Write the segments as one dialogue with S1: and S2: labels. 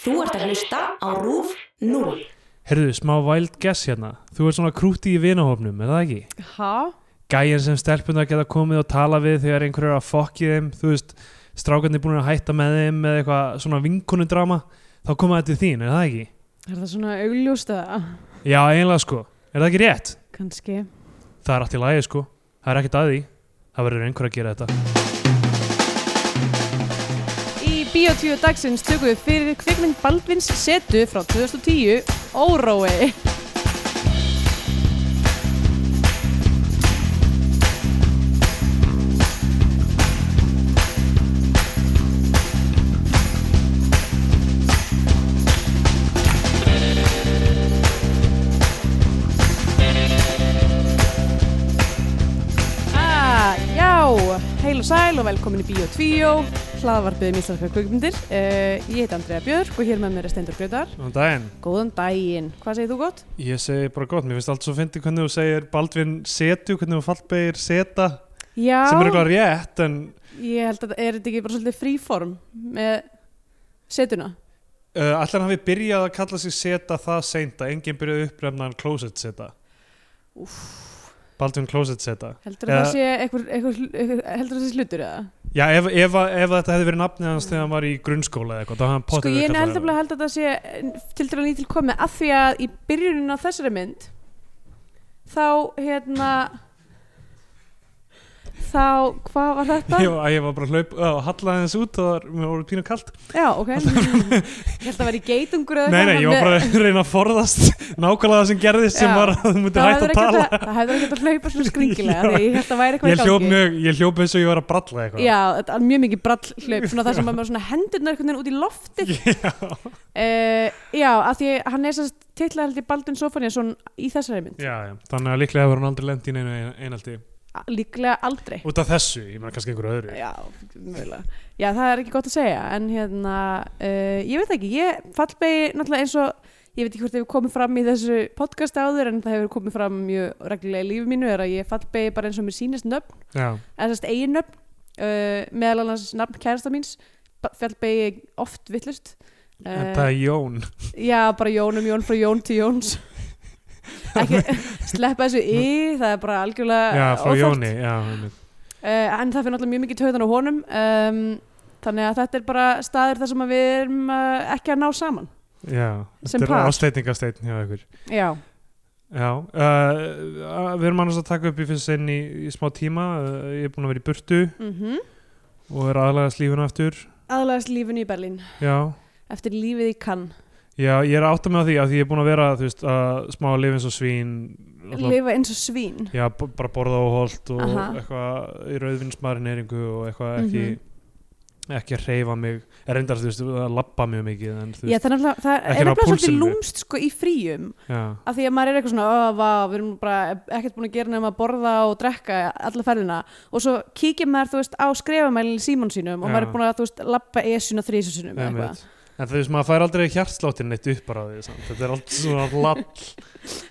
S1: Þú ert að hlusta á RÚF 0.
S2: Herðu, smá wild guess hérna. Þú ert svona krúti í vinahofnum, er það ekki?
S3: Ha?
S2: Gæjan sem stelpunar geta komið og tala við þegar einhverju er að fokki þeim, þú veist, strákarnir búin að hætta með þeim með eitthvað svona vinkonudrama, þá koma þetta til þín, er það ekki?
S3: Er það svona augljóst eða?
S2: Já, eiginlega sko. Er það ekki rétt?
S3: Kanski.
S2: Það er allt í lagi sko. Það er ekkert að því. Það verður einhver að gera þetta.
S3: Í Bíotvíu dagsins tökum við fyrir kvikmynd Baldvins setu frá 2010, Órói. Ah, já, heil og sæl og velkomin í Bíó 2, hlaðvarpið um íslenska kvikmyndir. Uh, ég heiti Andrea Björk og hér með mér er Steindur Grötar.
S2: Góðan daginn.
S3: Góðan daginn, hvað segir þú gott?
S2: Ég segi bara gott, mér finnst allt svo fyndi hvernig þú segir Baldvin setu, hvernig þú fallbegir seta,
S3: Já,
S2: sem er eitthvað rétt, en
S3: ég held að er þetta ekki bara svolítið fríform með setuna?
S2: Uh, Allan hafi byrjað að kalla sig seta það seinta, enginn byrjaði að upprefna hann closet seta. Baldvin closet seta.
S3: Heldur að
S2: Eða-
S3: það sé eitthvað, eitthvað, eitthvað heldur að það sé slutur eða?
S2: Já, ef, ef, ef þetta hefði verið nafnið hans þegar hann var í grunnskóla eða eitthvað, þá hafði hann
S3: Sko
S2: potið
S3: ég heldur að held að það sé eh, til dæla nýtil komið af því að í byrjunin á þessari mynd þá hérna þá hvað var þetta?
S2: Jó, að ég var bara að hlaupa já, og hallaði hans út og það var- mér voru pínu kalt.
S3: Já, ok. ég held að það væri geitungur eða
S2: Nei, nei, ég var
S3: þannig-
S2: bara að reyna að forðast nákvæmlega það sem gerðist sem
S3: hérna Já.
S2: var að þú mútið
S3: Það
S2: hægt
S3: hefur
S2: að
S3: ekki
S2: tala.
S3: átt að- það hefur ekki átt að hlaupa svona skringilega
S2: Já.
S3: því ég held að væri eitthvað
S2: Ég hljóp mjög, ég hljóp eins og ég var að bralla eitthvað.
S3: Já, þetta er mjög mikið brall hlaup svona það sem að maður svona hendurnar einhvern veginn út í loftið
S2: Já,
S3: uh, Já, af því hann er sérst titla held í Baldun Sofaníasson í þessari mynd
S2: já, já, þannig að líklega hefur hann aldrei lent í neinu einhaldi.
S3: A- líklega aldrei
S2: Út af þessu, ég meina kannski einhverju öðru.
S3: Já, mögulega. Já, það er ekki gott að segja en hérna, uh, ég veit ekki ég fallbegi náttúrulega eins og ég veit ekki hvort það hefur komið fram í þessu podcast áður en það hefur komið fram mjög reglulega í lífi mínu er að ég fallbegi bara eins og mér sýnist nöfn
S2: Já.
S3: eða sérst eigin nöfn uh, meðal annars nafn kærasta míns ba- fallbeygi ég oft villust
S2: En
S3: Eh,
S2: það er Jón.
S3: Já, bara Jón um Jón frá Jón til Jóns ekki, sleppa þessu í það er bara algjörlega
S2: Já, frá
S3: óþarft.
S2: Jóni, já, einmitt.
S3: Eh, en það fyrir náttúrulega mjög mikið tautan á honum um, þannig að þetta er bara staður þar sem að við erum uh, ekki að ná saman
S2: já,
S3: Sem
S2: þetta
S3: par.
S2: er ástætningasteitn hjá ykkur.
S3: Já,
S2: Já, uh, við erum annars að taka upp í fyrst sinn í, í smá tíma, uh, ég er búin að vera í burtu
S3: mm
S2: og er aðlæðast lífuna aftur,
S3: aðlagast lífinu í Berlín
S2: já.
S3: eftir lífið í kann
S2: Já, ég er að átta með því að því ég er búin að vera, þú veist, að smá að lifa eins og svín, alltaf-
S3: lifa eins og svín
S2: já, b- bara borða og holt og
S3: Aha.
S2: eitthvað í rauðvinsmaðurinn eringu og eitthvað ekki,
S3: Mhm.
S2: ekki að reyfa mig, er reyndar, þú veist, að labba mjög mikið, en þú veist,
S3: Já, það er náttúrulega, það
S2: Ekki
S3: er
S2: ná
S3: nefnilega svolítið
S2: púlsinum upp.
S3: lúmst sko í fríum
S2: já.
S3: af því að maður er eitthvað svona, ó, vá, við erum bara ekkert búin að gera nefnum að borða og drekka alla ferðina og svo kíkja maður, þú veist, á skrefamælinn í símón sínum og
S2: Já.
S3: maður er búin að, þú veist, lappa esuna þrísu sinum eða eitthvað.
S2: Einmitt. En þú veist, maður fær aldrei hjartsláttin neitt upp bara af því, samt. þetta er allt svona lapp,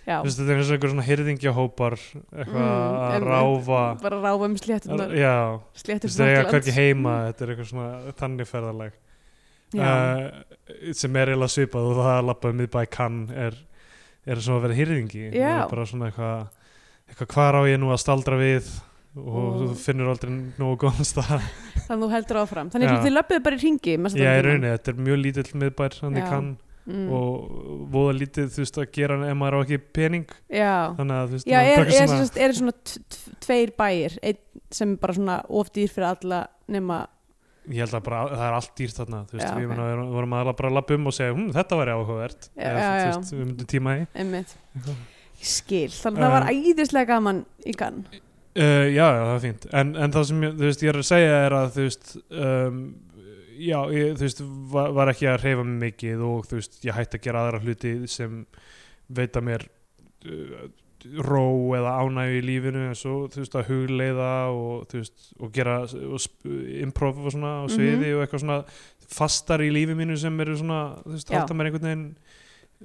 S3: Já,
S2: þú veist, þetta er eins og einhver svona hyrðingjahópar, eitthvað
S3: Mm,
S2: að
S3: einmitt.
S2: ráfa,
S3: bara ráfa um
S2: að,
S3: sléttunar,
S2: já, þú
S3: sléttur
S2: veist, það er hvergi
S3: Mm.
S2: heima, þetta er eitthvað svona þannig ferðalag, uh, sem er eiginlega svipað og það að lappa um miðbæ kann er, er svona að vera hyrðingi, Það
S3: Já.
S2: er bara svona eitthvað, eitthvað hvar á ég nú að staldra við og
S3: Og-
S2: þú finnur aldrei nógu góðan stað.
S3: þannig að þú heldur áfram þannig
S2: Já.
S3: að þið löpuðu bara í ringi
S2: Já, í rauninni, þetta er mjög lítill miðbær, þannig
S3: Já.
S2: kann.
S3: mm.
S2: og voða lítið þú veist að gera ef maður á ekki pening
S3: já,
S2: þannig að þú veist
S3: já
S2: maður
S3: er, er,
S2: tekur
S3: er,
S2: svona-
S3: svona... er svona t- t- tveir bæir einn sem er bara svona ofdýr fyrir alla nema
S2: ég held að bara það er allt dýrt þarna þú veist
S3: Já,
S2: við
S3: ok.
S2: okay. vorum aðla bara að lappa um og segja hm, þetta væri áhugavert
S3: Já,
S2: Eða,
S3: já,
S2: þú veist, við myndum tíma í
S3: einmitt skil, þannig að það var
S2: Um.
S3: æðislega gaman í gann
S2: uh, já já, það er fínt en, en það sem ég, þú veist ég er að segja er að þú veist um, já ég, þú veist var, var ekki að hreyfa mig mikið og þú veist ég hætti að gera aðra hluti sem veita mér uh, ró eða ánægju í lífinu eins og þú veist að hugleiða og þú veist og gera s- og sp- improv og svona á sviði
S3: Mhm.
S2: og eitthvað svona fastar í lífi mínu sem eru svona þú veist
S3: Já.
S2: halda mér einhvern veginn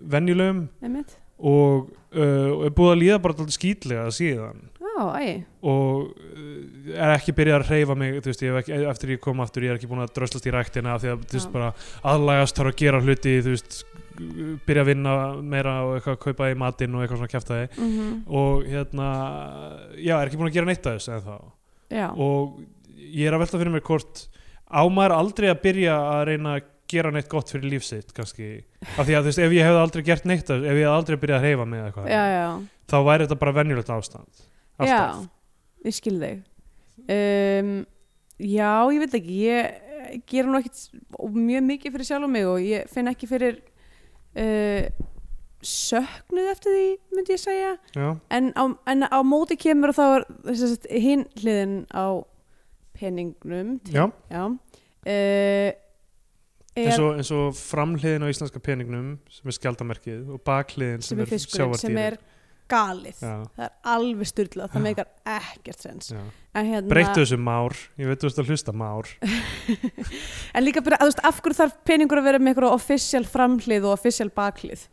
S2: venjulegum
S3: einmitt,
S2: og, uh, og er búið að líða bara alltaf skýtlega síðan
S3: já, æg,
S2: og uh, er ekki byrjað að reyfa mig þú veist, ég hef ekki, eftir ég kom aftur ég er ekki búin að dröslast í ræktina af því að þú veist,
S3: Já.
S2: bara aðlagast þarf að gera hluti þú veist, byrja að vinna meira og eitthvað kaupa í matinn og eitthvað svona kjaftaði
S3: mm
S2: og hérna já, er ekki búin að gera neitt að þessu en þá
S3: já,
S2: og ég er að velta fyrir mér hvort á maður aldrei að byrja að reyna að gera neitt gott fyrir líf sitt kannski, af því að þú veist, ef ég hefði aldrei gert neitt að, ef ég hefði aldrei byrjað að reyfa mig eða eitthvað,
S3: já, já.
S2: þá væri þetta bara venjulegt ástand alltaf,
S3: Já, ég skil þig um, Já, ég veit ekki ég gera nú ekkit mjög mikið fyrir sjálf og mig og ég finn ekki fyrir uh, söknuð eftir því, myndi ég segja
S2: já,
S3: en á, en á móti kemur og þá er þess að hinn hliðin á peningnum
S2: já.
S3: Já uh,
S2: eins og, eins og framhliðin á íslenska peningnum sem er skjaldamerkið og bakhliðin sem,
S3: sem er fiskurinn sem
S2: sjávardýrið.
S3: er galið
S2: já,
S3: það er alveg styrlað, það
S2: Já.
S3: meikar ekkert sens
S2: já.
S3: En hérna-
S2: breyttu þessu már, ég veit þú veist að hlusta már
S3: En líka bara, að þú veist, af hverju þarf peningur að vera með einhverja official framhlið og official bakhlið?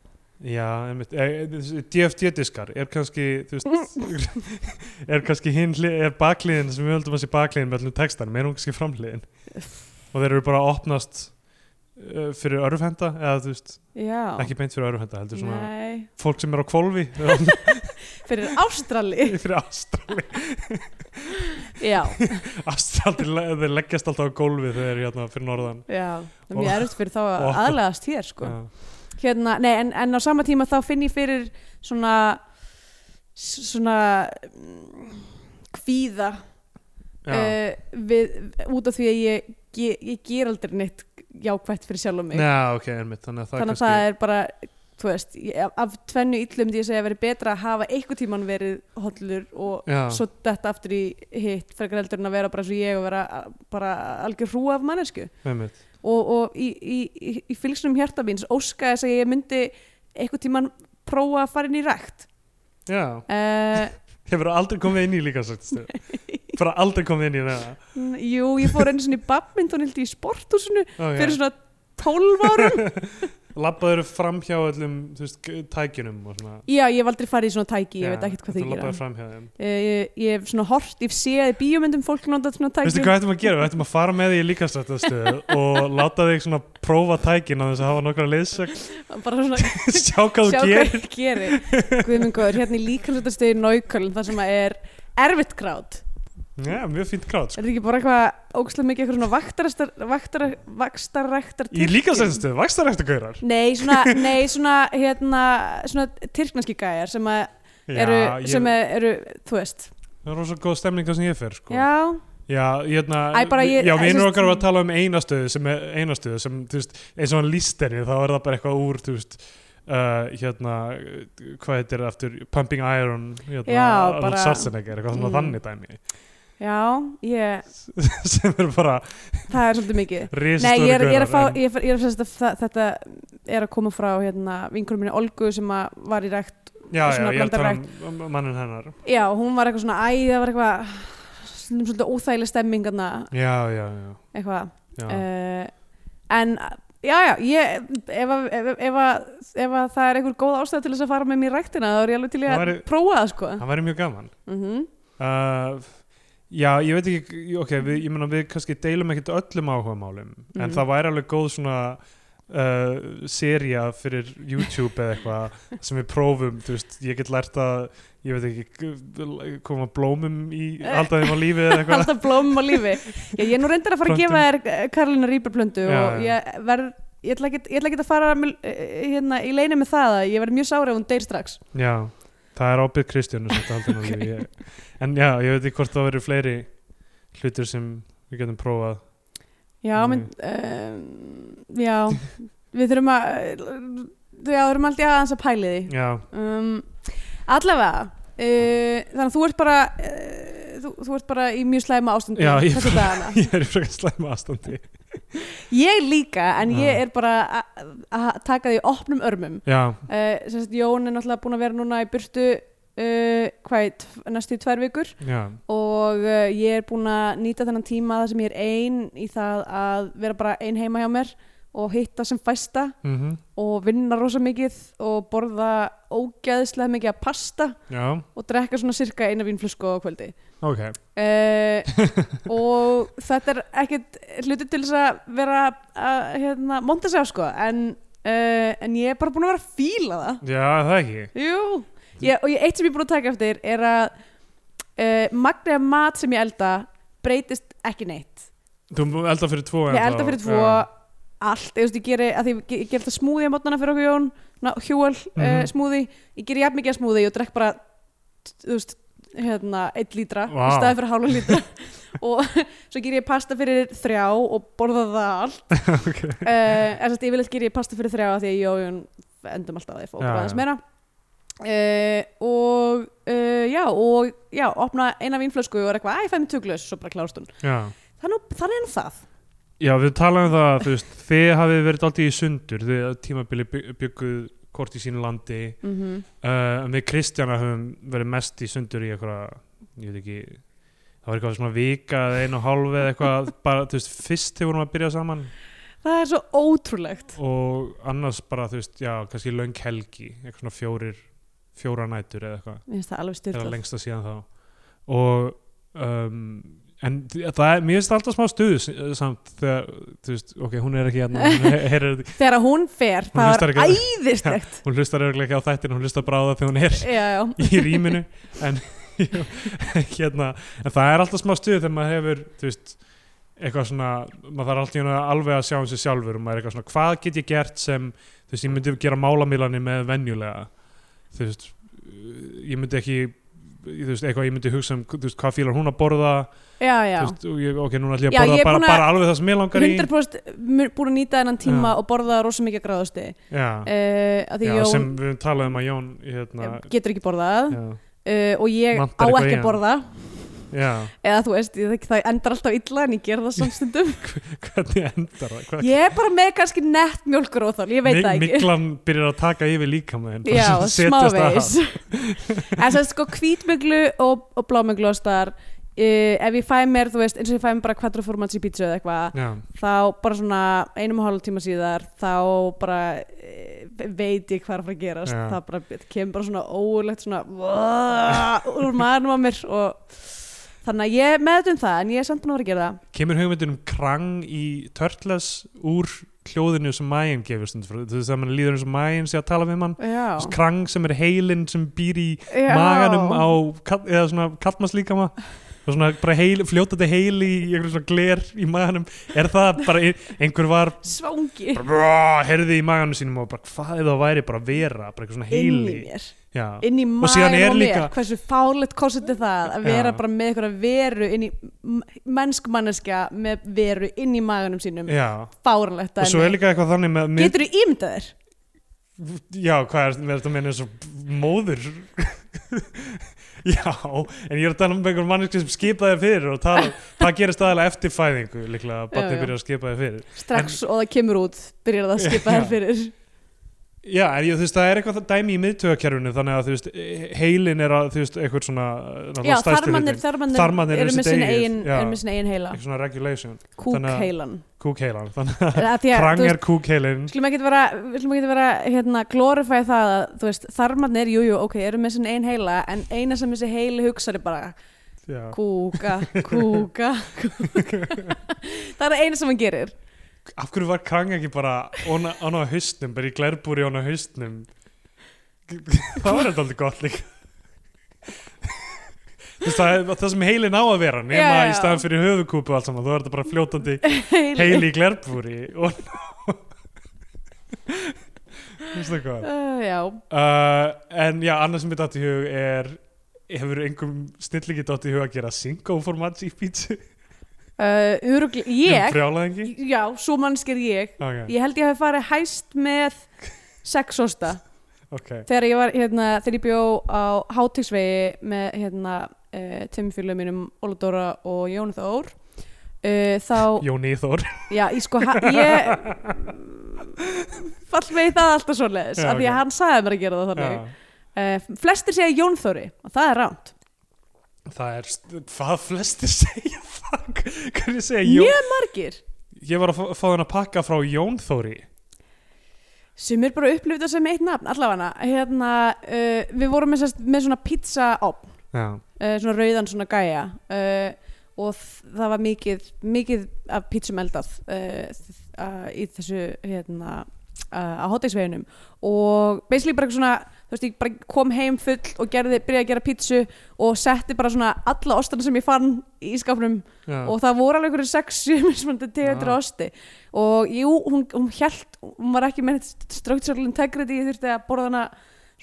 S2: já, einmitt, e, e, DFT diskar er kannski þú veist, er kannski hinn hli- er bakhliðin sem við höldum að sé bakhliðin með allum textanum, er hún kannski framhliðin og þeir eru bara að opnast uh, fyrir örfhenda eða þú veist,
S3: Já.
S2: ekki beint fyrir örfhenda heldur svona
S3: Nei,
S2: fólk sem er á kvolfi fyrir
S3: fyrir Ástrali.
S2: ástrali
S3: já,
S2: ástrali, þeir leggjast alltaf á gólfi þegar þeir eru hérna fyrir norðan
S3: já. Það er mjög erfitt fyrir þá að
S2: Og-
S3: aðlegast hér, sko.
S2: Já.
S3: Hérna, nei, en, en á sama tíma þá finn ég fyrir svona, s- svona, mm, kvíða
S2: Já,
S3: uh, við, út af því að ég, ég, ég ger aldrei neitt jákvætt fyrir sjálf og mig.
S2: Já, ok, einmitt, þannig að það
S3: Um, þannig að
S2: kannski
S3: það er bara þú veist, ég, af tvennu illum því að segja að verið betra að hafa einhvern tíman verið hollur og
S2: Já.
S3: svo þetta aftur í hitt frekar heldur en að vera bara svo ég og vera a- bara algjör hrú af mannesku
S2: einmitt.
S3: og, og í, í, í, í fylgsnum hjarta míns óska þess að ég myndi einhvern tíman prófa að fara inn í rækt
S2: Já,
S3: uh,
S2: hefur aldrei komið inn í líka sagt bara aldrei komið inn í það
S3: jú, ég fór einu svona í badminton hildi í sporthúsinu
S2: okay.
S3: fyrir svona 12 árum
S2: Labbaður fram hjá öllum þú veist, g- tækjunum og svona
S3: já, ég hef aldrei farið í svona tæki,
S2: Já,
S3: ég veit ekkert hvað þau
S2: Þú
S3: gera
S2: labbaður fram hjá þeim
S3: Eh, ég, ég hef svona hort, ég hef séð í bíómyndum fólk nota svona tækjum
S2: Veistu hvað ættum að gera? Við ættum að fara með því í líkastöðastöðu og láta þig svona prófa tækin að þess að hafa nokkra leiðsögn
S3: bara svona
S2: sjá hvað
S3: sjá
S2: þú
S3: hvað
S2: gerir
S3: ég gerir Guðmengóður, hérna í líkansvættastöði Náuköln þar sem að er erfitt grát
S2: Já, mjög fínt grátt
S3: er
S2: sko.
S3: þetta ekki bara eitthvað ógslag mikið eitthvað svona vaktarastar, vaktara, vaktarræktar
S2: Í líkastöðastöðu, vakstar eftir gaurar
S3: Nei, svona, nei, svona, hérna, svona tyrknarski gæjar sem, að eru, sem að eru, þú veist,
S2: Það er rosa góð stemning það sem ég fer sko.
S3: já,
S2: Já, hérna,
S3: Æ, bara ég- mm.
S2: já,
S3: æ,
S2: vinur
S3: sest-
S2: okkar var að tala um einastöðu sem, er- einastöðu sem þú veist, eins og hann líst henni þá er það bara eitthvað úr, þú veist Uh, hérna, hvað þetta er aftur Pumping Iron hérna,
S3: Já,
S2: Arnold
S3: bara-
S2: Schwarzenegger, eitthvað svona
S3: Mm.
S2: þannig dæmi
S3: já, ég,
S2: sem er bara
S3: það er svolítið mikið Nei,
S2: risastóri
S3: ég er, ég er að fá,
S2: gaurar, en-
S3: ég er, ég er að sérst að það- þetta er að koma frá hérna vinkurum minni Olgu sem að var í rækt.
S2: Já, já,
S3: svona
S2: ég er að tala um mannin hennar
S3: Já, hún var eitthvað svona, æ, það var eitthvað, stundum svolítið óþægileg stemming þarna,
S2: Já, já, já,
S3: eitthvað.
S2: já.
S3: Uh, en, já, já, ég, ef, að- ef, ef, að- ef að það er einhver góð ástæð til þess að fara með mér í ræktina, þá er ég alveg til í að
S2: Það væri-
S3: prófa það, sko.
S2: Það væri mjög gaman
S3: Mm
S2: Uh, já, ég veit ekki, ok, við, ég meina við kannski deilum ekkert öllum áhugamálum,
S3: Mhm.
S2: en það væri alveg góð svona uh, seria fyrir YouTube eða eitthvað sem við prófum, þú veist, ég get lært að, ég veit ekki, g- koma blómum í, halda þeim á lífi eða eitthvað.
S3: Alltaf blómum á lífi. Já, ég er nú reyndar að fara að gefa þér eh, Karolínu Rýberplöndu
S2: Já,
S3: og
S2: já.
S3: ég verð Ég ætla ekkert- ég ætla ekkert að fara með, eh, hérna, í leinu með það að ég verð mjög sára ef hún deyr strax.
S2: Já, það er ábyrð Kristjánu sem þetta halda þeim á lífi, ég, en já, ég veit ekki hvort það verður fleiri hlutir sem við getum prófað.
S3: Já,
S2: Mm.
S3: menn, um, já, við þurfum að, já, þurfum aldrei aðeins að pæli því.
S2: Já,
S3: Um, allavega, uh, þannig að þú ert bara, uh, þú, þú ert bara í mjög slæma ástandi.
S2: Já, ég-
S3: þessa dagana.
S2: ég er í frekar slæma aðstandi.
S3: Ég líka, en
S2: Já.
S3: ég er bara að- að taka því opnum örmum.
S2: Já,
S3: uh, sagt, Jón er náttúrulega búin að vera núna í burtu uh, hvað, í tv- næstu í tvær vikur
S2: já,
S3: og uh, ég er búin að nýta þennan tíma þar sem ég er ein í það að vera bara ein heima hjá mér og hitta sem fæsta
S2: mm
S3: og vinna rosa mikið og borða ógæðislega mikið að pasta
S2: já,
S3: og drekka svona cirka eina vínflösku á kvöldi
S2: ok
S3: uh, og þetta er ekkert hluti til þess að vera að hérna, monta sig á sko en, uh, en ég er bara búin að vera að fíla það
S2: já, er það ekki
S3: Jú, ég, og ég, eitt sem ég er búin að taka eftir er að uh, magnið af mat sem ég elda breytist ekki neitt
S2: þú elda fyrir tvo
S3: ég
S2: ennþá,
S3: elda fyrir tvo
S2: já.
S3: allt, ég, veist, ég geri að því, ég, ég geri alltaf smúði á mótnana fyrir okkur Jón na, hjúal mm
S2: Mhm.
S3: smúði, ég geri jafn mikið af smúði og drekk bara þú veist, hérna, eitt lítra
S2: Vá.
S3: í staði fyrir hálfa lítra og svo geri ég pasta fyrir þrjá og borða það allt
S2: okay.
S3: uh, en þetta ég vil eitthvað gera ég pasta fyrir þrjá af því að ég og Jón endum alltaf að ég fá okkur
S2: Já, já.
S3: aðeins meira uh, og uh, já og já, opna eina vínflösku og er eitthvað, að ég fæ mér tuglaus svo bara klárast hún
S2: já.
S3: þannig, þannig er nú það
S2: já, við talaðum um það að, þú veist, þið hafið verið alltaf í sundur þið að tímabili bygg- bygguð hvort í sínu landi
S3: mm -hmm.
S2: uh, en við Kristjana höfum verið mest í sundur í eitthvað ég veit ekki það var eitthvað svona vika eða einu og hálfi eða eitthvað bara, þú veist, fyrst þegar vorum að byrja saman
S3: það er svo ótrúlegt
S2: og annars bara, þú veist, já, kannski löng helgi, eitthvað svona fjórir fjóra nætur eða eitthvað,
S3: Mér finnst það alveg
S2: eða
S3: styrlað
S2: lengsta síðan þá og um, en þ- það er, mér finnst það alltaf smá stuð s- eh, samt þegar, þú veist, ok, hún er ekki hérna, hún he- heyrir þetta ekki.
S3: Þegar að hún fer,
S2: Hún
S3: það
S2: hlustar
S3: var
S2: ekki á-
S3: æðislegt
S2: hún hlustar örugglega ekki á þættin, hún hlustar bara á það þegar hún er
S3: Já, já,
S2: í rýminu en, hérna, en það er alltaf smá stuð þegar maður hefur þú veist, eitthvað svona maður þarf alltaf alveg að sjá um sig sjálfur og maður er eitthvað svona hvað get ég gert sem þú veist, ég myndi gera málamílanir með venjulega þú veist ég myndi ekki þú veist, eitthvað ég myndi hugsa um þú veist, hvað fílar hún að borða
S3: já, já
S2: þú veist, og ég, ok, núna ætlum ég
S3: Já,
S2: að borða
S3: ég er
S2: bara,
S3: búin að-
S2: bara alveg það sem ég langar í
S3: 100% mun- búin að nýta þennan tíma
S2: Já.
S3: og borða rosa mikið gráðusti
S2: já,
S3: uh, að því
S2: já,
S3: Jón eh,
S2: sem við talaðum um að Jón hérna,
S3: getur ekki borðað
S2: já,
S3: uh, og ég
S2: Vantar eitthvað
S3: á
S2: í
S3: ekki
S2: hann.
S3: að borða
S2: já,
S3: eða þú veist, ég, það endar alltaf illa en ég ger það samstundum
S2: hvernig endar það Hvað-
S3: ég er bara með kannski nett mjölkur ég veit
S2: Mig-
S3: það ekki
S2: Myglan byrjar að taka yfir líkamæðin
S3: já, smávegis en það er sko hvítmuglu og, og blámuglu ástar uh, ef ég fæ mér, þú veist, eins og ég fæ mér bara kvadroformats í pítsu eða eitthvað
S2: Já,
S3: þá bara svona einum og hálf tíma síðar þá bara eh, veit ég hvað er að fara að gerast
S2: Já.
S3: það bara það kemur bara svona óulegt svona úr maðurum á mér og þannig að ég meðutum það en ég er samt búin að vera að gera það
S2: kemur hugmyndin um krang í Turtles úr hljóðinu sem Mayan gefur stund frá, þú veist að mann líður eins og Mayan sé að tala við mann,
S3: Já.
S2: Þessi krang sem er heilin sem býr í
S3: Já.
S2: maganum á, kall- eða svona kallmaslíkama og svona bara heil, fljótandi heili í einhverjum svona gler í maganum er það bara, ein- einhver var
S3: svangi
S2: bara, herði í maganum sínum og bara hvað ef það væri bara vera, bara einhver svona
S3: inn í
S2: heili
S3: mér,
S2: Já,
S3: inn í
S2: Og síðan
S3: maður
S2: er
S3: og mér
S2: líka-
S3: hversu fálegt kostið það að
S2: Já.
S3: vera bara með einhverja veru inn í mennsk manneskja með veru inn í maganum sínum
S2: já
S3: fárlegt
S2: og svo er líka eitthvað þannig með mynd-
S3: getur þú ímyndað þér?
S2: Já, hvað er þetta að meina eins og móður? Já, en ég er að tala um einhver manneski sem skipaði þér fyrir og tala, það gerist aðalega eftir fæðingu líklega að
S3: Já,
S2: barnið
S3: já.
S2: byrja að skipa þér fyrir.
S3: strax og það kemur út byrjar það að skipa
S2: Já.
S3: þér fyrir
S2: Já, en ég, þú veist, það er eitthvað það dæmi í miðtögakerfinu þannig að þú veist, heilin er að, þú veist, eitthvað svona,
S3: já,
S2: náttúrulega stærsti
S3: þarmannir,
S2: hlutinn.
S3: þarmannir,
S2: Þarmarnir eru
S3: eru með
S2: sitt
S3: sín
S2: eigið,
S3: eigin,
S2: já.
S3: eru með sín eigin heila
S2: eitthvað svona regulation, þannig að-
S3: kúkheilan
S2: kúkheilan, þannig að
S3: Eða af því að,
S2: krang
S3: þú veist,
S2: er kúkheilin.
S3: við skulum ekki vera, við skulum ekki vera hérna, glorify það að þú veist, þarmarnir, jújú, jú, ok, eru með sín eigin heila en eina sem þessi heili hugsar er bara
S2: Já.
S3: kúka, kúka, kúka það er eina sem hann gerir
S2: Af hverju var krang ekki bara ona- án á haustnum, bara í glerbúri án á haustnum? það var þetta aldrei gott líka. Þú veist, það, er- það sem heilin á að vera, nema
S3: Já, já.
S2: í staðan fyrir höfukúpu allt saman, þá er þetta bara fljótandi
S3: heili,
S2: heili í glerbúri. Og... Þú veist það hvað?
S3: Uh, já,
S2: Uh, en já, annað sem ég datt í hug er, hefur einhverjum snillingi datt í hug að gera syngo formats í pítsu?
S3: uh, örugl,
S2: Um
S3: ég
S2: brjálæðingi?
S3: já, svo mannskir ég
S2: Ok,
S3: ég held ég hafi farið hæst með sexosta
S2: ok.
S3: þegar ég var hérna, þegar ég bjó á hátíksvegi með hérna uh, tveimfélög mínum Óladóra og Jónu Þór uh, þá,
S2: Jóni Íþór.
S3: já, ég sko ha- ég fall með það alltaf svoleiðis
S2: Já,
S3: af því
S2: ok.
S3: að hann sagði mér að gera það þannig
S2: Já.
S3: uh, flestir segja Jón Þóri og það er ránt
S2: Það er, st- hvað flestir segja það, hvernig segja Jón,
S3: mjög margir
S2: ég var að fá, fá þennan að pakka frá Jón Þóri
S3: sem er bara upplifta sem eitt nafn allavega hérna, uh, við vorum með, sérst- með svona pizza opn
S2: já,
S3: uh, svona rauðan svona gæja uh, og þ- það var mikið mikið af pítsum eldað uh, þ- uh, í þessu hérna uh, á hotdagsveginum og basically bara eitthvað svona þú veist, ég bara kom heim full og gerði, byrjaði að gera pítsu og setti bara svona alla ostana sem ég fann í skapnum
S2: já.
S3: og það voru alveg einhverju sex mismunandi tegundir
S2: Ah.
S3: ah. osti og jú, hún, hún held hún var ekki með neitt structural integrity ég þurfti að borða hana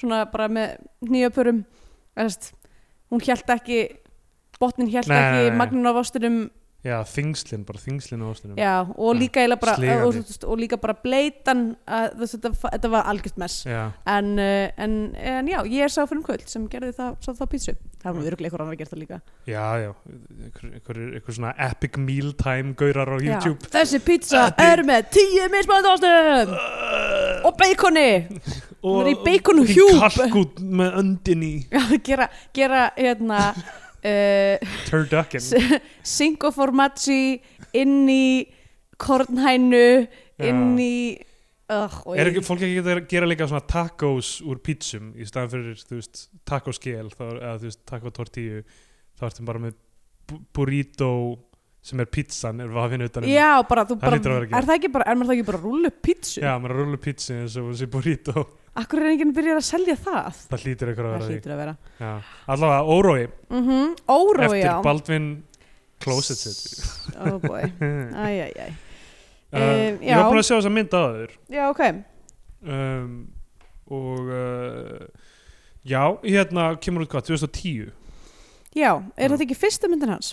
S3: svona bara með nýjöpurum hún held ekki botnin held
S2: Nei, nei,
S3: ekki
S2: nei.
S3: magnun af ostinum
S2: já, þingslinn, bara þingslinn á ostinum
S3: já, og
S2: Já,
S3: líka eiginlega bara,
S2: sligandi.
S3: og, og, og líka bara bleitan að, þú veist, þetta, þetta var algjört mess
S2: já.
S3: en, uh, en, en já, ég er sá fyrir um kvöld sem gerði það, sá það pítsu það var örglega ykkur annar að gera það líka
S2: Já, já, einhver, einhver, einhver svona epic mealtime gaurar á YouTube
S3: Já, þessi pizza
S2: Epic.
S3: er með tíu mismönd ástum
S2: uh,
S3: og beikoni hún er í bacon og
S2: í
S3: hjúp.
S2: kalkút með öndin í
S3: gera, gera hérna uh,
S2: turducken
S3: singo formaggi inn í kornhænu inn í uh,
S2: Er ekki, fólk ekki að gera líka svona tacos úr pítsum í staðan fyrir, þú veist, tacoskel þá, eða þú veist, tacotortíu þá ertum bara með bu- burrito sem er pítsan, er vafinn utan um-
S3: já, bara, þú
S2: Það
S3: bara,
S2: hlýtur að vera að gera.
S3: er það ekki bara er maður það ekki bara að rúlla upp pítsu
S2: Já, maður rullu pítsi eins og þessi burrito
S3: akkur er enginn byrjar að selja það
S2: það hlýtur eitthvað að
S3: það
S2: vera því
S3: hlýtur að vera
S2: Já. Allavega, órói,
S3: mm órói
S2: eftir
S3: já
S2: Baldvin Closet City
S3: oh boy, æj, æj, æj
S2: Uh,
S3: Um,
S2: ég var
S3: já.
S2: búin að sjá þess að mynda aður
S3: já, ok,
S2: um, og uh, já, hérna kemur út hvað, 2010
S3: já, er
S2: Já.
S3: þetta ekki fyrsta myndin hans?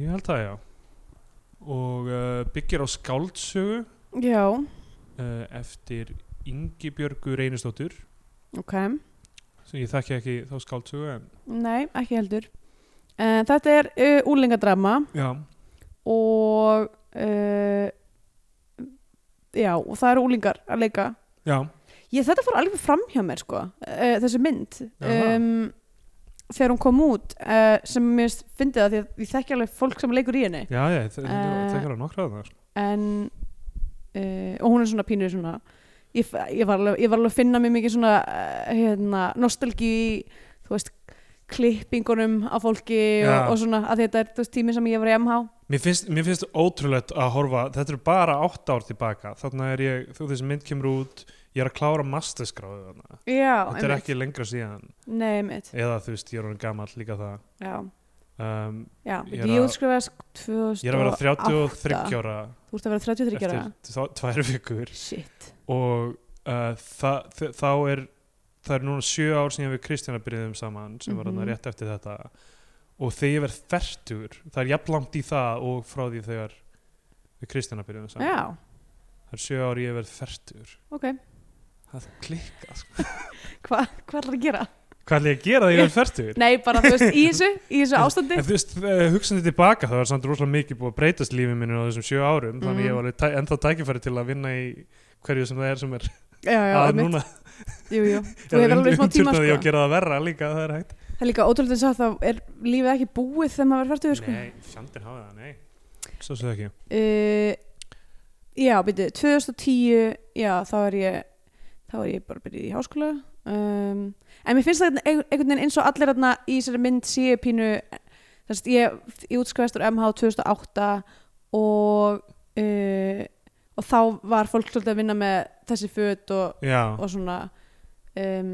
S2: ég held það já og uh, byggir á skáldsögu
S3: já,
S2: uh, eftir Ingibjörgu Reynisdóttur
S3: ok
S2: sem ég þekki ekki þá skáldsögu en
S3: Nei, ekki heldur. Uh, þetta er uh, úlingadrama
S2: já,
S3: og uh, já, og það eru úlingar að leika.
S2: já,
S3: Ég, þetta fór alveg fram hjá mér, sko, uh, þessi mynd.
S2: Jaha.
S3: Um, þegar hún kom út, uh, sem mér fyndi það því að ég þekki alveg fólk sem leikur í henni.
S2: já, já það
S3: Eh.
S2: uh, er nokkra þarna sko.
S3: En, uh, og hún er svona pínur svona, ég, f- ég, var alveg, ég var alveg að finna mér mikið svona, uh, hérna, nostalgi í, þú veist, klippingunum af fólki
S2: Já.
S3: og, og svona, að þetta er þú veist, tími sem ég var í MH.
S2: Mér finnst, mér finnst ótrúlegt að horfa, þetta eru bara 8 ár tilbaka, þannig er ég, þú þessi mynd kemur út, ég er að klára masterskráðu þarna,
S3: Já,
S2: þetta er ekki lengra síðan.
S3: Nei, mitt,
S2: eða þú veist, ég er orðin gamall líka það
S3: já,
S2: um,
S3: já,
S2: Ég
S3: ég,
S2: er
S3: ég
S2: að-
S3: útskrifaðist 2008
S2: ég er að vera 33 ára
S3: Þú ert að vera 33 ára
S2: eftir þá- tvær vikur
S3: Shit,
S2: og uh, þa, þ- þá er það er núna sjö ár sem ég við Kristjana byrjuðum saman sem var hann
S3: Mhm.
S2: rétt eftir þetta og þegar ég verð fertur það er jafnlangt í það og frá því þegar við Kristjana byrjuðum saman
S3: já,
S2: það er sjö ár ég verð fertur
S3: ok
S2: það er klikka sko.
S3: Hva, Hvað er það að gera?
S2: hvað ætla ég að gera þegar ég verð fertur?
S3: Nei, bara þú veist, í þessu, í þessu ástandi
S2: En þú veist, hugsanði tilbaka þá er samt rosalega mikið búið að breytast lífið minni á þessum sjö árum, þannig
S3: Mhm.
S2: ég var alveg tæ- ennþá tækifæri til að vinna í hverju sem það er sem er
S3: Já, já,
S2: að
S3: einmitt,
S2: núna
S3: jú, jú Þú hefur alveg smá
S2: ég
S3: tíma, sko
S2: að gera það verra líka, það er hægt
S3: Það er líka ótrúlega þess að það er lífið ekki búið þegar maður verður færtugur, sko
S2: Nei, fjandir hafa það, nei Svo svo ekki
S3: uh, Já, byrju, 2010 Já, þá er ég þá er ég bara byrjuð í háskóla um, En mér finnst það einhvern einhvern veginn eins og allir þarna í þessari mynd séu pínu þess að ég, ég útskvæðast úr MH 2008 og uh, og þá var fólk svolítið að vinna með þessi föt og,
S2: Já,
S3: og svona um,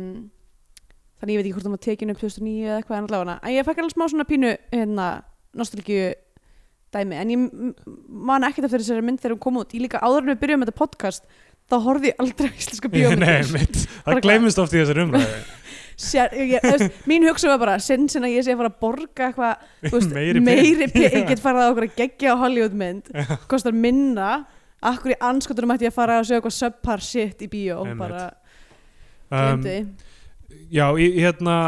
S3: þannig ég veit ekki hvort það var tekinu upp 2009 eða eitthvað en allavega en ég fekk alveg smá svona pínu hérna, nostalgíu dæmi en ég m- m- man ekkert eftir þessari mynd þegar hún kom út ég líka áður en við byrjum með þetta podcast þá horfði ég aldrei á íslenska
S2: nei,
S3: bíómyndir
S2: mitt
S3: Bara
S2: Það gleymist oft í þessar umræði
S3: Sér, ég, ég, þú veist, mín hugsa var bara sinn sem að ég sé að fara að borga eitthvað þú veist,
S2: Meiri
S3: meiri
S2: pening.
S3: pening, ég get farið á okkur að geggja á Hollywoodmynd kostar minna akkur í anskotunum ætti ég að fara að sjá eitthvað subpar shit í bíó
S2: Einmitt.
S3: bara,
S2: um,
S3: glemdi því.
S2: Já, í, hérna,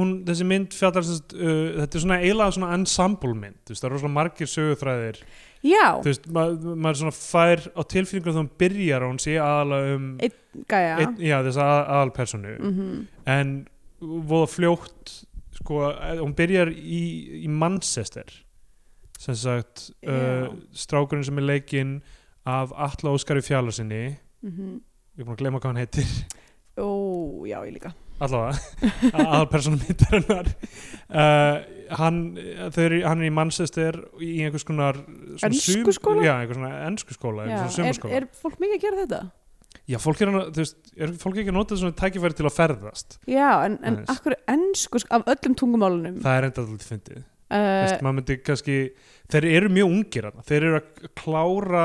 S2: hún, þessi mynd fjallar sem sagt, uh, Þetta er svona eiginlega svona ensemble mynd þú veist, Það eru svona margir sögutræðir
S3: já,
S2: Þú veist, ma maður svona fær á tilfinningum þegar hún byrjar að hún sé aðalega um
S3: Einn gæja
S2: einn- já, þessa að, aðalpersonu
S3: Mhm.
S2: en voða fljótt sko, eh, hún byrjar í, í Manchester sem sagt
S3: Já.
S2: uh, strákurinn sem er leikinn af Atla Óskari Fjallarsinni ég
S3: mm
S2: er búin að gleyma hvað hann heitir
S3: Ó, já, ég líka
S2: allavega aðalpersonum myndarinnar uh, hann, þau eru, hann er í Manchester í einhvers konar svona
S3: Ensku
S2: sum-
S3: skóla?
S2: já, einhvers konar ensku skóla,
S3: já,
S2: einhvers
S3: er,
S2: svona er,
S3: er fólk mikið að gera þetta?
S2: já, fólk er, að- þú veist, er fólk ekki að nota svona tækifæri til að ferðast
S3: Já, en, en
S2: Aðeins.
S3: akkur ennsku sk- af öllum tungumálunum
S2: það er enda alltaf fyndið Þú
S3: uh,
S2: veist, maður myndi kannski, þeir eru mjög ungir þarna. þeir eru að klára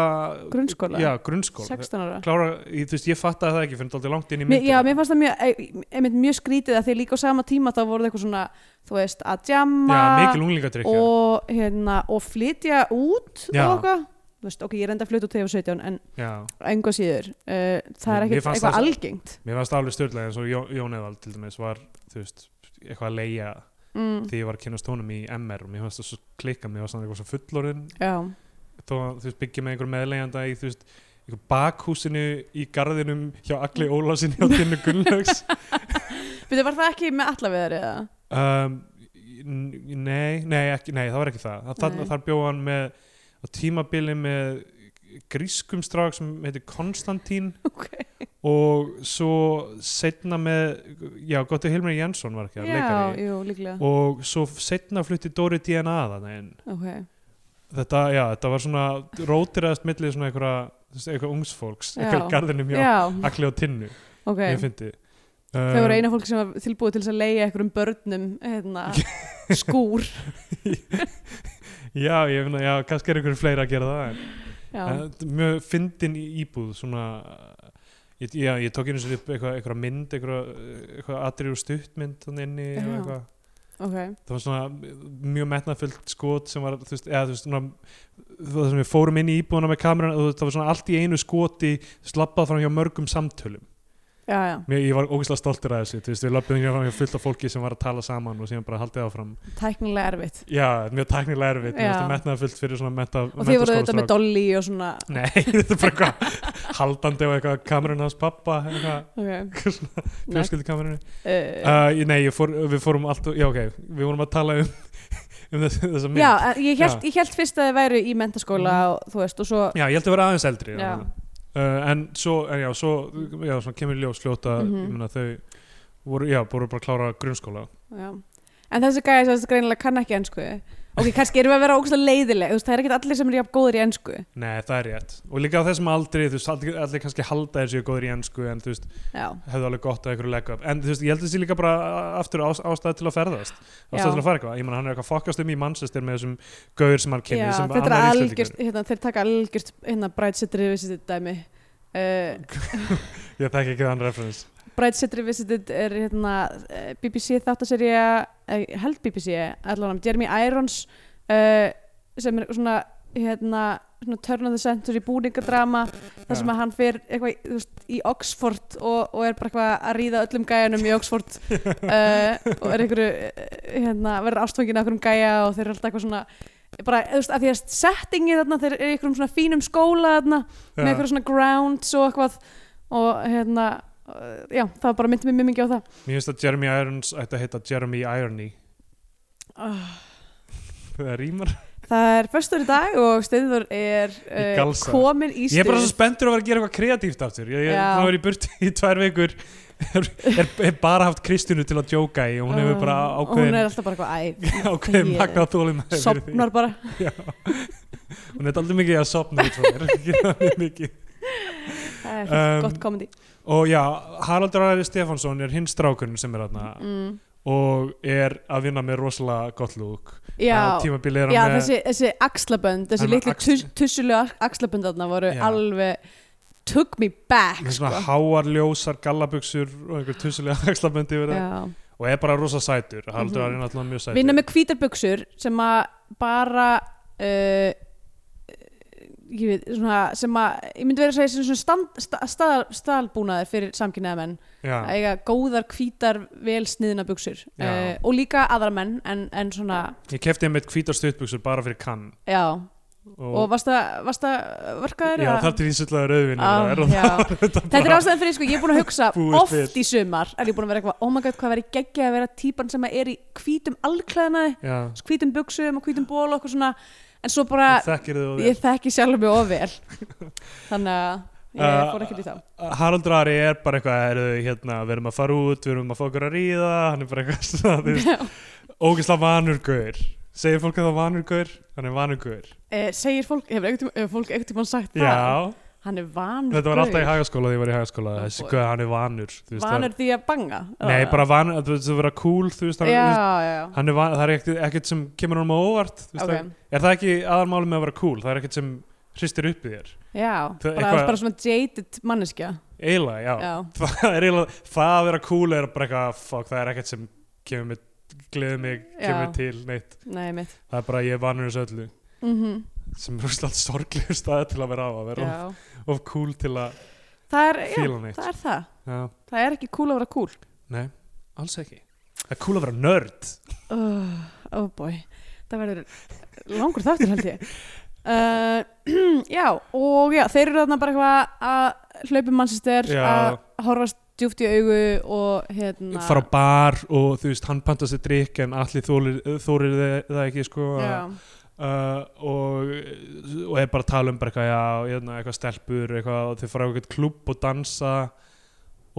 S3: Grunnskóla?
S2: já, grunnskóla
S3: 16 ára
S2: klára, ég, þú veist, ég fatt að það ekki fyrir dálítið langt inn í
S3: Mér,
S2: myndina
S3: já, mér fannst það mjög, e- einmitt mjög skrítið að því líka á sama tíma þá voru það eitthvað svona, þú veist, að jamma
S2: já, mikil unglingadrykja
S3: og, hérna, og flytja út
S2: Já.
S3: og eitthvað. Þú veist, ok, ég er enda að flytja út þegar 17 en
S2: já,
S3: enga síður, uh, það er
S2: Mér- mér
S3: ekkert
S2: fannst
S3: eitthvað
S2: það-
S3: algengt.
S2: mér varst alveg stjórnlega eins og Jón, Jón Eðvald til dæmis var, þú veist, eitthvað að leia
S3: Mm,
S2: því ég var að kynast honum í MR og mér fannst það svo klikka, mér fannst það eitthvað svo fullorinn
S3: já,
S2: þó að þú veist, byggja með einhver meðlegjanda í, þú veist, einhver bakhúsinu í garðinum hjá Agli Ólásinni og Tinnu Gunnlaugs
S3: betur var það ekki með allaveðar eða?
S2: um, n- nei, nei, ekki, nei, það var ekki það þar,
S3: Nei.
S2: þar bjóð hann með á tímabili með grískum strák sem heitir Konstantín
S3: Ok,
S2: og svo setna með já, Gotti Hilmar Jensson var ekki
S3: já,
S2: þar, leikari
S3: jú, líklega.
S2: og svo setna flutti Dóri DNA þannig en
S3: ok,
S2: þetta, já, þetta var svona rótiræðast milli svona einhverja þú veist, eitthvað ungsfólks,
S3: Já.
S2: eitthvað garðinum hjá
S3: já,
S2: Agli og Tinnu,
S3: ok.
S2: ég fyndi Um,
S3: Þau voru eina fólk sem var tilbúið til þess að leiða einhverjum börnum hérna, skúr.
S2: Já, ég finna, já, kannski er einhverju fleiri að gera það en
S3: Já,
S2: En þetta er mjög fyndin í íbúð svona ég, já, ég tók einu sér upp eitthvað, eitthvað mynd eitthvað, eitthvað atrið og stuttmynd þannig inni og
S3: Já.
S2: eitthvað
S3: ok.
S2: það var svona mjög metnafullt skot sem var, þú veist, eða þú veist svona, það sem við fórum inn í íbúðuna með kameran þú veist, það var svona allt í einu skoti slappað fram hjá mörgum samtölum
S3: Já, já.
S2: Mér, ég var ógeðslega stoltur að þessu, þú veist, við löpum hérna fram hjá fullt af fólki sem var að tala saman og síðan bara haldið áfram
S3: tæknilega erfitt
S2: Já, mjög tæknilega erfitt, mér
S3: Já.
S2: finnst það metnafullt fyrir svona meta,
S3: og þið voru þetta með
S2: menntaskólastráka.
S3: dolly og svona
S2: Nei, þetta er bara eitthvað haldandi og eitthvað kamerun hans pappa eitthvað
S3: ok, Nei,
S2: fjölskyldukamerunni
S3: uh,
S2: uh, ég- Nei, ég fór, við fórum allt já, ok, við vorum að tala um, um þess, þessa mynd
S3: já, en ég held,
S2: Já.
S3: ég held fyrst að þið væru í mentaskóla og þú veist og svo
S2: Já, ég held að vera aðeins eldri
S3: Já.
S2: þarna. uh, En svo, en já, svo, já, svo kemur í ljós fljóta
S3: Mhm.
S2: ég meina, þau voru, já, voru bara að klára grunnskóla
S3: já. en þessi gæði sem þessi greinilega kann ekki ensku ok, kannski erum við að vera ógustlega leiðileg þú veist, það er ekkert allir sem eru jafn góður í ensku
S2: Nei, það er rétt Og líka á þessum aldri, þú veist, allir, allir kannski halda þessu góður í ensku en þú veist,
S3: já,
S2: hefðu alveg gott að einhverju legg upp en þú veist, ég held þessi líka bara a- aftur ás, ástæð til að ferðast ástæð
S3: Já.
S2: til að fara eitthvað, ég menn hann er eitthvað að fokkast um í Manchester með þessum gaur sem hann
S3: já
S2: kynni sem
S3: þetta er
S2: annar
S3: algjörst hérna, þeir taka algjörst hérna, brætsettri visited dæmi uh,
S2: Íslendingur. ég þekki ekki þann referens
S3: Brætsettri visited er hérna, eh, BBC þáttaserja, eh, ég held BBC allan, Jeremy Irons uh, sem er svona, hérna, svona turn of the century búningadrama
S2: Já.
S3: þar sem að hann fer eitthvað í- þú veist, í Oxford og, og er bara eitthvað að ríða öllum gæjanum í Oxford uh, og er einhverju eh, hérna, verður ástfangin af einhverjum gæja og þeir eru alltaf eitthvað svona bara, þú veist, að því að settingið þarna þeir eru í einhverjum svona fínum skóla þarna með
S2: Já,
S3: eitthvað svona grounds og eitthvað og hérna uh, já, það bara myndi mér mjög mikið á það
S2: Mér finnst að Jeremy Irons ætti að heita Jeremy Irony það rýmar
S3: það er föstur í dag og Steindur er
S2: Í
S3: uh,
S2: galsa.
S3: komin í
S2: Ég er
S3: stuð
S2: bara svo spenntur að vera að gera eitthvað kreatíft aftur Ég ég er
S3: Já.
S2: búin að vera í burti í tvær vikur er, er, er bara haft Kristínu til að djóka í og hún hefur bara
S3: Uh, og hún
S2: ákveðin
S3: er alltaf bara eitthvað æ,
S2: ákveðin
S3: Ég-
S2: magna þólum
S3: sopnar bara
S2: Já, hún er aldrei mikið að sopna út frá mér, ekki það mjög mikið.
S3: það er um,
S2: Um,
S3: gott komandi
S2: Og já, Haraldur Ari Stefánsson er hinn strákurinn sem er þarna
S3: mm.
S2: og er að vinna með rosalega gott lúk.
S3: já,
S2: Á tímabili er hann
S3: já
S2: með,
S3: þessi, þessi axlabönd þessi
S2: Hann er með
S3: litlu
S2: axl-
S3: axl... tussulegu axlabönd þarna voru
S2: Já.
S3: alveg took me back
S2: með
S3: sko.
S2: svona háar ljósar gallabuxur og einhver tussulega axlaböndi yfir það.
S3: já
S2: Og er bara rosa sætur, Haraldur
S3: Mhm.
S2: Ari er náttúrulega mjög sætur.
S3: vinna með hvítarbuxur sem að bara uh, ég veit, svona sem að, ég myndi vera að segja sem svona stand, sta, staðal, staðalbúnaður fyrir samkynnaða menn
S2: Já,
S3: að eiga góðar hvítar vel sniðna buxur
S2: Já.
S3: uh, og líka aðra menn en, en svona,
S2: ég kefti einmitt hvítar stuttbuxur bara fyrir kann.
S3: já og, varst það varst það verkaður?
S2: Já,
S3: eða?
S2: þar til ég sullaði rauðvinni.
S3: Ah, já. Þetta er ástæðan fyrir, sko, ég er búin að hugsa
S2: Búist
S3: oft
S2: við.
S3: í sumar er ég búin að vera eitthvað, oh my god, hvað verið geggja að vera típan sem að er í Sko, hvítum allklæðnaði
S2: Já,
S3: hvítum buksum og hvítum ból og okkur svona en svo bara,
S2: þekkir þau og
S3: ég þekki sjálf mig of vel þannig að
S2: Uh,
S3: ég fór ekkert í það
S2: Haraldur Ari er bara eitthvað er, hérna, við erum að fara út, við erum að fá okkur að ríða hann er bara eitthvað svona, þú veist, ógeðslega vanur gaur segir fólk að það vanur gaur, hann er vanur gaur
S3: Eh, segir fólk, hefur einhvern tímann- hefur fólk ekkert tíma sagt það
S2: já,
S3: hann er vanur
S2: þetta var alltaf í
S3: gaur.
S2: hagaskóla þegar ég var í hagaskóla,
S3: Oh
S2: þessi
S3: boy.
S2: gaur, hann er vanur þú veist,
S3: vanur því að banga
S2: það, nei, bara vanur, þú veist, það vera cool þú veist,
S3: já,
S2: hann, þú veist,
S3: já, já,
S2: hann er vanur, það er ekkert, ekkert sem kemur honum á óvart þú veist,
S3: ok
S2: það, er það ekki aðalmáli með að vera cool, það er ekkert sem hristir upp í þér,
S3: já,
S2: Það-
S3: bara,
S2: eitthvað-
S3: bara svona jaded manneskja
S2: eiginlega, já,
S3: já,
S2: það er eiginlega, það að vera cool er bara eitthvað, fuck, það er ekkert sem kemur mig, gleður mig, kemur
S3: Já.
S2: mig til neitt,
S3: nei mitt
S2: það er bara ég er vanur þessu öllu,
S3: mm
S2: sem er úrslega sorglegur staði til að vera á, að vera
S3: já.
S2: of, of cool til að
S3: það er, já,
S2: fíla neitt
S3: það er það
S2: já,
S3: það er ekki cool að vera cool
S2: nei, alls ekki það er cool að vera nörd
S3: oh, oh boy það verður langur þáttur held ég uh, já og já, þeir eru þarna bara eitthvað að hlaupi mannsistir
S2: Já.
S3: að horfast djúpt í augu og hérna
S2: fara á bar og þú veist, hann panta sér drikk en allir þórir það ekki sko að-
S3: já,
S2: uh, og, og er bara að tala um bara eitthvað, já, hérna, eitthvað stelpur eitthvað, og þau fara á eitthvað klubb og dansa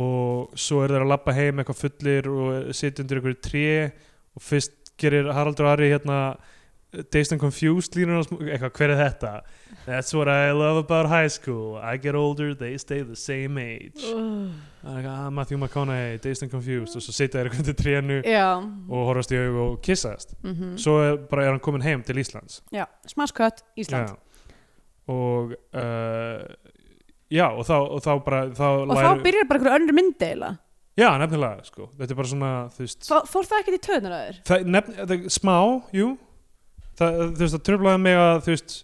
S2: og svo eru þeir að labba heim eitthvað fullir og sitja undir einhverju tré og fyrst gerir Haraldur Ari hérna Dazed and Confused línur eitthvað, hver er þetta? That's what I love about high school I get older, they stay the same age
S3: uh,
S2: Það er eitthvað, ah, Matthew McConaughey, Dazed and Confused og svo sitja þeir eitthvað undir trénu
S3: já.
S2: og horfast í augu og kissast
S3: Mm
S2: svo er, bara er hann komin heim til Íslands
S3: já smaskött Ísland
S2: Já. Og uh, já, og þá, og þá bara þá
S3: og þá byrjar bara einhverju önnur myndi eiginlega.
S2: Já, nefnilega, sko. Þetta er bara svona, þú veist
S3: Fó- fór það ekkert í töðnur að þér
S2: það, nefn, það, smá, jú það, þú veist, það tröflaði mig að þú veist,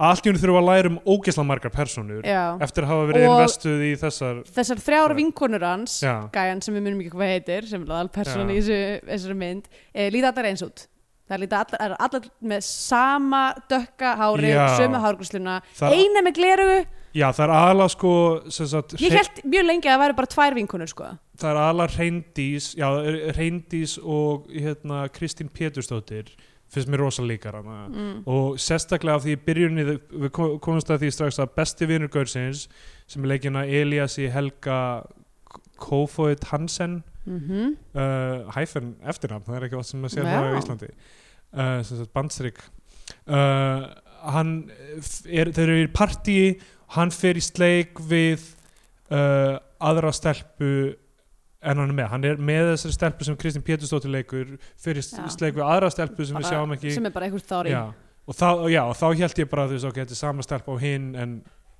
S2: að allt í hún þurfa að læra um ógeðsla margar persónur
S3: já.
S2: eftir að hafa verið
S3: Og-
S2: investuð í þessar
S3: þessar þrjár vinkonur hans
S2: Já,
S3: gæjan sem við munum ekki hvað heitir sem er alveg persónan
S2: Já.
S3: í þessu, þessari mynd e, líta allar eins út það er líta allar, er allar með sama dökka hári,
S2: Já.
S3: sömu hárgrusluna
S2: það, er-
S3: eina með glerugu,
S2: já, það er aðla sko sem sagt,
S3: ég
S2: hrein-
S3: held mjög lengi að það væri bara tvær vinkonur sko
S2: það er aðla reyndís já, reyndís og hérna, Kristín Pétursdóttir finnst mér rosa líkar hana
S3: mm.
S2: og sérstaklega af því í byrjunni við kom- komumst að því strax að besti vinur Gaursins sem er leikina Elias í Helga Kofoid Hansen
S3: Mm
S2: uh, hæfen eftirnafn, það er ekki allt sem maður sér
S3: Já.
S2: það á Íslandi uh, sem sagt bandstrykk uh, hann er, þeir eru í partíi hann fer í sleik við uh, aðra stelpu en hann er með, hann er með þessari stelpu sem Kristín Pétursdóttir leikur fyrir
S3: Já.
S2: sleik við aðra stelpu sem við sjáum ekki
S3: sem er bara einhver þári
S2: já. Og, þá, já, og þá held ég bara að okay, þetta er sama stelp á hinn en,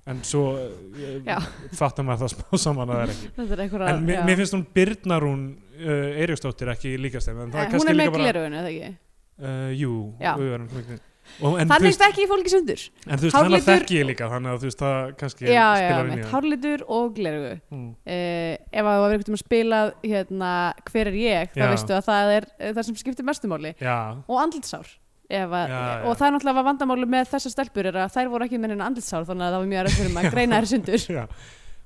S2: en svo eh,
S3: Já.
S2: fattar maður það smá saman að það er ekki
S3: þetta er einhver
S2: en mér, mér finnst hún Byrnarún uh, Eiríksdóttir ekki líkast þeim en það er
S3: Eh, hún
S2: kannski
S3: er
S2: líka
S3: með
S2: bara
S3: glerugunu, eða ekki
S2: uh, jú,
S3: Já.
S2: jú, er hún miklu- og, en, þú
S3: þannig
S2: veist,
S3: stekki ég fólki sundur
S2: en þú veist hann
S3: hárlitur-
S2: þekki ég líka þannig að þú veist það kannski
S3: já, já,
S2: spilar inn í
S3: mitt,
S2: það
S3: hárlitur og glerugu
S2: Mm.
S3: uh, ef að það var einhvern veginn spilað hérna, hver er ég, þá
S2: Já.
S3: veistu að það er eh, það sem skiptir mestumáli
S2: já,
S3: og andlitsár ef að,
S2: Já, já.
S3: og það er náttúrulega var vandamáli með þessar stelpur er að þær voru ekki með neina andlitsár þannig að það var mjög erfitt fyrir maður að greina þær sundur
S2: já.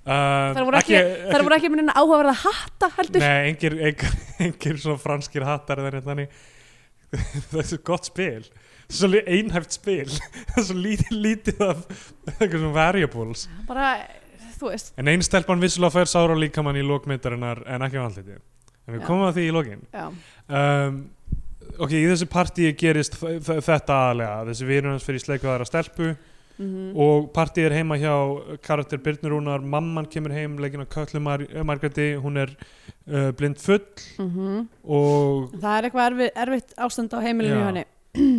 S2: Um,
S3: Þær voru ekki- þær voru ekki með neina áhugaverða hatta heldur
S2: Nei, engir, engir, engir svona franskir hattar eða neitt þannig það er svo gott spil svo li- einhæft spil það er svo lítið, lítið af eitthvað svona variables
S3: bara, þú veist
S2: en ein stelpan vissulega fær sára líkamann í lókmyndarinnar en ekki á andliti en við
S3: Já.
S2: komum að því í lókin
S3: já,
S2: um, ok, í þessu partíi gerist þ- þ- þetta aðalega þessi vinur hans fyrir sleikvaðara stelpu
S3: mhm,
S2: og partíið er heima hjá karakter Byrnurúnar, mamman kemur heim leikin á Köllu Mar Margreti hún er uh, blind full
S3: mhm.
S2: og
S3: það er eitthvað erfi, erfitt ástand á heimilinu
S2: Já.
S3: hjá henni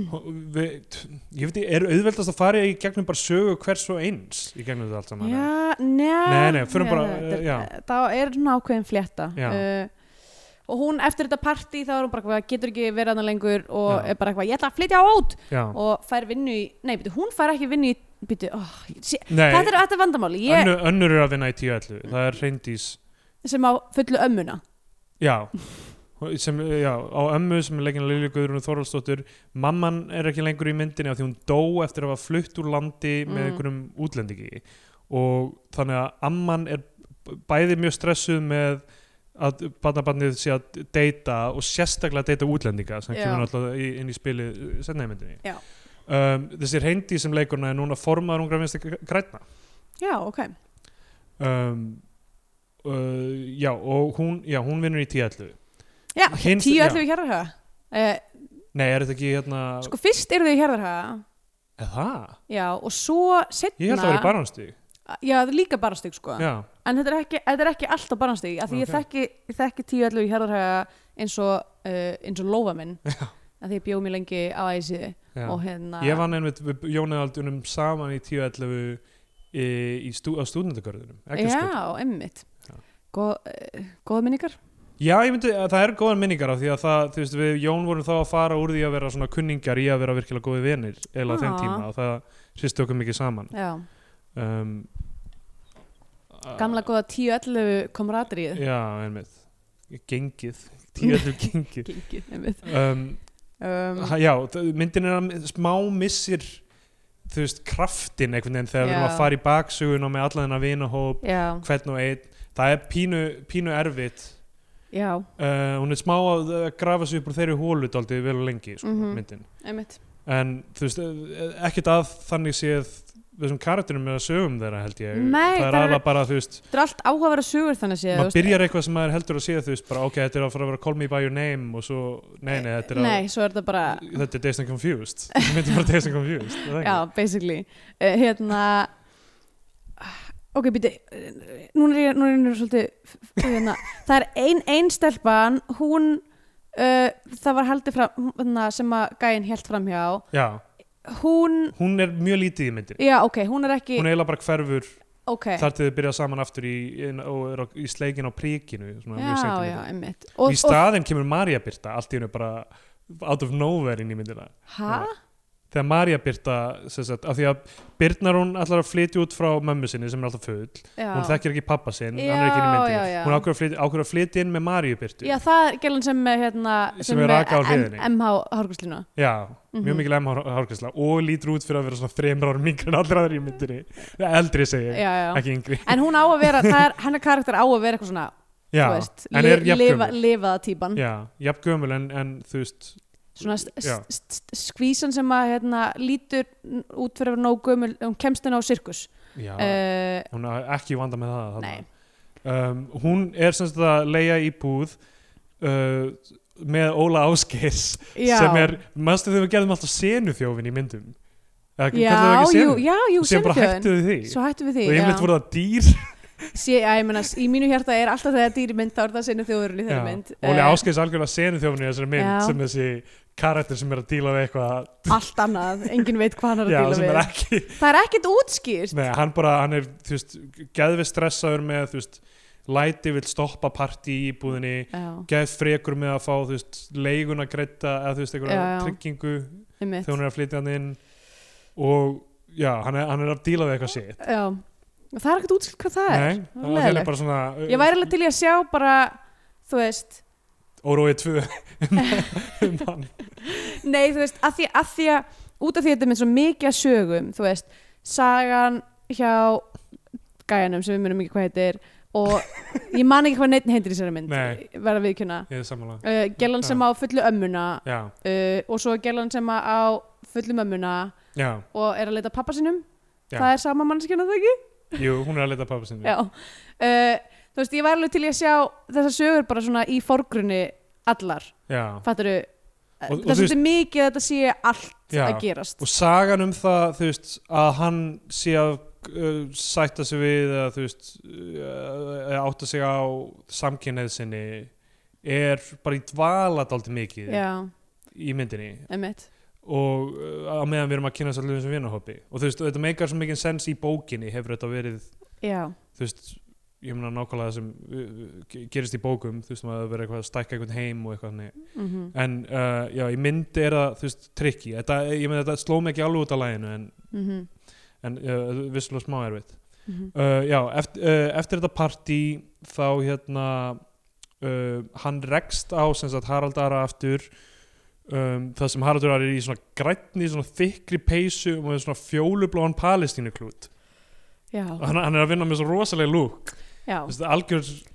S2: Við, t- ég veit, ekki, er auðveldast að fara í gegnum bara sögu hvers og eins í gegnum þetta allt saman
S3: já, njá
S2: Nei, nei, förum
S3: já,
S2: bara,
S3: þetta er-
S2: já.
S3: það er svona ákveðin flétta
S2: Já.
S3: uh, og hún eftir þetta partí þá er hún bara eitthvað, getur ekki verið hana lengur og
S2: Já.
S3: er bara eitthvað, ég ætla að flytja á át
S2: já.
S3: og fær vinnu í, nei, byrju, hún fær ekki vinnu í byrju, oh, sé,
S2: Nei,
S3: þetta er þetta er vandamáli ég,
S2: önnu, önnur er að vinna í 10.11 það er reyndís
S3: sem á fullu ömmuna
S2: já, sem, já, á ömmu sem er leikin að Lilju Guðrún Þorvaldsdóttur mamman er ekki lengur í myndinni af því hún dó eftir að hafa flutt úr landi með
S3: Mm.
S2: einhverjum útlendingi og þannig að amman er b- bæði mjög stressuð með að barnabarnið sé að deyta og sérstaklega deyta útlendinga sem
S3: Já.
S2: kemur náttúrulega í- inn í spilið setna í myndinni
S3: Já.
S2: um, þessi reyndi sem leikuna er núna formaður ungra vinstri græna
S3: já, ok
S2: um, uh, já og hún, já, hún vinnur í tíallu
S3: já,
S2: Hins-
S3: tíu
S2: já.
S3: ætlum við hérðarhaga uh,
S2: nei, er þetta ekki hérna
S3: sko fyrst eru þau hérðarhaga
S2: eða það?
S3: já, og svo setna
S2: Ég held að það var í barhanstíg
S3: já, það er líka barnstík sko
S2: já,
S3: en þetta er ekki, þetta er ekki alltaf barnstík af því ég,
S2: Ok.
S3: þekki, ég þekki tíu ætlum við hérðarhaga eins og, uh, eins og lófa minn af því ég bjóð mér lengi á æsiði
S2: já.
S3: og hérna
S2: ég vann einmitt við Jóniðaldunum saman í 10.11 í, í stú, á stúdendagörðunum
S3: já, emmitt
S2: Já.
S3: Góð, uh, góða minningar
S2: já, ég myndi að það er góðan minningar á því að það, þú veist, við Jón vorum þá að fara úr því að vera svona kunningjar í að vera virkilega góði vinir eða á þeim
S3: Ah.
S2: tíma og það sýstu okkur mikið saman
S3: já.
S2: um,
S3: gamla góða 10-11
S2: að-
S3: komradrið
S2: já, einmitt, gengið 10.11 gengið
S3: gengið, einmitt
S2: um,
S3: um,
S2: ha, já, það- myndin er að smá missir þú veist, kraftin einhvern veginn þegar við erum
S3: Já.
S2: að fara í baksugun og með alla þennan vinahóp
S3: já,
S2: hvern og einn það er pínu, pínu erfitt
S3: já,
S2: uh, hún er smá að uh, grafa sig upp úr þeirri hólu daldi vel og lengi sko,
S3: Mhm.
S2: myndin.
S3: einmitt
S2: en þú veist, eh, ekkert að þannig séð þessum karakterum með að sögum þeirra held ég
S3: Nei,
S2: það er
S3: það er-
S2: alveg bara þú veist
S3: þetta er allt áhugaverða sögur þannig séð þú
S2: maður
S3: veist.
S2: byrjar eitthvað sem maður heldur að sé þú veist bara ok, þetta er að fara að vera call me by your name og svo, nei, nei, þetta er að
S3: nei, svo er þetta bara
S2: þetta er Days and Confused myndin er bara Days and Confused er það ekki?
S3: já, basically uh, hérna ok, býti núna er ég núna er ég svolítið f- f- hérna. það er ein, ein stelpan hún uh, það var haldið fram hún- hérna, sem að gæinn held fram hjá
S2: já,
S3: hún,
S2: hún er mjög lítið í myndin
S3: já ok, hún er ekki
S2: hún eiginlega bara hverfur
S3: ok,
S2: þar til þau byrja saman aftur í, inn, og er á, í sleikin á príkinu svona, mjög seint í
S3: já,
S2: myndinni.
S3: já, einmitt
S2: í staðinn kemur Marja Birta allt í hennu bara out of nowhere inn í myndina
S3: hæ?
S2: þegar Marja Birta sem sagt, af því að Birnar hún ætlar að flytja út frá mömmu sinni sem er alltaf full hún þekkir ekki pappa sinn, hann er ekki inn í
S3: Já,
S2: myndinni
S3: já, já.
S2: hún ákveður að, flytja- ákveður að flytja inn með Marju Birtu
S3: Já, það er gælan sem er hérna
S2: Sem er raka á
S3: M-
S2: hliðinni.
S3: MH Hárgúslínu
S2: Já, mjög
S3: Mhm.
S2: mikil emhárkvæsla og lítur út fyrir að vera svona þreymur árum yngri en allra aðri í myndinni eldri segi, ég,
S3: Já, já
S2: ekki yngri
S3: En hún á að vera, það er, hennar karakter á að vera eitthvað svona
S2: já,
S3: þú veist,
S2: en
S3: li-
S2: er jafn
S3: lifa,
S2: gömul.
S3: lifaða típan
S2: já, jafn gömul en, en þú veist
S3: Svona st-
S2: Já.
S3: st- st- skvísan sem að hérna, lítur n- út fyrir að vera nóg gömul hún kemst henni á sirkus
S2: já,
S3: uh,
S2: hún er ekki í vanda með það þarna.
S3: Nei,
S2: um, hún er sem sagt að leia íbúð uh, með Óla Áskeirs
S3: já
S2: sem er, mannstu þegar við gerðum alltaf senufjófin í myndum eða
S3: Já,
S2: kallar það ekki
S3: jú,
S2: senu?
S3: já, jú,
S2: sem bara
S3: senufjöðin
S2: hættu við því
S3: Svo hættum við því
S2: og
S3: já.
S2: yfirleitt voru það dýr
S3: Sé, já, ég meina, í mínu hjarta er alltaf þegar dýri mynd þá er það sinu þjóðurinn í þeirri mynd
S2: Óli
S3: Eh,
S2: Áskeirs algjörlega senufjófin í þessari mynd
S3: Já.
S2: sem þessi karakter sem er að díla við eitthvað
S3: Allt annað, enginn veit hvað hann er
S2: já,
S3: að
S2: sem
S3: díla
S2: er
S3: við
S2: ekki
S3: Það er ekkert útskýrt
S2: Nei, hann bara, hann er, þú veist, geðvið stressaður með, þú veist, læti vill stoppa partí í íbúðinni
S3: Já,
S2: geð frekur með að fá þú veist, leiguna greita eða þú veist, einhverja
S3: Já, já.
S2: tryggingu
S3: einmitt
S2: þegar hún er að flytja hann inn og já, hann er, hann er að díla við eitthvað sitt
S3: Já, og það er ekkert útskilt hvað það er.
S2: Nei,
S3: var
S2: það er
S3: leiðilegt.
S2: bara svona
S3: Ég væri alveg til í að sjá bara, þú veist,
S2: óróið tvö um hann
S3: nei, þú veist, að því að, því að út af því að þetta er með svo mikið að sögum, þú veist, sagan hjá gæjanum sem við munum ekki hvað heitir og ég man ekki hvað neitt heitir í sér mynd,
S2: Nei.
S3: verða viðkjöna.
S2: Ég er sammála
S3: Uh, gellan sem á fullu ömmuna
S2: Já,
S3: uh, og svo gellan sem á fullu mömmuna
S2: já,
S3: og er að leita að pappa sinum.
S2: Já.
S3: Það er sama mannskjana það ekki?
S2: jú, hún er að leita að pappa sinni
S3: Já, uh, þú veist, ég væri alveg til í að sjá þessar sögur bara svona í forgrunni allar,
S2: já.
S3: fattaru
S2: Og- og
S3: það er
S2: þú veist-
S3: svolítið mikið að þetta sé allt
S2: Já.
S3: að gerast
S2: Og sagan um það, þú veist, að hann sé að uh, sætta sig við að þú veist, uh, átta sig á samkynneið sinni er bara í dvala dálítið mikið
S3: Já,
S2: í myndinni
S3: einmitt
S2: og uh, á meðan við erum að kynast allir þessum vinahópi og þú veist, þetta meikar svo mikið sens í bókinni hefur þetta verið,
S3: Já,
S2: þú veist ég meina nákvæmlega það sem uh, uh, gerist í bókum, þú veist, maður verið eitthvað að stækka einhvern heim og eitthvað þannig,
S3: mm
S2: en uh, já, í mynd er það, þú veist, trikki þetta, ég meina þetta sló mig ekki alveg út af læginu en,
S3: mhm,
S2: en uh, vissulega smá erfitt uh, já, eftir, uh, eftir þetta partí þá hérna uh, hann rekst á sem sagt Harald Ara aftur um, það sem Harald Ara er í svona grænni svona þykri peysu og með svona fjólubláan palestínuklút
S3: Já,
S2: og hann, hann er að vinna með svo rosalega lúk
S3: já,
S2: Þessi, algjör uh,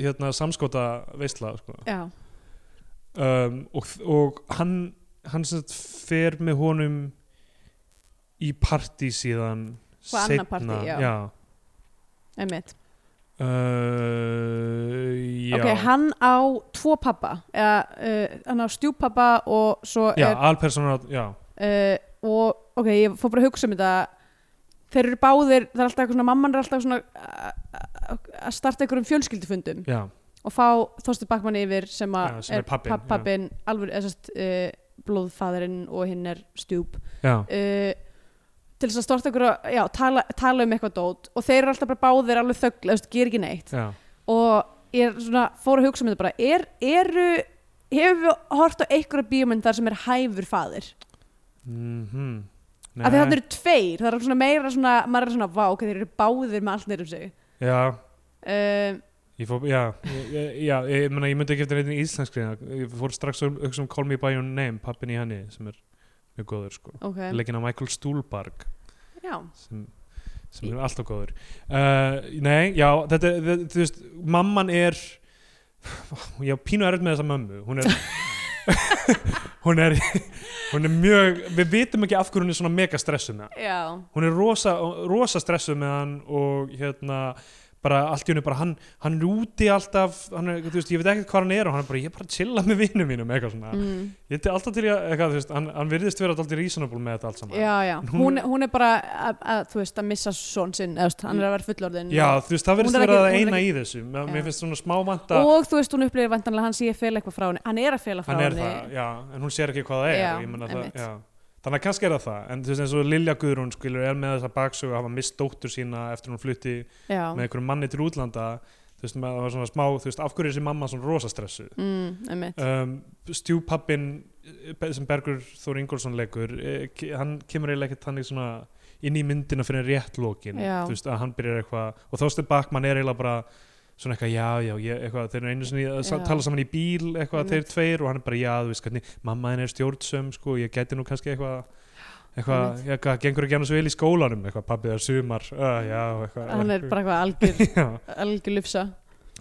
S2: hérna, samskota veistla sko.
S3: já
S2: um, og, og hann hann sem sagt fer með honum í partí síðan
S3: Hvað annað partí, já. einmitt
S2: Uh, já.
S3: ok, hann á tvo pappa eða, uh, hann á stjúpappa og svo
S2: já,
S3: er
S2: alpersona já,
S3: uh, og ok, ég fór bara að hugsa um þetta þeir eru báðir, það er alltaf eitthvað svona mamman er alltaf svona uh, uh, að starta einhverjum fjölskyldufundum
S2: já,
S3: og fá Þorstu Bakmann yfir sem, að
S2: Já, sem er pabbinn,
S3: pab- pabbinn, alveg þessast uh, blóðfæðurinn og hinn er stjúp
S2: já
S3: uh, til þess að storta ykkur að já, tala, tala um eitthvað dót og þeir eru alltaf bara báðir alveg þögl, þú veist, ger ekki neitt
S2: já,
S3: og ég er svona, fór að hugsa um þetta bara er, eru, hefur við hort á einhverja bíómynd þar sem er hæfur faðir
S2: mhm
S3: af því þannig eru tveir, það er svona meira svona, maður er svona, vá, ok, þeir eru báðir með allt neyrum sig
S2: já,
S3: uh,
S2: ég fór, já, ég- ég- já ég, ég, meina, ég myndi ekki eftir einnig íslenskri ég fór strax að hugsa um Call Me By Your Name pappin í henni sem er mjög góður sko.
S3: ok,
S2: leikinn af Michael Stuhlbarg
S3: já
S2: sem, sem er alltaf góður uh, nei, já, þetta er þetta- þú veist, mamman er ég á pínu erfitt með þessa mömmu hún er hún er, hún er mjög við vitum ekki af hverju hún er svona mega stressuð með hann
S3: já,
S2: hún er rosa, rosa stressuð með hann og hérna bara allt í hennu bara hann, hann er úti alltaf hann er, þú veist, ég veit ekkert hvað hann er og hann er bara, ég er bara að chilla með vinnum mínum eitthvað svona,
S3: mm,
S2: ég er alltaf til í að eitthvað, þú veist, hann, hann virðist vera alltaf reasonable með þetta allt saman
S3: já, já
S2: Hún-
S3: hún, hún er bara, að, að, þú veist, að missa son sinn, eða, þú veist, hann er að vera fullorðin
S2: Já, þú veist, það verðist
S3: Mm. Hún er
S2: vera
S3: ekki-
S2: það
S3: hún er
S2: eina
S3: ekki-
S2: í þessu mér,
S3: Já.
S2: mér finnst svona smá vanta
S3: og þú veist, hún upplýðir vantanlega hans ég fel eitthvað frá henni, hann er að fela frá
S2: hann er
S3: henni
S2: það, já, en hún sér ekki hvað það er
S3: Já,
S2: og ég meina
S3: einmitt.
S2: það, já Þannig að kannski er það það, en þú veist eins og Lilja Guðrún skilur er með þessa baksögu að hafa mist dóttur sína eftir hún flutti
S3: já,
S2: með einhverjum manni til útlanda þú veist, maður var svona smá, þú veist, af hverju er þessi mamma svona rosa stressu
S3: mm, einmitt
S2: um, stjúpappin sem Bergur Þór Ingólfsson leikur eh, ke- hann kemur eiginlega ekkert þannig svona inn í myndina fyrir rétt lokin
S3: Já.
S2: þú veist, að hann byrjar eitthvað og Þorstein Bakman er eiginlega bara svona eitthvað, já, já, ég, eitthvað, þeir eru einu sinni að sa-
S3: Já.
S2: tala saman í bíl, eitthvað,
S3: Einmitt.
S2: þeir tveir og hann er bara, já, þú veist, hvernig, mamma henn er stjórnsöm sko, ég gæti nú kannski eitthvað eitthvað, eitthvað, gengur ekki annars vel í skólanum eitthvað, pappið er sumar, uh, já eitthvað,
S3: hann er bara eitthvað algjör,
S2: já.
S3: algjör lufsa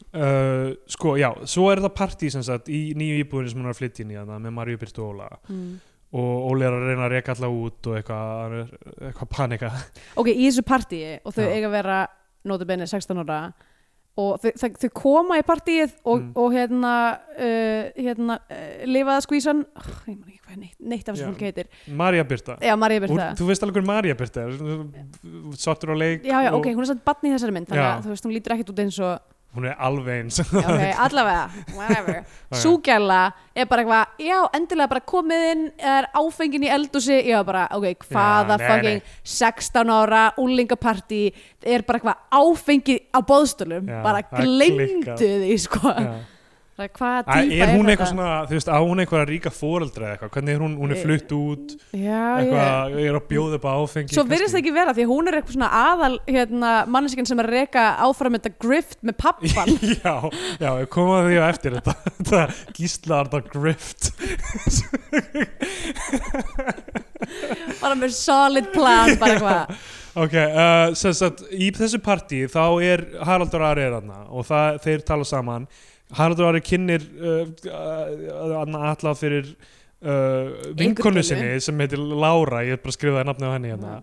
S2: Uh, sko, já, svo er það partí sem sagt í nýju íbúðinu sem hún er að flytja inn í þarna með Marju Byrtu Óla
S3: mm.
S2: og Óli er að reyna að reka alla út og eitthvað, hann er eitthvað panika
S3: ok, í þessu partíi og þau
S2: Já.
S3: eiga að vera notabene 16 ára og þau, þau, þau koma í partíið og,
S2: Mm.
S3: og hérna uh, hérna, uh, lifaða skvísan oh, ég man ekki hvað neitt, neitt af
S2: Já.
S3: þessu fólki heitir
S2: Marja Byrta,
S3: já, Marja
S2: Úr,
S3: Birta
S2: þú veist alveg hver Marja Byrta er svartur á leik
S3: já, já,
S2: og
S3: ok, hún er samt batni í þessari mynd þannig
S2: Já.
S3: að þú veist, hún lítur ekkert út eins og
S2: hún er alveg eins
S3: Já, ok, allavega, whatever Súgjala er bara eitthvað Já, endilega bara komið inn er áfengin í eldúsi, já bara, ok, hvaða
S2: Já, nei,
S3: fucking 16 ára úlingapartí, er bara eitthvað áfengið á bóðstölum
S2: Já,
S3: bara
S2: það er
S3: gleymdu
S2: klikkað.
S3: því, sko
S2: Já.
S3: Það er Hvaða
S2: Æ,
S3: típa
S2: er hún eitthvað
S3: þetta?
S2: svona, þú veist, á hún eitthvað að ríka fóreldra eða eitthvað, hvernig er hún, hún er flutt út
S3: Eh, Já, ég
S2: eitthvað, er að bjóða upp á áfengi
S3: Svo virðist það ekki vera því að hún er eitthvað svona aðal hérna, manneskinn sem er að reka áfram þetta grift með pappan
S2: já, já, ég kom að því á eftir þetta, þetta gíslaðarða grift
S3: bara með solid plan bara eitthvað
S2: Ok, uh, sem sagt, í þessu partí þá er Haraldur Ari er hann og það, þeir tala saman Haraldur Ari kynir uh, uh, alla fyrir uh, vinkonu
S3: Ingrid
S2: sinni sem heitir Lára, ég er bara að skrifa það nafnið á henni hérna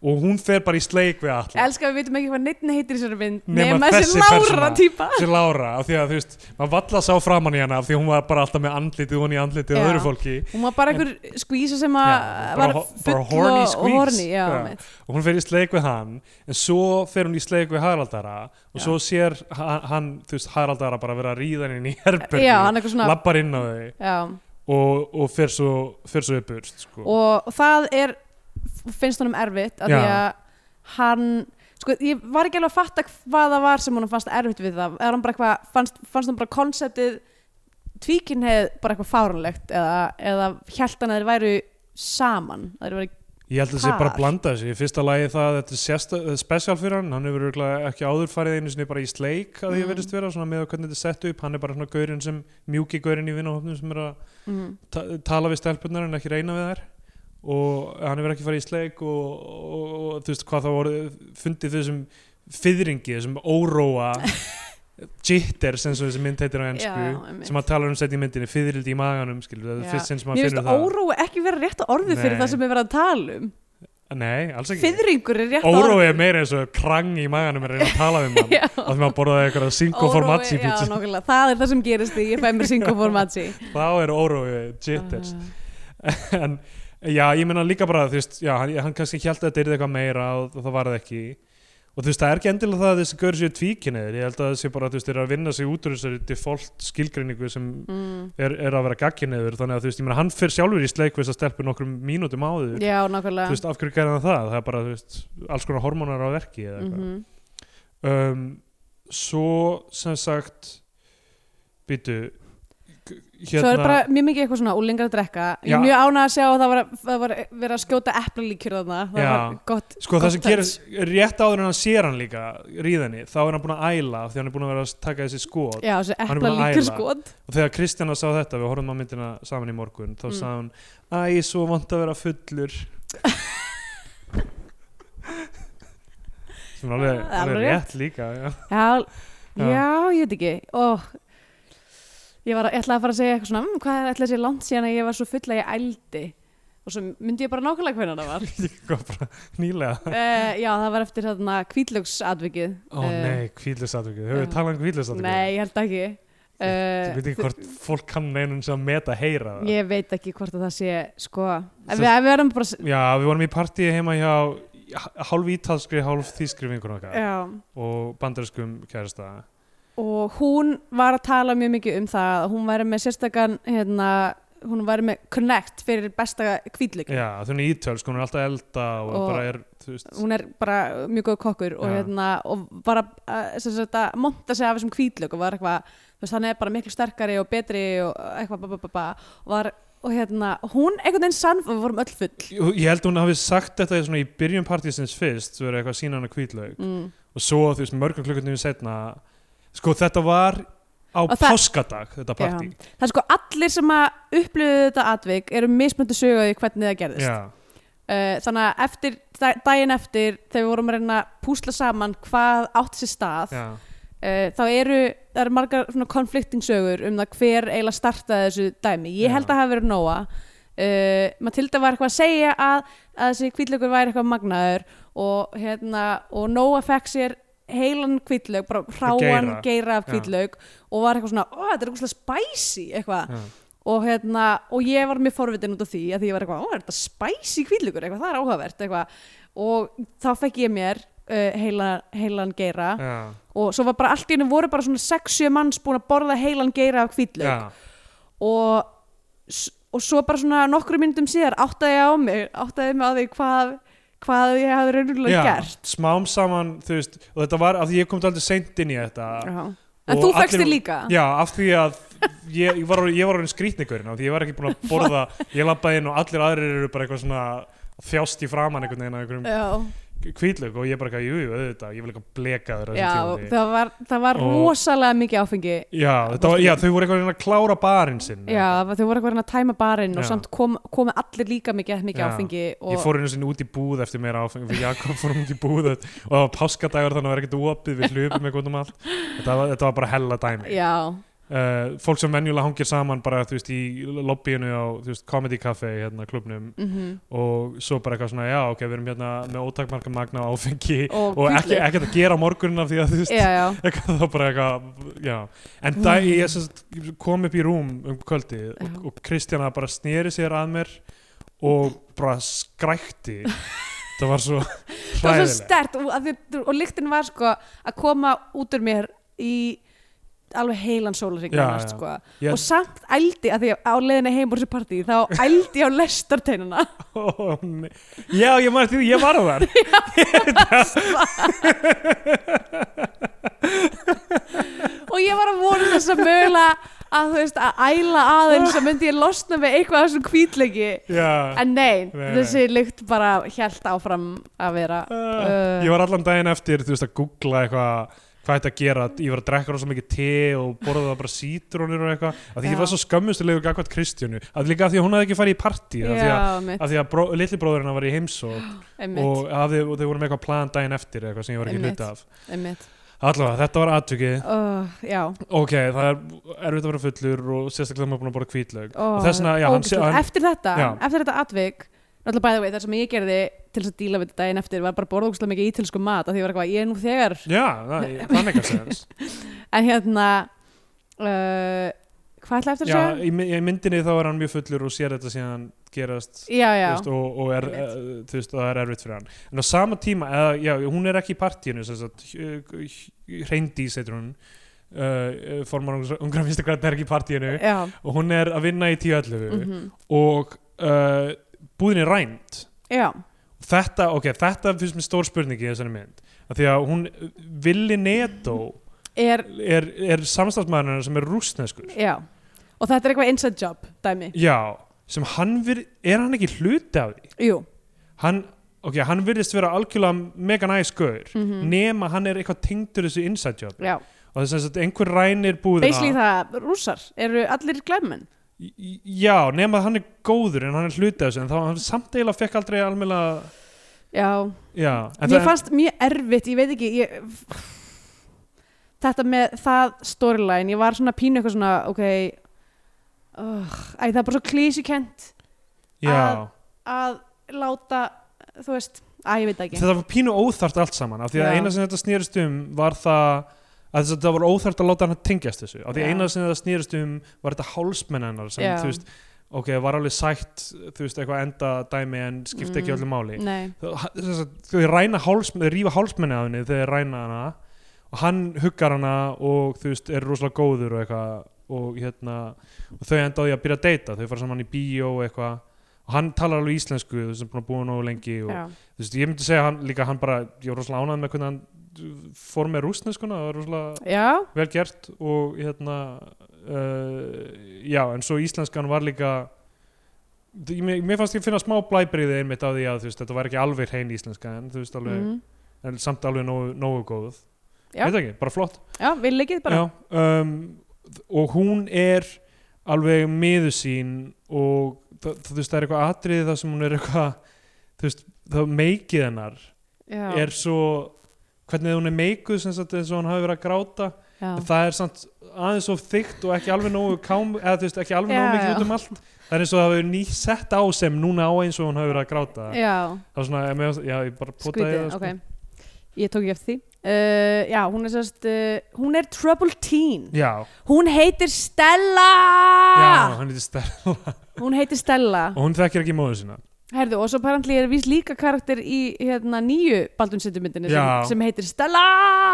S2: og hún fer bara í sleik við alla
S3: Elskar við vitum ekki hvað neittn heitir í þessari mynd
S2: Nema
S3: nema þessi
S2: þessi
S3: lára
S2: persóna.
S3: típa
S2: til Lára, af því að þú veist maður valla sá framan í hana af því að hún var bara alltaf með andlitið hún í andlitið og
S3: Já.
S2: öðru fólki
S3: Hún var bara einhver skvísa sem að
S2: Já, bara
S3: var
S2: ho-
S3: full
S2: bara horny
S3: og, og
S2: squeeze.
S3: horny já,
S2: Já.
S3: einmitt.
S2: og hún fer í sleik við hann en svo fer hún í sleik við Haraldara og
S3: Já.
S2: svo sér ha- hann, þú veist, Haraldara bara vera að ríða hann inn í herbergi
S3: já, hann er eitthvað svona
S2: lappar inn á þau
S3: já.
S2: og, og fer svo, fer svo upp urst sko.
S3: og, og það er finnst honum erfitt af því
S2: Já.
S3: að hann sko, ég var ekki alveg að fatta hvað það var sem honum fannst erfitt við það er hann bara eitthvað, fannst, fannst hann bara konseptið tvíkinheið bara eitthvað fáranlegt eða, eða hjælt hann að þeir væru saman að þeir væru,
S2: ég held að það sé bara
S3: Par.
S2: að blanda þessu í fyrsta lagi það að þetta er sérsta, special fyrir hann hann hefur örugglega ekki áður farið einu sinni bara í sleik að því
S3: Mm.
S2: að verðist vera svona með að hvernig þetta er sett upp hann er bara svona gaurinn sem mjúki gaurinn í vinahopnum sem er að
S3: mm,
S2: ta tala við stelpunar en ekki reyna við þær og hann hefur ekki farið í sleik og, og, og þú veist hvað það voru fundið þessum fyrringi, þessum óróa jitter sem svo þessi mynd heitir á
S3: Já,
S2: ennsku
S3: einmitt.
S2: sem að tala um sett í myndinni, fyrirldi í maganum skilur, það
S3: Já.
S2: er fyrst sinn sem að
S3: mér
S2: finnur
S3: finnst
S2: það
S3: órói ekki vera rétt orðið fyrir
S2: Nei.
S3: það sem við verðum að tala um
S2: Nei, alls ekki
S3: Fiðringur er rétt
S2: Órói er meira eins og krang í maganum er að reyna að tala við mann
S3: Já.
S2: að því maður borðaði eitthvað single for matchi
S3: Já,
S2: pizza
S3: nákvæmlega, það er það sem gerist því Ég fæ mér Ah. single for matchi
S2: þá er órói jitters en já, ég meina líka bara þú veist, já, hann, hann kannski held að þetta yrði eitthvað meira og það var það ekki og þú veist, það er ekki endilega það að þessi gaur séu tvíkinnið ég held að þessi bara, þú veist, þeir eru að vinna sig út úr þessari default skilgreiningu sem
S3: mm.
S2: er, er að vera gagkinniður þannig að þú veist, ég meina, hann fyrir sjálfur í sleik við þess að stelpu nokkrum mínútum áður
S3: Já, nákvæmlega
S2: þú veist, af hverju gerði hann það? Það er bara, þú veist, alls konar hormónar á verki eða eitthvað
S3: Mhm.
S2: um, Svo, sem sagt býtu g- hérna,
S3: Svo er bara mjög mikið eitthvað svona úlingar að drekka Ég
S2: Já.
S3: er mjög ánað að sjá að það var, það var verið að skjóta eplalíkjur þarna Það
S2: Já.
S3: var gott
S2: Sko það sem
S3: gott
S2: gerir,
S3: touch.
S2: rétt áður en hann sér hann líka ríðinni, þá er hann búin að æla af því hann er búin að vera að taka þessi skot
S3: Já, þessi
S2: er búin að
S3: eplalíkjur sko.
S2: æla.
S3: skot
S2: og þegar Kristjana sá þetta, við horfum á myndina saman í morgun, þá
S3: Mm.
S2: sagði hún Æ, svo vant að vera fullur sem er alveg,
S3: Það er
S2: alveg
S3: alveg
S2: rétt líka já.
S3: Já,
S2: Já.
S3: já, ég veit ekki Ó, Ég, var, ég ætlaði að fara að segja eitthvað svona "Mm, Hvað er ætlaði að segja langt síðan að ég var svo full að ég ældi Og svo myndi ég bara nákvæmlega hvernig það var
S2: Líka Sko, bara nýlega
S3: uh, Já, það var eftir þarna kvítlöksatvikið
S2: Ó nei, kvíðlisatvikið, höfum við
S3: Eh. já.
S2: talað um kvíðlisatvikið?
S3: Nei, ég held ekki
S2: Ég veit
S3: uh,
S2: ekki hvort fólk kann neinum sem að meta heyra það
S3: Ég veit ekki hvort að það sé sko, ef
S2: Sem-
S3: við, ef við erum bara s-
S2: Já, við vorum í partíi heima hjá hálf ítalskri, hálf þýskri vingur okkar
S3: Já,
S2: og bandariskum kærasta
S3: og hún var að tala mjög mikið um það að hún væri með sérstakann hérna, hún væri með connect fyrir besta kvítlík
S2: Já, þú hún er ítölsk, hún er alltaf að elda og,
S3: Og-
S2: bara er, þú veist
S3: hún er bara mjög góð kokkur og,
S2: Já.
S3: hérna, og bara uh, sem sagt, að monta sig af þessum kvítlög og var eitthvað, þú veist, hann er bara miklu sterkari og betri og eitthvað ba, ba, ba, ba, og, var, og hérna, hún einhvern veginn sann og við vorum öll full
S2: Jú, Ég held hún hafi sagt þetta svona í byrjun partísins fyrst, þú verður eitthvað að sína hann að kvítlaug
S3: mm.
S2: og svo, þú veist, mörgum klukkutími setna sko, þetta var á
S3: Og það-
S2: páskadag, þetta partí
S3: það er sko allir sem að upplöðu þetta atvik eru mismöndu sögðu hvernig það gerðist
S2: Já,
S3: Uh, þannig að eftir, dag- daginn eftir þegar við vorum að reyna að púsla saman hvað átt sér stað uh,
S2: já,
S3: þá eru, það eru margar svona conflicting sögur um það hver eiginlega startaði þessu dæmi. Ég
S2: Já.
S3: held að það hafi verið Nóa uh, Matilda var eitthvað að segja að, að þessi kvítlögur væri eitthvað magnaður og, hérna, og Nóa fekk sér heilan kvítlög, bara hráan
S2: Geira.
S3: geira af
S2: Já.
S3: kvítlög og var eitthvað svona, ó þetta er eitthvað spæsi eitthvað
S2: já.
S3: og, hérna, og ég var mjög forvitin út af því að því ég var eitthvað, ó, er þetta spæsi kvíðlugur eitthvað, það er áhugavert eitthvað og þá fekk ég mér uh, heilan, heilan geira
S2: já.
S3: og svo var bara allt í henni voru bara svona 6-7 manns búin að borða heilan geira af kvíðlug
S2: já.
S3: og, s- og svo bara svona nokkru myndum síðar áttaði ég á mig áttaði ég mig á því hvað, hvað ég hafði raunulega gert
S2: smám saman, þú veist og þetta var, af því ég kom aldrei seint inn í þetta
S3: Já. en
S2: Og
S3: þú
S2: allir-
S3: fegst þig líka
S2: já, af því að ég, ég var, ég var orðin skrýtningurinn af því ég var ekki búin að borða, ég labbaði inn og allir aðrir eru bara eitthvað svona að þjást í framan einhvern veginn af einhverjum
S3: Já.
S2: kvítlög og ég bara eitthvað, jú, jú, auðvitað, ég vil eitthvað blekaður
S3: Já,
S2: þessum tíma
S3: það var, það var
S2: Og-
S3: rosalega mikið áfengi
S2: já, þetta var, já, þau voru eitthvað að reyna að klára barinn sinn
S3: Já, það- þau voru eitthvað að reyna að tæma barinn og
S2: Já.
S3: samt kom, komu allir líka mikið, mikið
S2: Já.
S3: áfengi og
S2: Ég fór einu sinni út í búð eftir meira áfengi fyrir Jakob fórum út í búð og það var páskadagur þannig að það var ekkert opið við hlupum eitthvað um allt þetta var, þetta var bara hella dæmi
S3: Já,
S2: uh, fólk sem venjulega hangir saman bara þú veist í lobbyinu á þú veist, comedy cafe hérna klubnum
S3: mm
S2: og svo bara eitthvað svona já ok við erum hérna með ótakmarka magna á áfengi
S3: Og
S2: og ekki,
S3: hvítlauks.
S2: ekkert að gera á morgunina af því að þú veist
S3: já, já
S2: eitthvað þá bara eitthvað já. en dæ, ég sem sagt kom upp í rúm um kvöldi og,
S3: Já.
S2: og Kristjana bara sneri sér að mér og bara skrækti það var svo
S3: Það var svo
S2: hræðilegt
S3: stert og, að því- og lyktin var sko að koma út úr mér í alveg heilan sólaring
S2: Já, já.
S3: sko.
S2: Ég-
S3: og samt ældi að því að á leiðinni heim úr þessu partí þá ældi ég á lestarteinuna
S2: Ó, nei. já ég maður því ég var þar
S3: og ég var að vona þess að mögulega að þú veist að æla aðeins að myndi ég losna með eitthvað af þessum hvítleiki
S2: já.
S3: en nei,
S2: Nei, nei.
S3: þessi lykt bara hjælt áfram að vera Eh.
S2: Uh, ég var allan daginn eftir þú veist að googla eitthvað hvað þetta að gera, ég var að drekka rosa mikið te og borða það bara sítrónir og eitthvað að því
S3: Já.
S2: ég var svo skömmustilegur gagvart Kristjánu að líka að því að hún hafði ekki farið í partí að því að,
S3: já, mitt,
S2: að, því að bró, litli bróðurinn var í heimsók
S3: einmitt,
S2: og, hafði, og þau voru með eitthvað plan daginn eftir eða eitthvað sem ég var ekki
S3: Einmitt.
S2: hluti af
S3: einmitt.
S2: allavega, þetta var atvikið
S3: Uh, já,
S2: ok, það er erfitt að vera fullur og sérstaklega maður búin að borða kvítlaug
S3: Ó,
S2: og þess vegna, já, hann,
S3: ógeðslegt.
S2: hann,
S3: eftir þetta,
S2: Já.
S3: eftir þetta atvik Náttúrulega bæði veit, það sem ég gerði til þess að díla við þetta daginn eftir var bara að borða ógustlega mikið ítilsku mat af því ég var eitthvað, ég er nú þegar
S2: Já, það, það meikar sens
S3: en hérna uh, hvað ætla eftir að
S2: Já,
S3: segja?
S2: í, my- í myndinni þá er hann mjög fullur og sér þetta síðan gerast
S3: Já,
S2: þú
S3: já,
S2: veist, og, og er,
S3: Einmitt.
S2: eh, þú veist, og það er erfitt fyrir hann en á sama tíma, eða, já, hún er ekki í partíinu sem sagt, hreindís heitir hún uh, formar ungra fyrstu grænt er ekki í partíinu
S3: já,
S2: og hún er að vinna í 10.11
S3: mm
S2: og uh, búðin er rænt
S3: já,
S2: þetta, ok, þetta finnst mér stór spurningi í þessari mynd, af því að hún Willi Neto
S3: er,
S2: er, er samstafsmaðurinn sem er rústneskur
S3: já og þetta er eitthvað inside job, dæmi
S2: já, sem hann vir, er hann ekki hluti af því
S3: Jú,
S2: hann, ok, hann virðist vera algjörlega mega næs gaur
S3: Mm.
S2: nema hann er eitthvað tengdur þessu inside job
S3: Mhm. já,
S2: og þess að einhver rænir búðina
S3: basically það rússar eru allir glæmmenn
S2: Í- já, nema að hann er góður en hann er hluti af þessu en þá hann samt eiginlega fekk aldrei almela
S3: Já,
S2: já, en
S3: mér
S2: það-
S3: fannst mjög erfitt, ég veit ekki ég... þetta með það storyline, ég var svona pínu eitthvað svona, ok uh, æ, það er bara svo klísikent
S2: já,
S3: að láta, þú veist æ, ég veit það ekki,
S2: þetta var pínu óþart allt saman af því að
S3: Já.
S2: eina sem þetta snýrist um var það að þess að það var óþart að láta hann tengjast þessu af því að
S3: Já.
S2: eina sem þetta snýrist um var þetta hálsmenn hennar sem
S3: Já.
S2: þú veist ok, var alveg sætt þú veist eitthvað enda dæmi en skipti ekki
S3: Mm.
S2: öllu máli
S3: nei
S2: Þau- ha- þess að þau ræna hálsmenn, þau rífa hálsmenni af henni þegar þau ræna hana og hann huggar hana og þú veist er rosalega góður og eitthvað og hérna og þau enda á því að byrja að deyta þau fara saman í bíó og eitthvað og hann talar alveg íslensku þú veist, sem búin að búa nógu lengi og,
S3: já,
S2: þú veist, ég myndi segja hann líka hann bara, ég var rosalega ánægð með hvernig hann uh, fór með rúsneskuna, það var rosalega
S3: já,
S2: vel gert og hérna uh, já, en svo íslenskan var líka Þú- ég- mér, mér fannst ég finna smá blæbriði einmitt á því að þú veist, þetta var ekki alveg hrein íslenska en þú veist alveg,
S3: mm,
S2: en samt alveg nógu, nógu góð
S3: Já.
S2: veit ekki, bara flott
S3: já við leikið bara,
S2: já, um, og hún er alveg miður sín og það, þú veist, það er eitthvað atriði þar sem hún er eitthvað þú veist, það meikið hennar
S3: já,
S2: er svo hvernig hún er meikuð sem sagt eins og hún hafi verið að gráta
S3: já.
S2: en það er samt aðeins of þykkt og ekki alveg nógu kám, eða þú veist ekki alveg nógu
S3: Já,
S2: mikið
S3: já.
S2: út um allt það er eins og það hefur ný sett á sem núna á eins og hún hafi verið að gráta
S3: já.
S2: það var svona, ég, meðast, já, ég bara potaði
S3: skrítið,
S2: það sko.
S3: ok ég tók ekki eftir því uh, já, hún er sérst uh, hún er Trouble Teen
S2: já,
S3: hún heitir Stella Ah!
S2: já, hann er stærð
S3: hún heitir Stella
S2: og hún þekkir ekki móðu sína
S3: herðu, og svo parantli er vís líka karakter í hérna nýju baldunsettumyndinni sem,
S2: Já.
S3: sem heitir Stella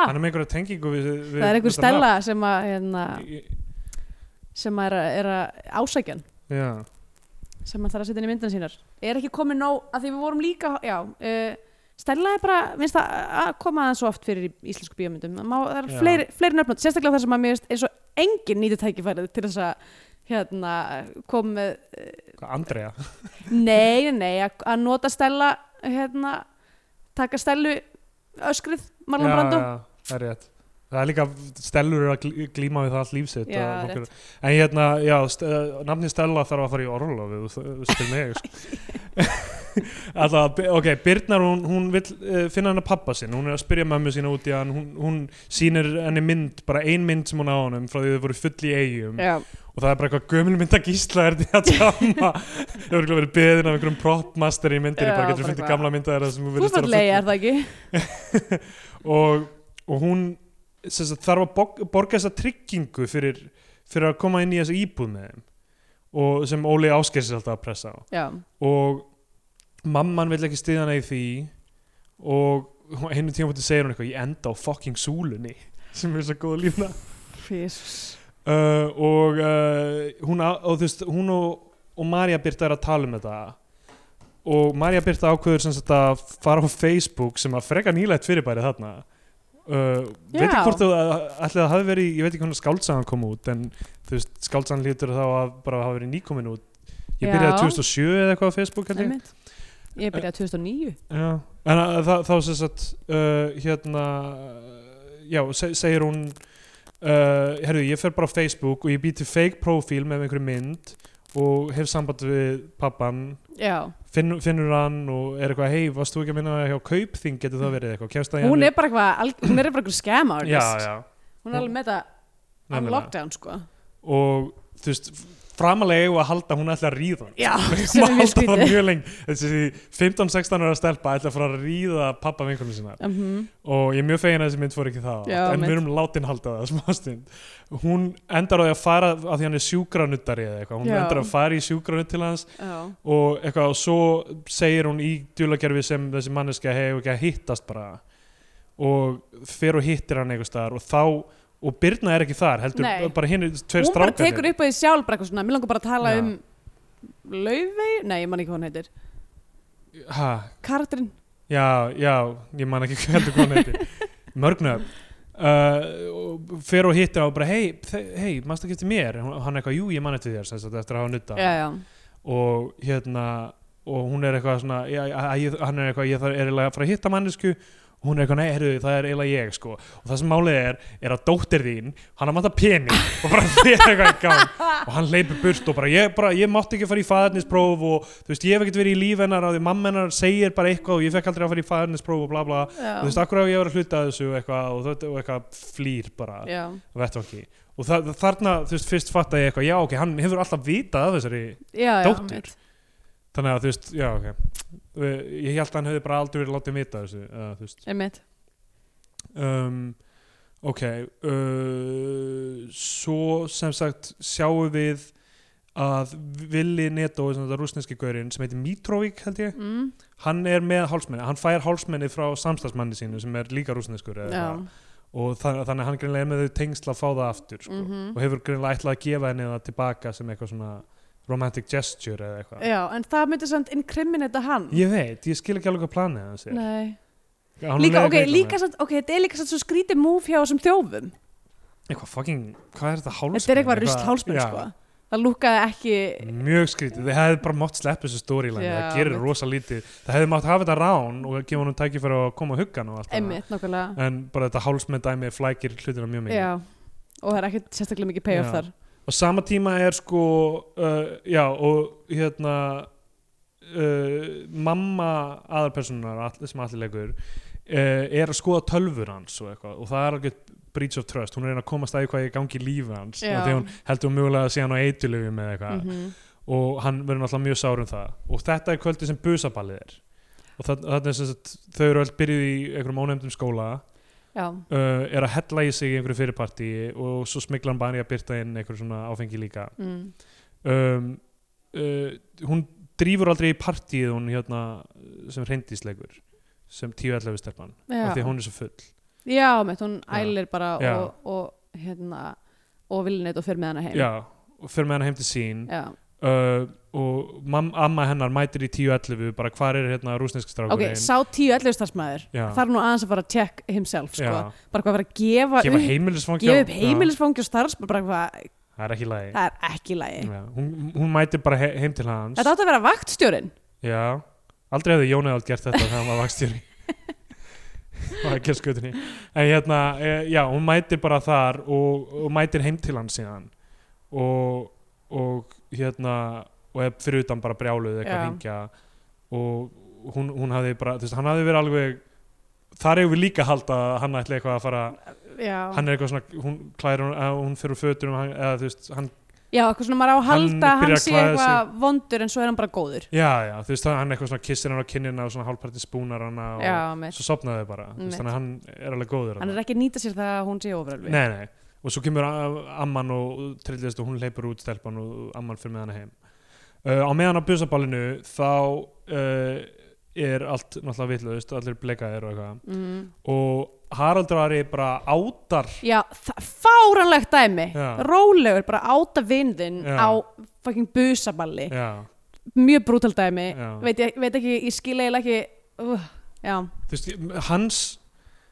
S2: hann er með einhverja tengingu við, við
S3: Ah. það er einhver
S2: þetta
S3: Stella sem að hérna,
S2: nafn. Ég-
S3: sem að er, að- er að ásækjan
S2: já,
S3: sem að það er að setja inn í myndin sínar er ekki komið nóg, að því við vorum líka já, uh, Stella er bara minnst það að koma aðeins svo oft fyrir í íslensku bíómyndum Það má, það er
S2: Já.
S3: fleiri, fleiri nöfnum, sérstaklega það sem að mér finnst eins og engin nýti tækifærið til þess að hérna, koma með
S2: hvað, Andrea
S3: nei, nei, nei, að, að nota Stella hérna, taka Stellu öskrið Marlon
S2: já,
S3: Brando
S2: já, það er rétt það er líka Stellur er að glí- glíma við það allt lífsitt
S3: Já,
S2: og nokkur- en hérna, já, st eh, nafni Stella þarf að fara í orlofi þú- þú spyr mig sko. Alla, Bi- ok, Birnar hún, hún vil uh, finna hana pappa sinn hún er að spyrja mömmu sína út í hann hún, hún sýnir henni mynd, bara ein mynd sem hún á honum frá því þau voru full í eigum
S3: já,
S2: og það er bara eitthvað gömul mynd að gísla er því að tjáma þau eru verið beðin af einhverjum propmaster í myndinni
S3: Já,
S2: bara getur
S3: bara
S2: fundið
S3: eitthvað.
S2: gamla mynda þeirra sem hún
S3: þú
S2: virðist
S3: fært
S2: vera
S3: leið
S2: full-
S3: er það ekki
S2: og, og hún sem sagt, þarf að borg, borga þessa tryggingu fyrir, fyrir að koma inn í þessa íbúð með þeim og sem Óli Áskeis er alltaf að pressa á
S3: já,
S2: og mamman vill ekki stiða hana í því og og einu tíma búin segir hún eitthvað ég enda á fucking súlunni sem er svo góð lífna
S3: Jesus
S2: uh, og uh, hún, á- og, þú veist, hún og, og Marja Birta er að tala um þetta og Marja Birta ákveður sem sagt að fara á Facebook sem að freka nýlætt fyrirbæri þarna uh, veit ekki
S3: Já.
S2: hvort þú eh, ætli það hafi verið, ég veit ekki hvernig skáldsagan kom út en þú veist, skáldsagan hlýtur þá að bara hafa verið nýkomin út ég byrjaði
S3: Já.
S2: 2007 eða eitthvað á Facebook held ég.
S3: einmitt. ég byrjaði 2009
S2: Já, en að- þá, þá sem sagt uh, hérna já, se, segir hún uh, herru, ég fer bara á Facebook og ég býti fake profil með einhverju mynd og hef samband við pappan
S3: já.
S2: finn, finnur hann og er eitthvað hei, varst þú ekki að minna hjá Kaupþing getur það verið eitthvað, kemst það í
S3: hún
S2: hann
S3: er bara eitthvað alg- hún er bara eitthvað skam
S2: við- já, já,
S3: hún er alveg með þetta á
S2: nefnilega.
S3: lockdown sko
S2: og þú veist framalega eigum við að halda að hún ætla að ríða hann.
S3: Já,
S2: Má
S3: sem er mjög
S2: halda það
S3: skrítið
S2: mjög lengi þessi 15-16 ára stelpa ætla að fara að ríða pappa vinkunum sína
S3: Mhm.
S2: og ég er mjög fegin að þessi mynd fór ekki það átt,
S3: Já,
S2: en
S3: mitt.
S2: við erum látin halda það smástund hún endar á því að fara af því hann er sjúkranuttari eða eitthvað hún
S3: Já.
S2: endar að fara í sjúkranutt til hans
S3: Já,
S2: og eitthvað og svo segir hún í djúlagerfi sem þessi manneska hefur ekki að hittast bara og fer og hittir hann einhvers staðar og þá og Birna er ekki þar heldur
S3: Nei.
S2: bara hinn tveir
S3: hún bara
S2: strákarnir
S3: tekur upp á því sjálf bara eitthvað svona, mér langar bara að tala
S2: Já.
S3: um Laufey, nei, ég man ekki hvað hún heitir
S2: ha,
S3: Karatrin,
S2: já, já, ég man ekki hvað heldur hvað hann heitir mörgnöf Uh, og fer og hittir á og bara hei, hei, mannst ekki eftir mér Hún- hann er eitthvað, jú, ég man eftir þér sem sagt, eftir að hafa nutta
S3: já, já
S2: og hérna og hún er eitthvað svona já, já, ég, hann er eitthvað, ég þarf er eiginlega að fara að hitta mannesku og hún er eitthvað, nei, heyrðu, það er eiginlega ég sko. og það sem málið er, er að dóttir þín hann að manta pening og bara þér eitthvað í gang og hann leipur burt og bara ég, bara, ég mátti ekki fara í faðarnispróf og þú veist, ég hef ekkert verið í líf hennar á því mamma hennar segir bara eitthvað og ég fekk aldrei að fara í faðarnispróf og bla bla,
S3: Já,
S2: þú veist, akkur á ég að vera að hluta að þessu og eitthvað, og, þetta- og eitthvað flýr bara
S3: já,
S2: vettvangi og það, þarna, þú veist, fyrst fatta ég eitthvað já, ok, hann hefur alltaf vitað af þessari
S3: já, já
S2: Dóttur.
S3: mitt.
S2: þannig að þú veist, já ok Uh, ég held að hann hefði bara aldrei verið látið vita þessu, uh, þú veist
S3: Einmitt.
S2: um, ok uh, svo sem sagt sjáum við að Vili Neto, sem þetta rúsneski gaurinn sem heitir Mitrovic held ég
S3: Mm,
S2: hann er með hálsmenni, hann fær hálsmenni frá samstagsmanni sínu sem er líka rúsneskur eða
S3: já,
S2: eitthvað. og þann, þannig að hann greinlega er með þau tengsl að fá það aftur sko.
S3: mhm.
S2: og hefur greinlega ætlað að gefa henni það tilbaka sem eitthvað svona romantic gesture eða eitthvað
S3: já, en það myndi samt incriminata hann
S2: ég veit, ég skil ekki alveg hvað planið hans er
S3: Nei.
S2: Hann
S3: Líka,
S2: leiðir
S3: ok,
S2: eitthvað
S3: líka
S2: með.
S3: samt, ok, þetta er líka samt svo skrítið múf hjá þessum þjófum
S2: eitthvað fucking, hvað er þetta hálsmenn
S3: Þetta er eitthvað rusl hálsmenn, sko Það lúkaði ekki
S2: mjög skrítið, þið hefði bara mátt sleppa þessu storyline,
S3: Já,
S2: það gerir
S3: mitt.
S2: rosa lítið það hefði mátt hafa þetta rán og gefa honum tækifæri að koma að hugga hann og allt það.
S3: Einmitt, nákvæmlega
S2: en bara þetta hálsmenn dæmi flækir hlutina mjög mikið
S3: Já, og það er ekkert sérstaklega mikið
S2: Já.
S3: payoff þar
S2: og sama tíma er sko uh, já og hérna uh, mamma aðarpersonunar sem allir leikur uh, er að skoða tölfur hans og, eitthvað, og það er alveg breach of trust, hún er að reyna að komast að því hvað ég gangi í lífi hans
S3: Já.
S2: þegar hún heldur hún mjögulega að sé hann á eitulöfum eða eitthvað
S3: Mhm.
S2: og hann verður náttúrulega mjög sár um það og þetta er kvöldi sem busaballið er og það- þarna er sem sagt þau eru öll byrjuð í einhverjum ónefndum skóla
S3: Já,
S2: uh, er að hella í sig í einhverju fyrirparti og svo smikla hann bara í að byrta inn einhverju svona áfengi líka
S3: mm.
S2: um, uh, hún drífur aldrei í partíið hún hérna sem reyndísleikur sem 10-11 stelpan af því
S3: já.
S2: að hún er svo full
S3: Já, mitt, hún
S2: Já.
S3: ælir bara
S2: Já.
S3: og, og hérna og vilnið og fer með hana heim
S2: já, og fyrir með hana heim til sín
S3: Já.
S2: uh, og mam, amma hennar mætir í 10-11 bara hvar er hérna rúsnesk
S3: Ok,
S2: strákurinn
S3: sá tíu ellu starfsmæður
S2: Já.
S3: þarf nú aðeins að fara að check himself sko.
S2: Já.
S3: bara hvað að fara að gefa,
S2: gefa
S3: upp-
S2: heimilisfangi
S3: gefa upp heimilisfangi og starfsmæður bara hvað,
S2: það er ekki lægi
S3: það er ekki í lagi
S2: Já, hún, hún mætir bara he heim til hans
S3: Þetta átti að vera vaktstjórin
S2: Já, aldrei hefði Jón Eðald gert þetta þegar hann var vakstjóri var ekki að skutinni en hérna, e, já, hún mætir bara þar og, og mætir heim til hann síðan og, og hérna og er fyrir utan bara brjáluð eitthvað
S3: Já.
S2: hengja og hún, hún hafði bara, þú veist, hann hafði verið alveg þar hefur við líka að halda að hann ætli eitthvað að fara,
S3: Já,
S2: hann er eitthvað svona hún klæðir hún, að hún fyrir úr fötunum hann, eða þú veist, hann,
S3: Já eitthvað svona maður á að halda
S2: Hann
S3: hann,
S2: byrjar að
S3: sé
S2: klæða
S3: eitthvað vondur en svo er hann bara góður
S2: já, já, þú veist, hann eitthvað svona kissir hann á kinnina og svona hálfparti spúnar hana og,
S3: Já, mitt,
S2: svo sopnaði þau bara þú veist,
S3: Einmitt.
S2: þannig að hann er alveg góður
S3: hann er ekki að nýta sér það að hún sé ofralvi
S2: nei, nei. og svo kemur a- amman og trillist og hún leipur út stelpan og amman fyrir með hana heim uh, á meðan á busaballinu þá uh, er allt náttúrulega vitlaust, allir blekaðir og eitthvað
S3: mm.
S2: og Haraldur Ari bara átar
S3: Já, það- fáránlegt dæmi
S2: Já.
S3: Rólegur, bara áta vindin
S2: Já.
S3: á fucking busaballi
S2: já,
S3: Mjög brútal dæmi
S2: Já.
S3: veit, ég, veit ekki, ég skil eiginlega ekki uh, Já,
S2: þú veist, hans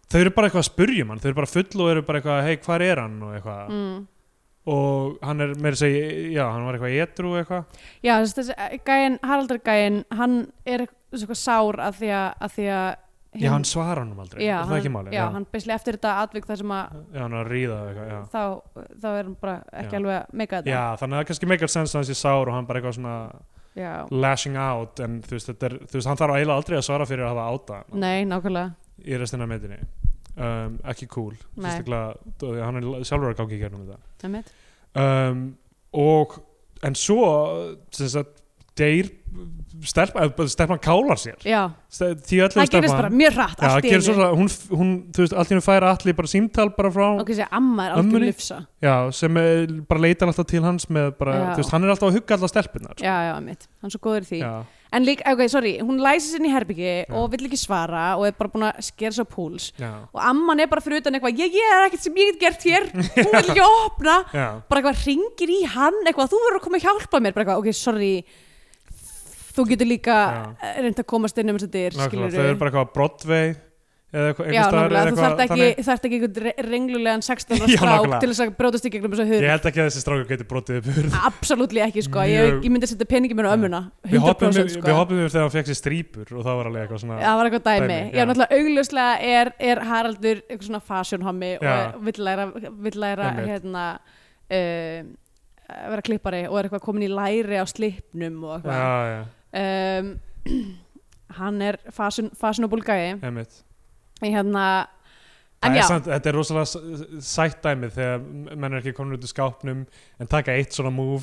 S2: þau eru bara eitthvað að spurja mann, þau eru bara full og eru bara eitthvað, hei, hvar er hann og eitthvað
S3: mm.
S2: og hann er meira að segja, já, hann var eitthvað etru og eitthvað
S3: Já þessi, þessi gæin, Haraldur gæin hann er eitthvað sár að því að, að, því að
S2: já, hann svarar hann aldrei,
S3: já,
S2: er það
S3: hann,
S2: ekki máli
S3: já, hann beislega eftir þetta atvik þar sem að
S2: já, hann er að ríða og eitthvað, já
S3: þá, þá er hann bara ekki
S2: Já.
S3: alveg að meika þetta
S2: Já, þannig að það kannski meikar sens að hans ég sár og hann bara eitthvað svona
S3: Já.
S2: lashing out en þú veist, þetta er, þú veist hann þarf eiginlega aldrei að svara fyrir að hafa áta hana
S3: Nei, nákvæmlega
S2: í restina af myndinni um, ekki cool,
S3: Nei.
S2: sérstaklega þú- hann er sjálfur að gangi í gegnum þetta
S3: Einmitt.
S2: um, og en svo sem sagt, deyr stelpa, eða bara stelpan kálar sér
S3: já,
S2: Ste- því öllu
S3: það gerist bara mjög hratt
S2: já,
S3: allt í
S2: gerist
S3: einu.
S2: svo, hún, hún, þú veist, allt í hennu fær allir bara símtal bara frá,
S3: og kannski að amma er algjör
S2: Ömmunni.
S3: lufsa
S2: já, sem er, bara leitar alltaf til hans með bara,
S3: Já.
S2: þú veist, hann er alltaf að hugga allar stelpunar
S3: já, já, mitt, hann er svo góður í því
S2: já,
S3: en líka, ok, sorry, hún læsist inn í herbyggi og vill ekki svara og er bara búin að skera svo púls
S2: já,
S3: og amman er bara fyrir utan eitthvað ég, ég er ekkert sem ég get gert hér hún vil ekki opna
S2: já.
S3: bara eitthvað ringir í hann eitthvað þú verður að koma að hjálpa mér bara eitthvað ok, sorry þú getur líka reynd að komast inn um þess að dyr
S2: Nákvæmlega,
S3: skilurðu.
S2: þau eru bara eitthvað á Broadway eða eitthvað,
S3: Já,
S2: einhvers staðar eða
S3: nákvæmlega, þú
S2: eitthvað
S3: þarft
S2: þannig.
S3: ekki, þarft ekki einhvern re- renglulegan 16 ára
S2: Já,
S3: strák
S2: nákvæmlega.
S3: til þess að brjótast í gegnum þessa hurð
S2: ég held ekki að þessi strákur geti brotið upp hurð
S3: Absolutt ekki, sko, ég,
S2: Mjög-
S3: ég myndi að setja peningi mér á ömmuna
S2: við hoppum
S3: 100%
S2: yfir
S3: sko
S2: við hoppum yfir þegar hann fekk sér strípur og það var alveg eitthvað svona
S3: Það var eitthvað dæmi,
S2: Dæmi,
S3: já,
S2: já.
S3: náttúrulega augljóslega er, er Haraldur eitthvað svona fashionhommi og
S2: Já.
S3: er- vill læra, vill læra
S2: Einmitt.
S3: hérna uh, vera klippari og er eitthvað komin í læri á slipnum og eitthvað
S2: já, já,
S3: um, Hann er fashion, fashionable gæi
S2: einmitt
S3: hérna,
S2: Það
S3: En
S2: er
S3: já,
S2: samt, þetta er rosalega s- sætt dæmi þegar menn er ekki komin út úr skápnum en taka eitt svona move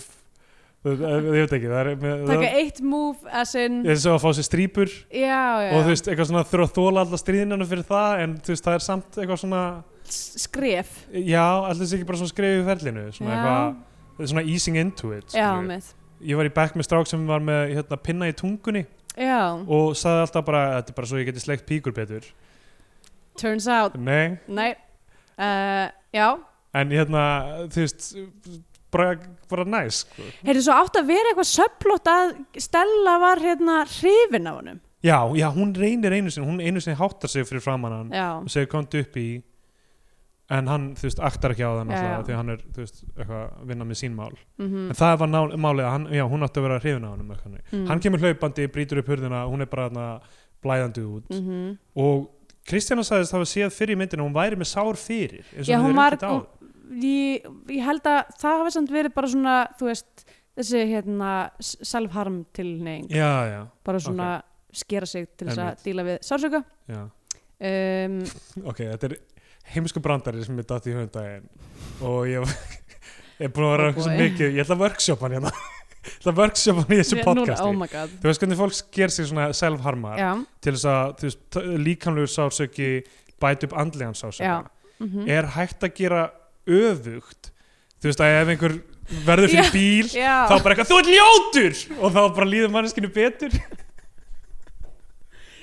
S2: Þú- ég ég veit ekki það er, með-
S3: taka
S2: það,
S3: eitt move as in
S2: ég er svo að fá sér strípur
S3: já, já,
S2: og þú veist, eitthvað svona þurfa að þóla alla stríðinana fyrir það en þú veist, það er samt eitthvað svona
S3: S- skref
S2: já, allir sér ekki bara svona skrifið í ferlinu svona
S3: Já.
S2: eitthvað, svona easing into it
S3: já,
S2: skilurðu.
S3: mitt
S2: ég var í bekk með strák sem var með hérna, pinna í tungunni
S3: já,
S2: og sagði alltaf bara, þetta er bara svo ég geti sleikt píkur betur
S3: turns out,
S2: nei,
S3: nei uh, já,
S2: en hérna, þú veist bara, bara næs sko.
S3: heyrðu svo átt að vera eitthvað söplót að Stella var hérna hrifin af honum
S2: já, já, hún reynir einu sinni hún einu sinni háttar sig fyrir framann hann
S3: já,
S2: og segir komdu upp í en hann, þú veist, aktar ekki á það
S3: Já,
S2: náttúrulega
S3: já.
S2: því að hann er, þú veist, eitthvað að vinna með sín mál
S3: mhm
S2: en Mm. það var nál, málið að hann, já, hún átti að vera hrifin á honum mm.
S3: mm
S2: hann kemur hlaupandi, brýtur upp hurðina hún er bara hana, blæðandi út
S3: mhm.
S2: og Kristjana sagðist hafa séð fyrir í myndinu að hún væri með sár fyrir eins og
S3: Já,
S2: hún
S3: hún
S2: hefur
S3: var-
S2: reyndið á
S3: ég, ég held að það hafi samt verið bara svona, þú veist þessi hérna s- self-harm tilneying,
S2: já, já,
S3: bara svona skera sig til þess að
S2: Einmitt.
S3: díla við sársöka
S2: já
S3: um,
S2: ok, þetta er heimsku brandari sem ég datt í höfundaginn og ég ég er búin að vera
S3: Oh
S2: eitthvað svo
S3: boy.
S2: mikið ég ætla að workshopa hann hérna ég ætla að workshopa hann í þessu
S3: við-
S2: podcasti
S3: oh my god
S2: þú veist hvernig fólk sker sig svona self-harmar
S3: já,
S2: til þess að þú veist, t- líkamlegur sársöki bæti upp andlegan
S3: Já.
S2: sársöka
S3: mhm.
S2: er hægt að gera öfugt þú veist að ef einhver verður fyrir
S3: Já.
S2: bíl
S3: já.
S2: þá bara eitthvað, þú ert ljótur og þá bara líður manneskinu betur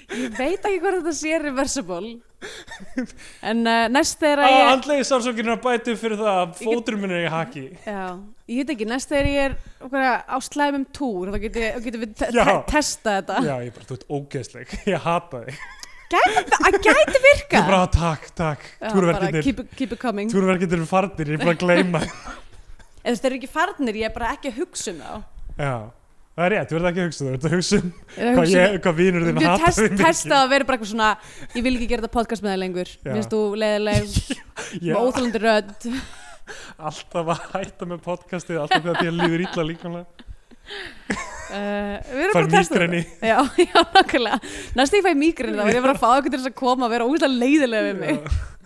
S3: Ég veit ekki hvort þetta sé reversible En uh, næst þegar að
S2: að
S3: ég
S2: andlegi sársökinu að bæta upp fyrir það að
S3: Ég get-
S2: fóturum minn er í haki
S3: Já, ég veit ekki, næst þegar ég er okkar, á slæmum túr þá getum ég- þá getum við te
S2: Já.
S3: te testa þetta
S2: já, ég bara, þú ert ógeðsleg, ég hata þig
S3: Það gæti virka
S2: þú bara, "Ah, takk, takk,
S3: Já, bara
S2: túrverkindir
S3: keep, it- keep it coming
S2: túrverkindir er farnir, ég er bara að gleyma
S3: Ef þeir eru ekki farnir, ég er bara ekki að hugsa um þá
S2: já, það er rétt, þú verður ekki að hugsa þú verður að hugsa um
S3: Ég er að
S2: hvað,
S3: hugsa um-
S2: ég, hvað vinur þinn
S3: Þú
S2: hata
S3: test,
S2: þig
S3: testa að vera bara eitthvað svona Ég vil ekki gera þetta podcast með það lengur
S2: Já.
S3: Minnst þú leiðileg, með
S2: ég,
S3: óþólandi rödd
S2: alltaf að hætta með podcastið alltaf þegar þér líður illa líkamlega
S3: Uh, við erum
S2: Fær
S3: bara að testa
S2: mígreni.
S3: þetta. Já, já, nákvæmlega Næst þegar ég fæ mígrinni þá verð ég bara að fá okkur til þess að koma og vera ógæslega leiðilega við mig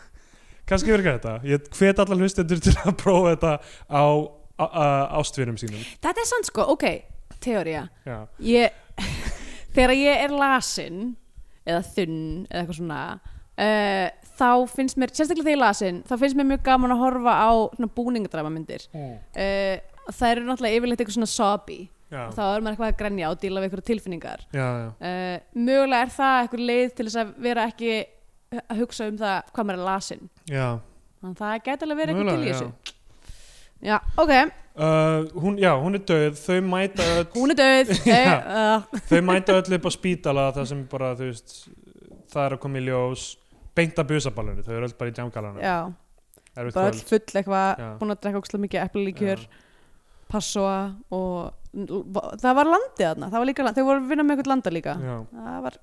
S2: kannski verður þetta ég hvet allar hlustendur til að prófa þetta á á- á- ástvinum sínum
S3: Þetta er sann sko, ok, teória
S2: já,
S3: ég, Þegar ég er lasin eða þunn eða eitthvað svona uh, þá finnst mér, sérstaklega þegar ég er lasin þá finnst mér mjög gaman að horfa á búningadramamindir uh, Það eru náttúrulega yfirleitt eitthvað svona sobby
S2: já,
S3: þá er maður eitthvað að grenja og díla við eitthvað tilfinningar
S2: já, já.
S3: uh, mögulega er það eitthvað leið til þess að vera ekki að hugsa um það hvað maður er lasin
S2: já.
S3: þannig að það gæti alveg verið eitthvað til í
S2: Mögulega,
S3: þessu
S2: já.
S3: já, ok,
S2: Uh, hún, já, hún er döð, þau mæta öll
S3: hún er döð
S2: Já.
S3: uh,
S2: þau mæta öll upp á spítala það sem bara, þú veist það er að koma í ljós beint að busaballinu, þau eru öll bara í jamgalana
S3: já,
S2: erfitt
S3: bara öll
S2: kvöld
S3: full eitthvað
S2: Já.
S3: búin að drekka ókslega mikið eplilíkjör
S2: Já.
S3: passoa og það var landið þarna, það var líka land, þau voru að vinna með eitthvað landa líka
S2: Já.
S3: það var,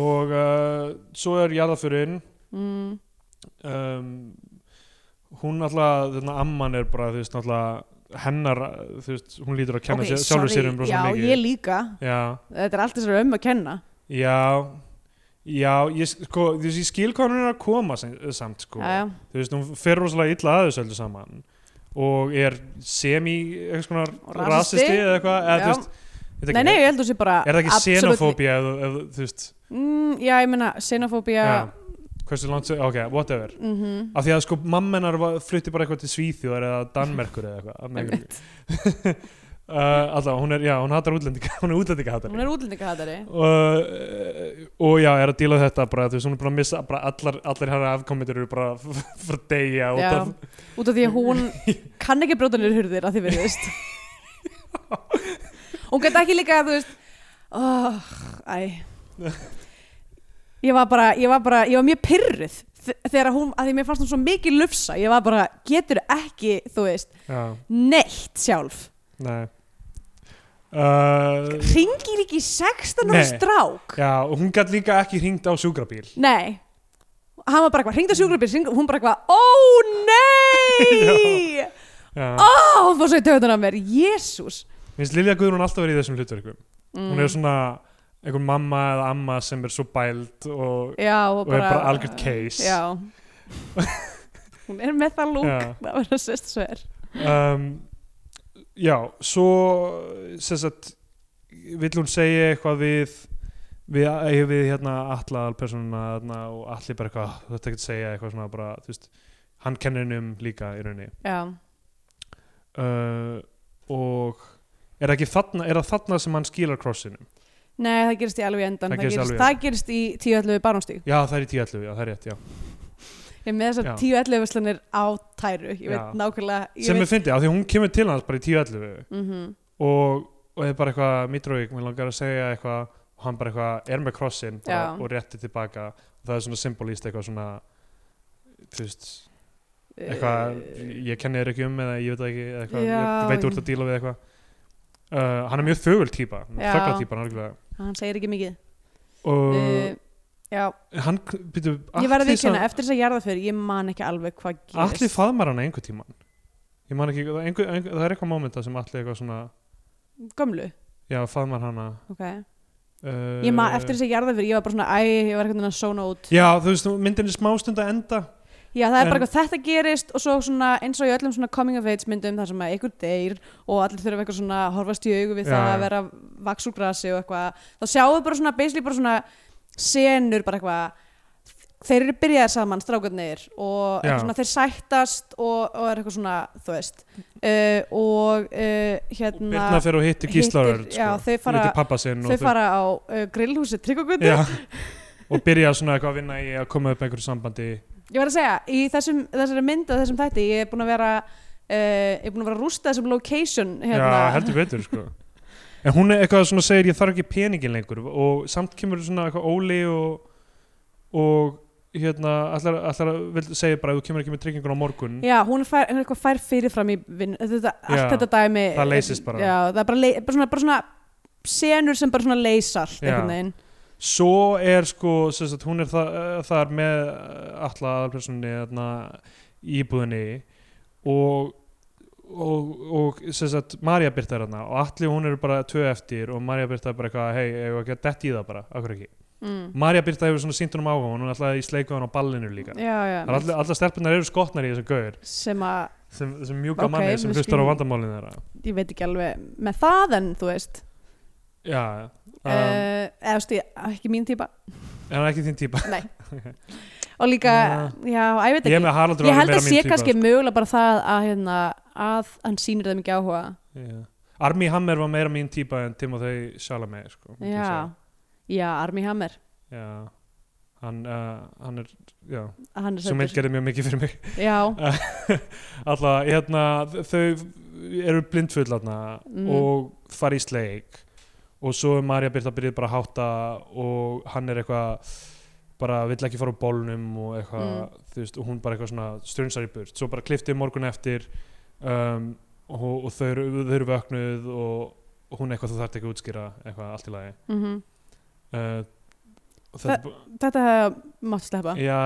S2: og uh, svo er jarðafurinn
S3: mm,
S2: um, hún alltaf, þarna amman er bara þú veist, alltaf hennar þú veist, hún lítur að kenna
S3: ok,
S2: okay, sjálfur sér um
S3: já,
S2: rosa mikið
S3: ég líka
S2: já,
S3: þetta er allt þess að um að kenna
S2: já já, ég, sko, þú veist, ég skil hvað hún er að koma sem, samt, sko
S3: já, já,
S2: þú veist, hún fer rosalega illa að þessu öllu saman og er semi eitthvað svona
S3: Rasisti.
S2: rasisti eða eitthvað eða,
S3: Já.
S2: þú veist, ég veit
S3: Nei,
S2: ekki,
S3: nei, ég held að það sé bara
S2: er það ekki
S3: absolutely-
S2: xenofóbía ef, þú- ef þú- þú veist
S3: Mm, já, ég meina, xenofóbía
S2: já, hversu langt, ok, whatever
S3: mm
S2: af því að sko mammenar flutti bara eitthvað til Svíþjóðar eða Danmerkur eða eitthvað að mig- uh, alltaf, hún er, já, hún hatar útlendinga hún er útlendinga hatari
S3: Hún er útlendingahatari
S2: og, eh, og já, er að díla við þetta bara, þú veist, hún er bara að missa bara allar, allar hæra afkomendur eru bara frá degja út
S3: Já,
S2: af
S3: út af því að hún kann ekki brjóta nýr hurðir að því við veist hún gæti ekki líka þú veist oh, æ ég var bara ég var bara, ég var mjög pyrruð þ- þegar hún, að því mér fannst hún svo mikið lufsa ég var bara, getur ekki, þú veist
S2: já,
S3: neitt sjálf
S2: nei uh,
S3: ringir ekki í 16 ára
S2: Nei.
S3: strák
S2: já, og hún gætt líka ekki hringt á sjúkrabíl
S3: nei hann var bara eitthvað, hringda sjúkrabíl hring- hún bara eitthvað, ó nei
S2: já,
S3: ó, hún fór svo í töðun af mér, jésús
S2: minnst Lilja Guðrún alltaf verið í þessum hlutverkum
S3: Mm.
S2: hún er svona einhver mamma eða amma sem er svo bæld og
S3: já, og,
S2: og er bara algjört case.
S3: já. hún er með það lúk
S2: Já.
S3: að vera sest sver
S2: um, já, svo sem sagt vill hún segja eitthvað við við, eh, við hérna alla alpersonuna hérna, og allir bara eitthvað þú þetta ekki að segja eitthvað svona bara þú veist, hann kennir henni um líka í rauninni
S3: já.
S2: uh, og er það ekki þarna, er það þarna sem hann skilar krossinum?
S3: nei, það gerist í alveg í endan
S2: Það
S3: það
S2: gerist
S3: gerist,
S2: alveg í-
S3: það gerist í 10-11 barnástíg
S2: Já, það er í 10.11, já, það er rétt, já
S3: ég er með þessar
S2: Já.
S3: 10-11 verslanir á tæru ég veit
S2: Já.
S3: nákvæmlega ég
S2: sem
S3: veit,
S2: er fyndið, af því hún kemur til hans bara í 10.11
S3: mm
S2: og, og er bara eitthvað Mitrovic, mér langar að segja eitthvað og hann bara eitthvað er með krossin bara,
S3: Já.
S2: og rétti tilbaka og það er svona symbolist eitthvað svona þú veist, eitthvað ég kenni þér ekki um eða ég veit það ekki eða eitthvað,
S3: Eh. Já.
S2: ég veit úr þetta að díla við eitthvað uh, hann er mjög þögul típa
S3: Já.
S2: þögla típa algjörlega
S3: hann segir ekki mikið
S2: og
S3: uh, já,
S2: hann býtu
S3: Eh, ég verði ekki hérna eftir þess að jarða fyrir ég man ekki alveg hvað gerist
S2: allir faðmar hana einhver tíman ég man ekki, það, einhver, einhver, það er eitthvað mómenta sem allir eitthvað svona
S3: gömlu,
S2: já, faðmar hana
S3: ok
S2: uh,
S3: ég man eftir þess að jarða fyrir, ég var bara svona æ, ég var eitthvað svona út
S2: Já, þú veist, myndin er smástund að enda
S3: Já, það er bara
S2: En-
S3: eitthvað þetta gerist og svo svona, eins og í öllum svona coming of age myndum þar sem að einhver deyr og allir þurfa eitthvað svona að horfast í augu við
S2: Já,
S3: það
S2: já.
S3: að vera vaks úr grasi og eitthvað þá sjáum við bara svona, basically bara svona senur bara eitthvað þeir eru byrjaðir saman, strákarnir og
S2: Já.
S3: eitthvað svona, þeir sættast og, og er eitthvað svona, þú veist uh, og uh,
S2: og
S3: hérna
S2: Birna fer og hittir Gíslaur
S3: hittir-
S2: sko.
S3: já, þau fara-
S2: hittir pappa sinn
S3: þau
S2: og,
S3: fara á uh, grillhúsi Tryggvagundi
S2: já, og byrja svona eitthvað að vinna í að koma upp einhverju sambandi
S3: Ég var að segja, í þessum, þessari mynda, þessum þætti, ég er búin að vera Uh, ég er búin að vera að rústa þessum location hérna.
S2: Já, heldur betur sko. En hún er eitthvað svona segir ég þarf ekki peningin lengur og samt kemur svona eitthvað óli og, og hérna allar, allar vil segja bara þú kemur ekki með tryggingun á morgun
S3: Já, hún fær, hún er eitthvað fær fyrirfram í vinn, þetta, allt
S2: Já,
S3: þetta dæmi eh,
S2: það leysist bara.
S3: Já, það er bara, le, bara, svona, bara svona senur sem bara svona leysa allt
S2: Já.
S3: einhvern veginn
S2: Svo er sko sem sagt, hún er þa eh, þar með eh, alla aðalpersonni þarna hérna, í íbúðinni og og, og sem sagt, Marja Birta er hérna og allir hún eru bara tvö eftir og Marja Birta er bara eitthvað, hei, ég var ekki að detti í það bara akkur ekki.
S3: mm.
S2: Marja Birta hefur svona síndunum áhuga hún er alltaf í sleikuðan á ballinu líka
S3: Já, já,
S2: Það er allir, allar stelpunar eru skotnar í þessum gaur
S3: sem að
S2: sem, sem mjúka
S3: Ok,
S2: manni sem
S3: við
S2: hlustar á
S3: skiljum.
S2: vandamálin þeirra
S3: ég veit ekki alveg með það en þú veist
S2: Já,
S3: um,
S2: um,
S3: eða þú veist, ég- ekki mín típa
S2: en hann er ekki þín típa
S3: Nei Og líka, já, að ég veit
S2: Ég
S3: ekki
S2: er með Haraldur
S3: Ég
S2: alveg
S3: held
S2: meira mín
S3: að
S2: sko.
S3: sé
S2: týpa,
S3: kannski mögulega bara það að, hérna, að hann sýnir þeim ekki áhuga
S2: Já. Armie Hammer var meira mín típa en Timothy Chalamet sko, myndi ég
S3: Já,
S2: segja.
S3: já Armi Hammer
S2: já. Hann, uh, hann er já,
S3: Hann er
S2: sem mynd
S3: sætur
S2: gerði mjög mikið fyrir mig
S3: Já,
S2: alltaf, hérna, þau eru blindfull þarna
S3: Mm.
S2: og fara í sleik og svo er Marja Birta byrjuð bara að hátta og hann er eitthvað bara vill ekki fara úr bólnum og eitthvað,
S3: Mm.
S2: þú veist, og hún bara eitthvað svona strunsar í burt, svo bara kliftið morgun eftir um, og, og þau, eru, þau eru vöknuð og, og hún eitthvað þú þarft ekki að útskýra eitthvað allt í lagi
S3: mhm
S2: uh, og þetta, bú-
S3: Þetta hefði mátt sleppa
S2: já,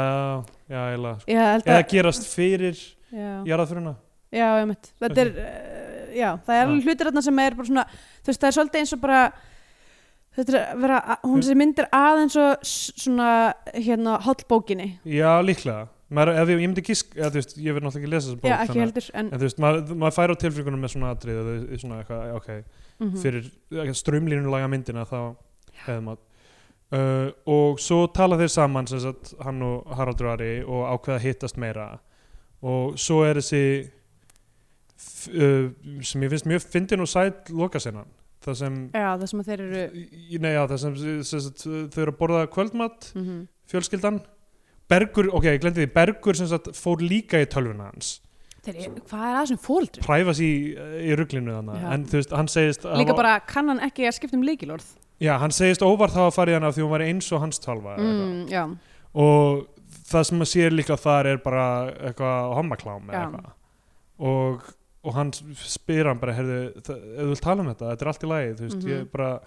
S2: já, eiginlega sko.
S3: Ég held
S2: eða
S3: að
S2: gerast fyrir
S3: Já,
S2: jarðaföruna
S3: já, ég mitt Þetta er, uh, já, það er alveg hlutir þarna sem er bara svona Þú veist, það er svolítið eins og bara Þetta er að
S2: Hm.
S3: vera, hún sem myndir aðeins og s- svona, hérna, hollbókinni
S2: já, líklega maður, ef ég, ég myndi gísk eða, þú veist, ég verð náttúrulega ekki að lesa þessa bók
S3: já, ekki
S2: þannig að-
S3: heldur en,
S2: en þú veist, maður, maður fær á tilfinningunum með svona atrið svona eitthvað, ok,
S3: mm -hmm.
S2: fyrir strömlínulaga myndina þá hefði maður uh, og svo tala þeir saman sem sagt, hann og Haraldur Ari og ákveða að hittast meira og svo er þessi f- uh, sem ég finnst mjög fyndin og sæt lokasennan það sem,
S3: já, það sem að þeir eru
S2: í- nei, já, það sem, sem sagt, þau eru að borða kvöldmatt
S3: mm
S2: fjölskyldan Bergur, ok, ég glemdi því, Bergur sem sagt fór líka í tölvuna hans
S3: þeir eru, hvað er það sem fóldri?
S2: præfa sér í ruglinu þannig
S3: Já.
S2: en þú veist, hann segist að
S3: líka
S2: hafa-
S3: bara kann hann ekki að skipta um leikilorð
S2: Já, hann segist óvart hafa farið hana því hún var eins og hans tölva eða
S3: mm, já,
S2: eitthvað. og það sem maður sér líka þar er bara eitthvað hommaklám eða
S3: Já.
S2: eitthvað og, og hann spyr hann bara, heyrðu, það- ef þú vilt tala um þetta þetta er allt í lagi, þú veist,
S3: Mhm.
S2: ég bara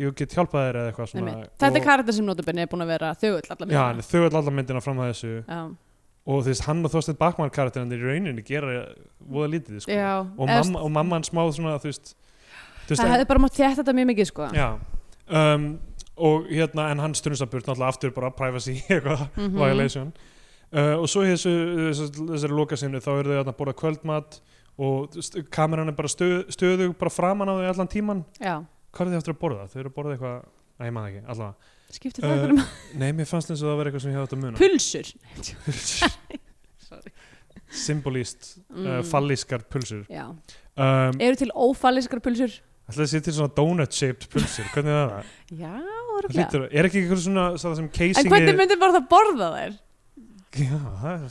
S2: ég get hjálpað þér eða eitthvað svona
S3: einmitt. þetta er
S2: og,
S3: karakter sem notabenni er búin að vera þau öll allar
S2: Já, en þau er allar myndina fram að þessu
S3: já,
S2: og þú veist, hann og Þorstein Bakmann karakterinn í rauninni gera voða lítið sko.
S3: já
S2: og,
S3: eða,
S2: mamma, og mamma hann smá svona, þú veist, þú
S3: það hefði bara mátt þétt þetta mjög mikið sko
S2: Já, um, og hérna en hann strunsaburt náttúrulega aftur bara privacy eitthvað,
S3: Mhm.
S2: violation uh, og svo í þessu, þessu þessari lokasinnu þá eru þau þarna að borða kvöldmat og st- kameran er bara stöð, stöðug bara framan á þau allan tíman
S3: já,
S2: hvað er þau aftur að borða? Þau eru að borða eitthvað Nei, ég maður ekki, allavega.
S3: skiptir
S2: Eh,
S3: það uh,
S2: Nei, Eh, mér fannst eins og það verið eitthvað sem ég hefði átt að muna.
S3: pulsur
S2: Pulsur.
S3: Sorry.
S2: Symbolist, uh,
S3: Mm.
S2: fallískar pulsur.
S3: já,
S2: Um,
S3: eru til ófalliskar pulsur
S2: Ætlaði að sé til svona donut-shaped pulsur, hvernig er það?
S3: já,
S2: það
S3: örgulega
S2: lítur, er ekki eitthvað svona, það sem
S3: en
S2: casing
S3: hvernig myndir bara það borða þær?
S2: Já, það er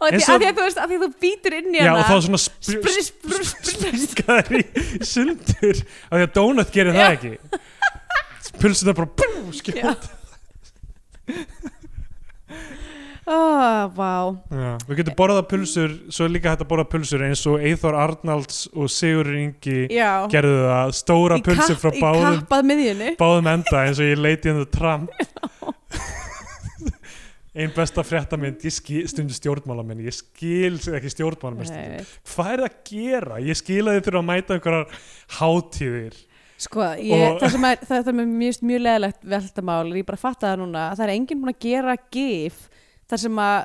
S3: og því
S2: Eins og-
S3: að því að þú veist, að því að þú býtur inn í
S2: Já, og þá
S3: hana
S2: svona
S3: spr- spr- spr- spr-
S2: springaður í sundur af því að donut gerir það ekki pulsuna bara bú, skjóð
S3: Já. Ó, Ah, vá
S2: Já, við getum borðað pulsur svo er líka hægt að borða pulsur eins og Eithor Arnalds og Sigur Ingi
S3: Já,
S2: gerðu það, stóra
S3: Í
S2: pulsur
S3: kapp-
S2: frá
S3: Í
S2: báðum,
S3: kappað miðjunni
S2: báðum enda eins og ég leiti um það tramp ein besta fréttamynd ég skil, stundum stjórnmálamenn ég skil ekki stjórnmálamenn stundum
S3: Nei,
S2: hvað er það að gera? Ég skil að þið þurfa að mæta einhverjar hátíðir
S3: Sko, ég,
S2: Og-
S3: það sem er, það, það er mjög, mjög leðilegt veltamál er ég bara fatta það núna að það er enginn búin að gera gif þar sem að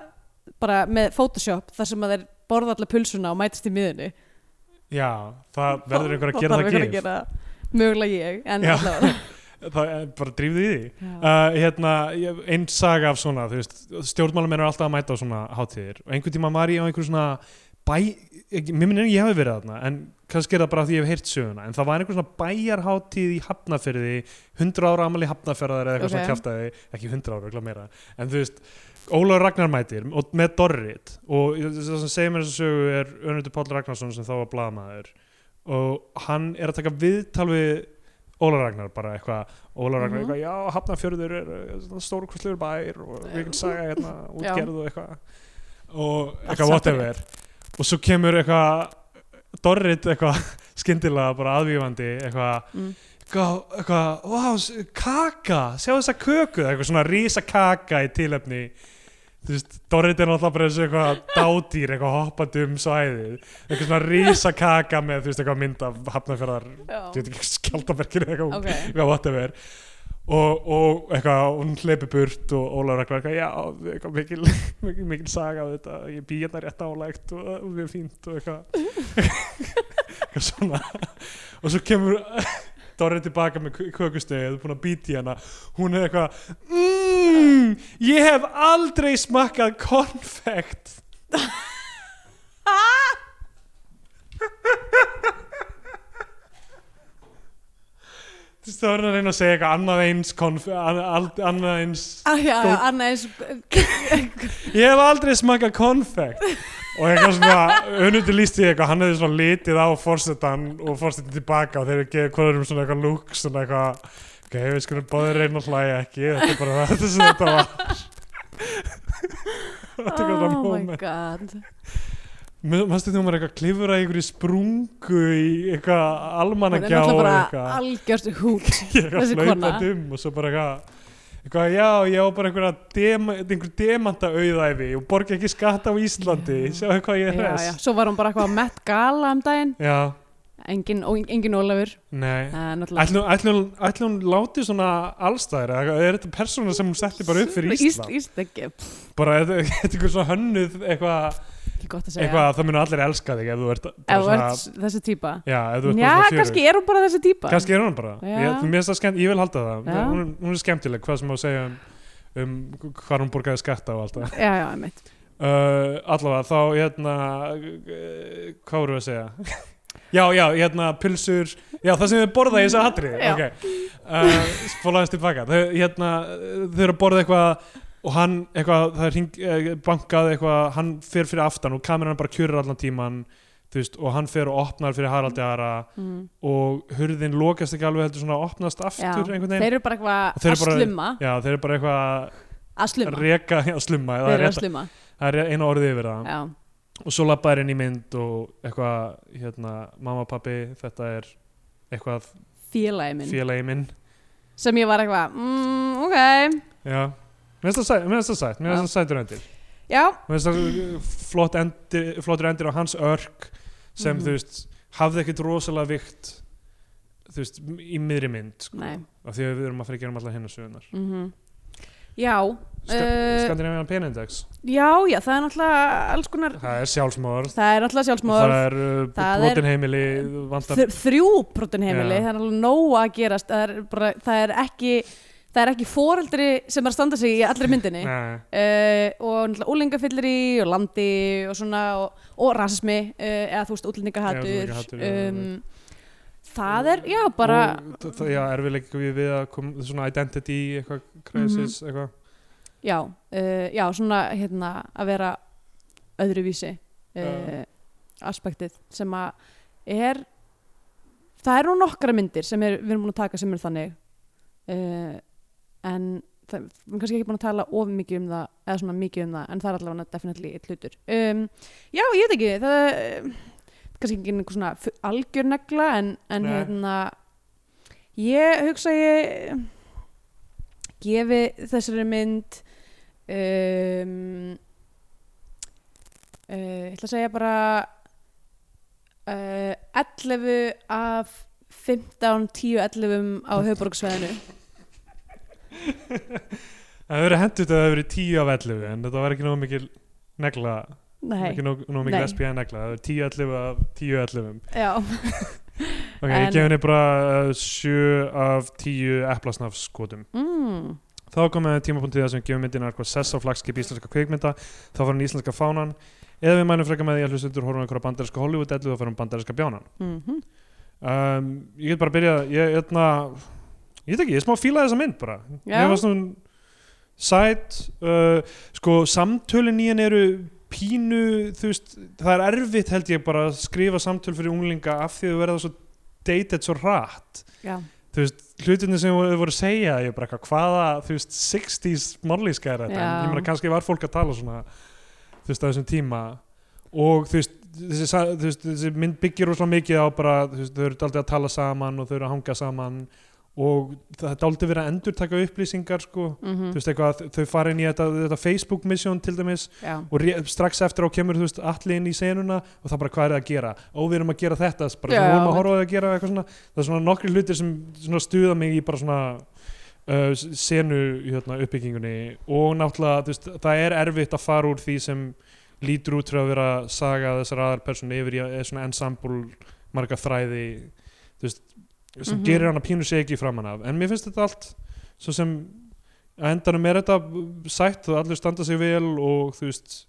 S3: bara með Photoshop þar sem að þeir borða alla pulsuna og mætast í miðjunni
S2: Já, það verður einhver að
S3: Þá
S2: gera
S3: þarf
S2: það
S3: einhver
S2: gif
S3: það. Mögulega ég, en
S2: Já.
S3: allavega
S2: það er bara drífðu í því
S3: Já.
S2: uh, hérna, ég- einn saga af svona þú veist, stjórnmálamenn eru alltaf að mæta á svona hátíðir og einhvern tíma var ég á einhver svona bæ, ekki, mér minnir að ég hafi verið þarna en kannski er það bara af því ég hef heyrt söguna en það var einhver svona bæjarhátíð í Hafnafyrði 100 ára amali Hafnafyrðar eða eitthvað
S3: Ok.
S2: svona kjaftaði, ekki 100 ára, örugglega meira en þú veist, Ólaur Ragnar mætir og með Dorrit og það sem segir mér þessu sögu er Önundur Páll Ragnarsson sem þá var blaðmaður og hann er að taka viðtal við Ólaur Ragnar bara eitthvað Ólaur Ragnar
S3: Mhm.
S2: eitthvað, já, Hafnarfjörður er eh, stórkostlegur bær og við erum saga hérna, útgerð og eitthvað og eitthvað
S3: satt
S2: whatever og svo kemur eitthvað Dorrit eitthvað skyndilega bara aðvífandi eitthvað
S3: Mm.
S2: eitthvað, eitthvað, wow, s- kaka sjá þessa köku, eitthvað svona rísa kaka í tilefni þú veist, Dorrit er náttúrulega bara eins og eitthvað dádýr, eitthvað hoppandi um svæðið eitthvað svona rísa kaka með, þú veist, eitthvað mynd af hafnafjörðar ég veit
S3: Já.
S2: ekki, skjaldabergir eða eitthvað,
S3: Ok,
S2: eitthvað whatever og, og eitthvað, og hún hleypi burt og Ólaður eitthvað, eitthvað, já, eitthvað mikil, mikil, mikil saga á þetta ég bý hérna rétt álægt og uh, mjög fínt og eitthvað eitthvað svona og svo kemur Dorri tilbaka með kö- kökustegið, búin að býti hana hún er eitthvað mmm, ég hef aldrei smakkað konfekt Þú veist, þá er hann að reyna að segja eitthvað annað eins konf, an, ald- annað eins
S3: Ah, já, já,
S2: Góð-
S3: annað eins
S2: ég hef aldrei smakað konfekt og eitthvað svona unnviti líst því eitthvað, hann hefði svona litið á forsetan og forsetin tilbaka og þeir eru gefið hverjum svona eitthvað lúk svona eitthvað, ok, við skulum báðir reyna að hlæja ekki, þetta er bara þetta sem þetta var þetta er eitthvað svona
S3: Oh my
S2: moment
S3: god
S2: mannstu þegar maður er eitthvað að klifra í einhverju sprungu í eitthvað
S3: Hún er
S2: almannagjá
S3: náttúrulega
S2: og
S3: bara
S2: eitthvað
S3: algjörst hút
S2: ég er
S3: Þessi
S2: eitthvað
S3: kona.
S2: hlaupandi um og svo bara eitthvað eitthvað, já, ég á bara einhverja dem, einhver demanta auðæfi og borga ekki skatt á Íslandi,
S3: Já.
S2: sjáðu hvað ég er
S3: já, já.
S2: hress
S3: Svo var hún bara eitthvað að Met Gala um daginn
S2: já,
S3: engin, ó- engin Ólafur
S2: Nei,
S3: Það er náttúrulega-
S2: ætlum, ætlum, ætlum hún láti svona allstæðir eða er þetta persóna sem hún setti bara upp fyrir Ísland
S3: Ísland, Ísland ekki, pff,
S2: bara þetta er eitthvað svona hönnuð eitthvað
S3: ekki gott að segja
S2: eitthvað að það munu allir elska þig ef þú ert bara
S3: Ef þú ert þessi típa
S2: já, ef þú ert
S3: Já,
S2: bara svona
S3: kannski
S2: fjörugur.
S3: er hún bara þessi típa
S2: kannski er hún bara
S3: Já.
S2: ég, mér finnst það skemmt, ég vil halda það
S3: Já.
S2: hún, er- hún er skemmtileg, hvað sem má segja um, um hvað hún borgaði skatta og allt það
S3: Já, já, einmitt
S2: uh, allavega þá hérna uh, hvað voru við að segja já, já, hérna pulsur já, það sem þau borða í þessu hatrið
S3: Já.
S2: ok, uh, spólaðist tilbaka þau, hérna, uh, þau eru að borða eitthvað og hann, eitthvað, það er hring, eh, bankað eitthvað, hann fer fyrir aftan og kameran bara kjurur allan tíman þú veist, og hann fer og opnar fyrir Haraldi Ara
S3: mm.
S2: og hurðin lokast ekki alveg heldur svona opnast
S3: Já,
S2: aftur einhvern
S3: þeir
S2: veginn
S3: eru bara
S2: Og
S3: eitthvað
S2: þeir
S3: að
S2: eru bara-
S3: slumma
S2: já, þeir eru bara eitthvað
S3: Að slumma,
S2: að reka, já, slumma
S3: þeir
S2: það er,
S3: eru að
S2: rétt-
S3: slumma
S2: það er eina orðið yfir það
S3: Já,
S2: og svo lappaði inn í mynd og eitthvað hérna, mamma, pappi, þetta er eitthvað
S3: félagi minn
S2: félagi minn
S3: Sem ég var eitthvað, mm, ok
S2: já, mér finnst það sæ- mér finnst það sætt mér finnst það sætur endir
S3: Já,
S2: mér finnst það uh, flott endir, flottur endir á hans örk sem
S3: Mhm.
S2: þú veist hafði ekkit rosalega vikt þú veist, m- í miðri mynd sko,
S3: Nei.
S2: af því að við erum að fara að gera um allar hennar sögunar
S3: mm já
S2: Ska,
S3: Eh.
S2: Skandinavian Penindex
S3: Já, já, það er náttúrulega alls konar
S2: það er sjálfsmorð
S3: Það er náttúrulega sjálfsmóður
S2: það er uh,
S3: Það er-
S2: brotin heimili vantar
S3: Þr- þrjú brotin heimili,
S2: Já.
S3: það er alveg nóg að gerast það er, bara, það er ekki það er ekki foreldri sem er að standa sig í allri myndinni uh,
S2: Nei.
S3: og úlingafillir í og landi og svona og, og rasismi uh, eða þú veist
S2: Já,
S3: útlendingahatur
S2: útlendingahatur, já,
S3: um, það er, já, bara
S2: Og þa- það- já, erfiðleika við við að koma svona identity eitthvað crisis
S3: Mhm.
S2: eitthvað
S3: já, uh, já, svona hérna að vera öðruvísi uh, aspektið sem að er það eru nokkra myndir sem er, við erum búin að taka sem eru þannig uh, en það, við erum kannski ekki búin að tala of mikið um það eða svona mikið um það en það er allavega definitely eitt hlutur um, já, ég veit ekki það er kannski ekki einhver svona fu- algjör negla en, en
S2: Nei.
S3: hérna ég hugsa að ég gefi þessari mynd um, uh, ég ætla að segja bara uh, 11 af 15, 10, 11 á höfborgsveðinu
S2: það hefur verið hendut að það hefur verið tíu af 11 en þetta var ekki nóg mikil negla
S3: Nei,
S2: ekki nóg, nóg mikil
S3: Nei.
S2: SPN negla það hefur tíu 11 af tíu 11
S3: já,
S2: ok, ég
S3: En-
S2: gef henni bara uh, sjö af tíu eplasnaf skotum
S3: mm,
S2: þá komið tímapunktið þar sem við gefum myndina eitthvað sess á flagskip íslenska kveikmynda þá var hann íslenska fánan eða við mænum frekar með því að hlustundur horfum eitthvað bandarinska Hollywood ellu og fyrir bandarinska bjánan
S3: mm
S2: um, ég get bara að byrja ég, eitna, ég veit ekki, ég er smá að fíla þessa mynd bara
S3: Já.
S2: ég var svona sæt uh, sko samtölin í henni eru pínu þú veist, það er erfitt held ég bara að skrifa samtöl fyrir unglinga af því að þau verða svo dated svo hratt
S3: já,
S2: þú veist, hlutinni sem þau voru að segja ég bara eitthvað, hvaða, þú veist, 60s morlíska er þetta,
S3: Já.
S2: en ég meina kannski var fólk að tala svona, þú veist, á þessum tíma og þú veist þessi, sa- þú veist, þessi mynd byggir úr mikið á bara, þú veist, þau eru daldið að tala saman og þau eru að hanga saman og það er daldið verið að endurtaka upplýsingar sko, þú
S3: mm
S2: veist, eitthvað, þau fara inn í þetta, þetta Facebook mission til dæmis
S3: já,
S2: og ré, strax eftir á kemur, þú veist, allir inn í senuna og það bara hvað er það að gera og við erum að gera þetta, bara
S3: Já,
S2: sem við erum
S3: já.
S2: að horfa á það að gera eitthvað svona, það er svona nokkri hlutir sem svona stuða mig í bara svona uh, senu hérna, uppbyggingunni og náttúrulega, þú veist, það er erfitt að fara úr því sem lítur út til að vera saga þessar aðar persónu yfir í að- eða svona ensemble marga þræði þú veist, sem
S3: Mhm.
S2: gerir hann að pínu sig ekki framan af en mér finnst þetta allt svo sem að endanum er þetta sætt og allir standa sig vel og þú veist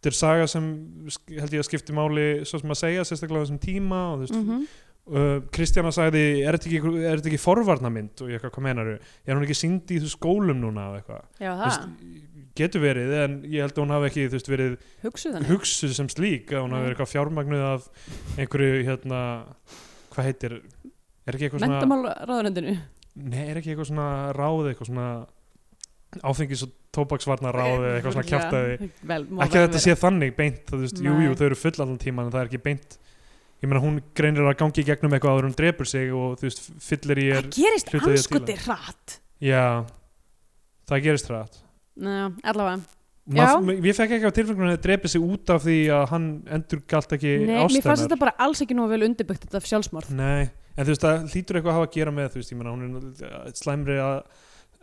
S2: þetta er saga sem sk- held ég að skipti máli svo sem að segja sérstaklega á þessum tíma og þú veist
S3: mhm,
S2: uh, Kristjana sagði er þetta ekki, einhver- er þetta ekki forvarnamynd og ég eitthvað hvað meinaru er hún ekki syndi í þessu skólum núna og eitthvað
S3: já,
S2: Þú
S3: það
S2: getur verið en ég held að hún hafi ekki þú veist verið
S3: hugsuð þannig
S2: hugsuð sem slík að hún hafi
S3: Nei.
S2: verið eitthvað fjármagnuð af einhverju hérna hvað heitir er ekki eitthvað svona
S3: Mendamálraðunendinu
S2: Nei, er ekki eitthvað svona ráð eitthvað svona áfengis og tóbaksvarna ráð eða eitthvað svona kjátaði
S3: Vel, má
S2: ekki að
S3: vel
S2: þetta
S3: vera.
S2: sé þannig beint þú veist, jú,
S3: Nei.
S2: jú, þau eru full allan tíman en það er ekki beint ég meina hún greinir að gangi í gegnum eitthvað áður en hún drepur sig og þú veist, fyllir í er
S3: Það gerist
S2: hluti af því að
S3: anskoti hratt
S2: já, það gerist hrætt
S3: Næja, allavega Já.
S2: Mað, ég fekk ekki á tilfengunum að hann drepi sig út af því að hann endur galt ekki
S3: Nei, mér fannst
S2: ástæðnar
S3: þetta bara alls ekki nóg vel undirbyggt þetta sjálfsmorð
S2: Nei, en þú veist það hlýtur eitthvað að hafa að gera með þú veist, ég meina hún er uh, slæmri að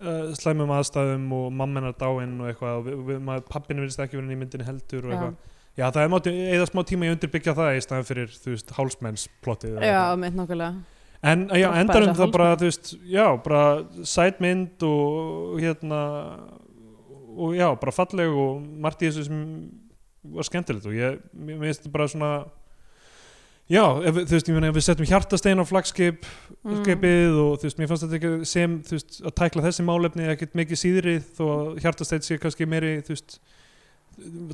S2: uh, slæmum aðstæðum og mamma hennar dáinn og eitthvað og við, við, maður, pappinu verðist ekki verið í myndinni heldur og
S3: Já.
S2: eitthvað Já, það er mátti eða smá tíma ég undirbyggja það í staðan fyrir, þú veist, hálsmennsplottið eða
S3: Já,
S2: eitthvað.
S3: með nákvæmlega
S2: En já,
S3: Droppa
S2: endarum
S3: þessa
S2: það bara, þú veist, já, bara sætmynd og hérna og já, bara falleg og margt í þessu sem var skemmtilegt og ég, mér mér finnst þetta bara svona já, ef, við- þú veist, ég meina ef við settum hjartastein á flagskip
S3: mm.
S2: skipið og þú veist, mér fannst þetta ekki sem, þú veist, að tækla þessi málefni ekkert mikið síðri þó að hjartastein sé kannski meiri, þú veist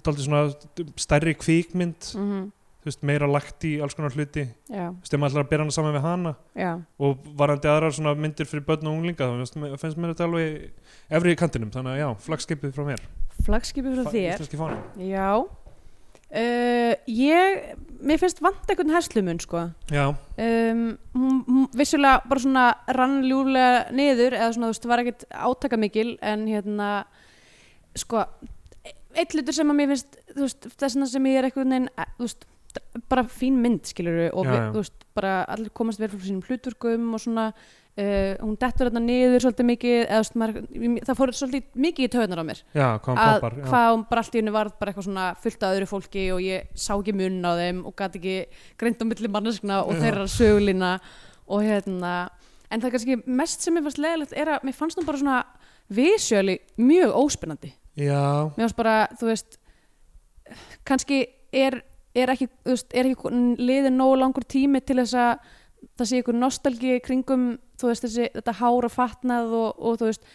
S2: daldið svona stærri kvíkmynd,
S3: Mhm.
S2: þú veist, meira lagt í alls konar hluti, þú
S3: Já,
S2: veist, ef maður ætlar að bera hana saman við hana
S3: já,
S2: og varandi aðrar svona myndir fyrir börn og unglinga þá finnst mér- finnst mér þetta alveg efri í kantinum, þannig að já, flagskipið frá mér
S3: flagskipi frá þér
S2: Íslenski fáninn.
S3: Já uh, Ég, mér finnst vant einhvern herslumun sko
S2: Já,
S3: um, hún, hún vissulega bara svona rann ljúlega niður eða svona þú veist var ekkert átakamikil en hérna sko, e- einn hlutur sem að mér finnst þú veist, þessna sem ég er eitthvað neginn e, þú veist, d- bara fín mynd skilur og
S2: Já,
S3: við,
S2: já.
S3: þú veist, bara allir komast verið frá sínum hluturkum og svona uh, hún dettur þarna niður svolítið mikið eða þú veist, maður, það fór svolítið mikið í töðunar á mér
S2: já, hvað hann
S3: að
S2: poppar já.
S3: hvað hún bara allt í henni varð bara eitthvað svona fullt af öðru fólki og ég sá ekki mun á þeim og gat ekki greint á milli manneskna og
S2: Já.
S3: þeirra sögulina og hérna en það kannski mest sem mér fannst leðilegt er að mér fannst hún bara svona visjöli mjög óspennandi
S2: já,
S3: mér fannst bara, þú veist kannski er, er ekki, þú veist, er ekki liðin nógu langur tími til þess að það sé ykkur nostalgi í kringum þú veist, þessi, þetta hára fatnað og, og þú veist,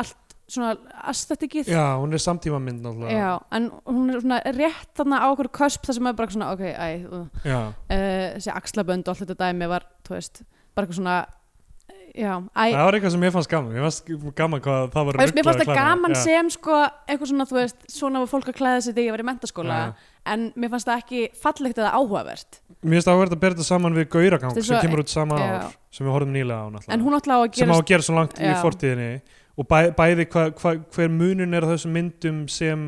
S3: allt svona astetikið
S2: já, hún er samtímamynd náttúrulega
S3: Já, en hún er svona rétt þarna á okkur kösp þar sem er bara svona, ok, æ, uh,
S2: já,
S3: þessi axlabönd og allt þetta dæmi var, þú veist, bara eitthvað svona, eh, já, æ,
S2: það var eitthvað sem mér fannst gaman mér fannst gaman hvað það var
S3: þú veist, mér fannst
S2: ruglað
S3: það
S2: klæðið.
S3: gaman
S2: Já.
S3: sem sko, eitthvað svona, þú veist, svona var fólk að klæða sig þegar ég var í mentaskóla, en mér fannst það ekki fallegt eða áhugavert,
S2: Mér finnst áhverð að bera þetta saman við Gauragang
S3: Þetta er
S2: sem
S3: svo-
S2: kemur út sama
S3: já.
S2: ár sem við horfum nýlega á náttúrulega
S3: en hún ætla á að
S2: sem á
S3: gerast,
S2: að gera svo langt í
S3: Já.
S2: fortíðinni og bæ, bæði hva, hva, hver munun er á þessum myndum sem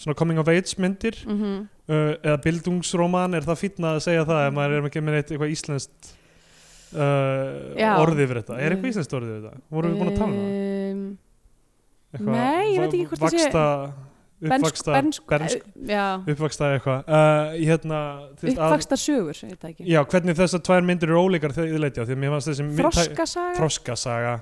S2: svona coming of age myndir
S3: mm -hmm.
S2: uh, eða bildungsroman, er það fýtna að segja það ef maður er ekki með neitt eitthvað íslenskt uh,
S3: Já. Mm.
S2: orðið fyrir þetta er eitthvað íslenskt orðið fyrir þetta? vorum við búin að tala um það?
S3: Ehm,
S2: Eitthvað
S3: Eh, nei, ég veit ekki hvort það sé-
S2: vaksta,
S3: Bensk,
S2: uppvaksta,
S3: bensk,
S2: bernsk,
S3: eh, já,
S2: uppvaksta eitthvað uh, hérna, þú veist, að-
S3: uppvakstar sögur, ég veit það ekki,
S2: já, hvernig þessar tvær myndir eru ólíkar þegar ég leiti á því að mér fannst þessi mynd-
S3: þroskasaga,
S2: þroskasaga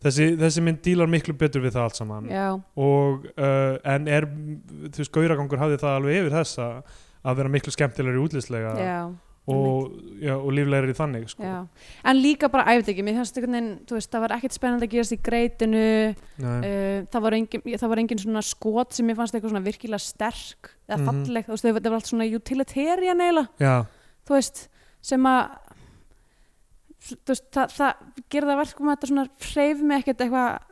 S2: þessi, þessi mynd dílar miklu betur við það allt saman
S3: já,
S2: og, uh, en er þú veist, gauragangur hafði það alveg yfir þessa að vera miklu skemmtilegri útlýslega
S3: já.
S2: og, já, og líflegri þannig sko.
S3: Já, en líka bara, æ, ég veit ekki, mér fannst einhvern veginn, þú veist, það var ekkert spennandi að gerast í greitinu,
S2: Nei.
S3: uh, það, var engin, það var engin svona skot sem mér fannst eitthvað svona virkilega sterk eða
S2: Mhm.
S3: falleg, þú veist, það var- það var allt svona utilitarian eiginlega,
S2: já,
S3: þú veist, sem að, þú veist, það, það gerði það verkum að þetta svona hreyf mig ekkert eitthvað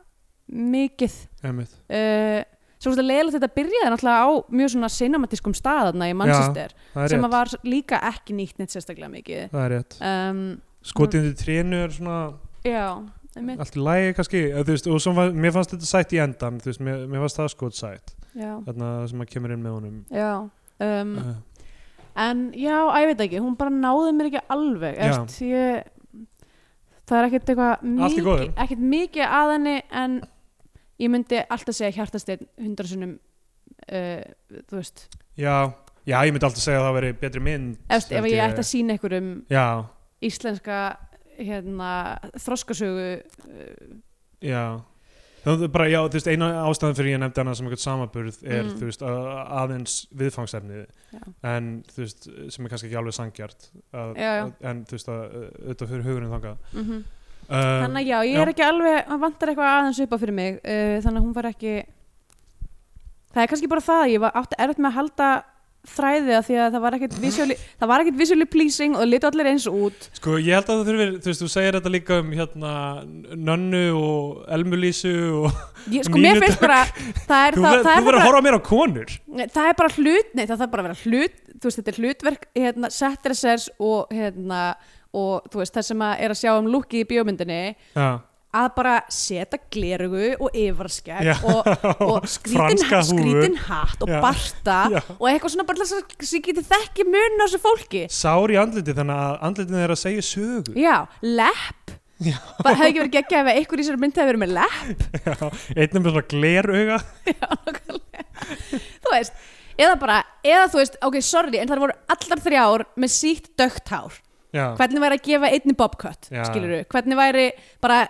S3: mikið.
S2: einmitt
S3: Uh, svo veist að leiðilegt að þetta byrjaði náttúrulega á mjög svona cinematiskum staðarna í Manchester,
S2: það er
S3: sem að
S2: rétt,
S3: var líka ekki nýtt neitt sérstaklega mikið.
S2: það er rétt
S3: Um,
S2: skotið undir trénu er svona
S3: já, einmitt,
S2: allt í lægi kannski eða, þú veist, og svo var, mér fannst þetta sætt í endan þú veist, mér, mér fannst það skot sætt
S3: já.
S2: þarna sem að kemur inn með honum
S3: Já, um,
S2: uh,
S3: en já, að ég veit ekki, hún bara náði mér ekki alveg,
S2: Já.
S3: eftir ég, það er ekkert eitthvað
S2: Allt í góðu.
S3: mikið, ekkert mikið að henni en ég myndi alltaf segja hjartasteinn hundra sunnum, uh, þú veist,
S2: já, já, ég myndi alltaf segja að það veri betri mynd
S3: eftir, ef
S2: held
S3: ég ætti að sína einhverjum
S2: já,
S3: íslenska hérna, þroskasögu, uh,
S2: Já, það er bara, já, þú veist, eina ástæðan fyrir ég nefndi hana sem eitthvað samaburð er,
S3: Mm.
S2: þú veist, að- aðeins viðfangsefnið
S3: Já.
S2: en, þú veist, sem er kannski ekki alveg sangjart að,
S3: Já, já.
S2: Að, en, þú veist, að auðvitað fyrir hugurinn þangað
S3: mm
S2: um,
S3: þannig að já, ég er
S2: já.
S3: ekki alveg, hann vantar eitthvað aðeins upp á fyrir mig, uh, þannig að hún var ekki, það er kannski bara það, að ég var átti erfitt með að halda þræðið að því að það var ekkert visually, það var ekkert visually pleasing og það litu allir eins út.
S2: Sko, ég held að það þurfir, þú veist, þú segir þetta líka um, hérna, Nönnu og Elmulísu og
S3: Ég, sko,
S2: Nínu
S3: mér finnst bara, það er,
S2: þú
S3: það,
S2: verð-
S3: það,
S2: þú
S3: er
S2: verður að
S3: bara,
S2: horfa mér á konur
S3: það er bara hlut, nei það þarf bara að vera hlut, þú veist þetta er hlutverk, hérna, setresers og hérna, og þú veist það sem að er að sjá um lúki í bíómyndinni
S2: Já,
S3: að bara setja glerugu og
S2: Já.
S3: yfarskegg og, og skrítin,
S2: Franska húfu.
S3: skrítin hatt og
S2: Já.
S3: barta
S2: Já.
S3: og eitthvað svona bara til þess að sem geti þekki mun á þessu fólki
S2: sár í andliti þannig að andlitin er að segja sögu
S3: Já, lepp bara hefði ekki verið geggjað ef einhver í sér myndi hefði verið með lepp
S2: Já, einn er með svona glerauga
S3: þú veist, eða bara, eða þú veist ok, sorry, en þar voru allar þrjár með sítt dögt hár
S2: já,
S3: hvernig væri að gefa einni bobcut,
S2: Já.
S3: skiluru hvernig væri bara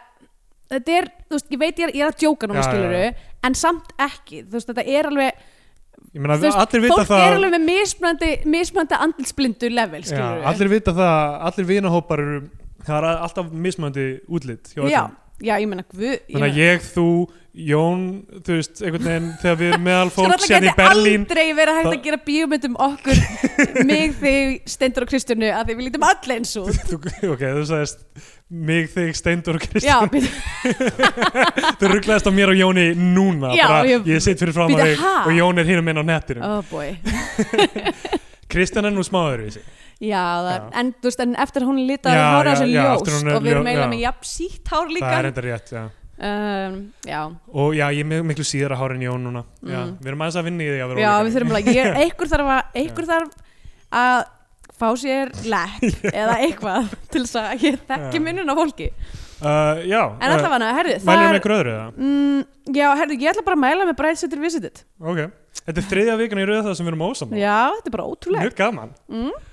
S3: þetta er, þú veist, ég veit ég er, ég er að djóka núna,
S2: Já, já,
S3: skiluru en samt ekki, þú veist, þetta er alveg
S2: ég meina
S3: þú veist,
S2: allir vita
S3: fólk er
S2: það
S3: alveg með mismunandi, mismunandi andilsblindu level,
S2: já,
S3: skiluru
S2: allir vita það, allir vinahópar eru það er alltaf mismöndi útlit hjá öllum.
S3: já, já, ég meina, guð ég
S2: þannig að ég, þú, Jón þú veist, einhvern veginn þegar við erum meðal fólk
S3: Svo
S2: sérn í
S3: náttúrulega Sko, gæti
S2: Berlín
S3: aldrei verið hægt að
S2: Það-
S3: gera bíómyndum okkur mig, þig, Stendur og Kristjánu að því við lítum öll eins út
S2: Þú, ok, þú sagðist mig, þig, Steindur og
S3: Já,
S2: Kristján
S3: býttu,
S2: Þú rugglaðist á mér og Jóni núna
S3: Já,
S2: bara,
S3: ég-
S2: ég, sitt fyrir fram á
S3: Bíddu,
S2: þig
S3: ha?
S2: og Jón er hinum inn á nettinum
S3: oh boy
S2: Kristján er nú smáður í sig
S3: Já, það,
S2: Já.
S3: en, þú veist, en eftir að hún litaði
S2: Já,
S3: hára
S2: já,
S3: þessu
S2: já,
S3: ljóst
S2: eftir hún er
S3: og við erum
S2: ljó-
S3: eiginlega
S2: já.
S3: með jafn sítt hár líka
S2: Það er enda rétt, já
S3: um, Já,
S2: Og já, ég er með miklu síðara hár en Jón núna já,
S3: Mm.
S2: Við erum aðeins að vinna í því að vera
S3: já
S2: ólíkari.
S3: við þurfum alveg ég, einhver þarf að, einhver þarf að fá sér lekk eða eitthvað til þess að ég
S2: Já.
S3: þekki minnun á fólki
S2: uh, Já,
S3: En allavega, herðu, það
S2: Mælum við
S3: er
S2: ykkur öðru það?
S3: mm, Já, herðu, ég ætla bara að mæla með Bræðsettur Visited
S2: Ok, þetta er þriðja vikan í rauða það sem við erum ósamála
S3: Já, þetta er bara ótrúlegt
S2: Mjög gaman
S3: Mm.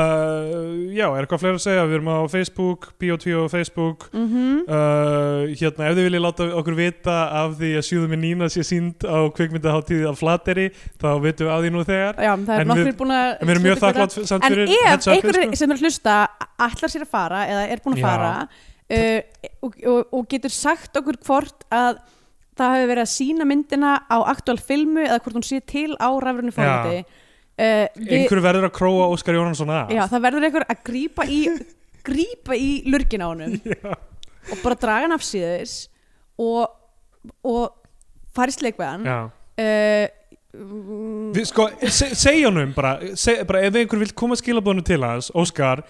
S2: Uh, já, er eitthvað fleira að segja? Við erum á Facebook, Bio2 og Facebook
S3: mm
S2: uh, Hérna, ef þið viljið láta okkur vita af því að sjúðum í Nína sé sínd á kvikmyndaháttíði af Flateri þá vitum við að því nú þegar
S3: Já, það
S2: En
S3: er nokkur
S2: við-
S3: búin að
S2: En við erum mjög
S3: setja fyrir það.
S2: þakklátt samt
S3: En
S2: fyrir
S3: ef
S2: heads upið,
S3: einhverjir sem er að hlusta allar sér að fara eða er búin að
S2: Já.
S3: fara uh, og, og, og getur sagt okkur hvort að það hefur verið að sína myndina á aktuál filmu eða hvort hún sé til á rafrunni fórhætti uh, við-
S2: Einhverju verður að króa Óskar Jónansson að
S3: Já, það verður einhver að grípa í grípa í lurgin á honum
S2: Já.
S3: og bara draga hann af síðis og, og fara í sleikveðan
S2: Já.
S3: uh,
S2: Við, sko, se, segja honum um bara, seg, bara ef einhver vil koma skilabónu til hans Óskar,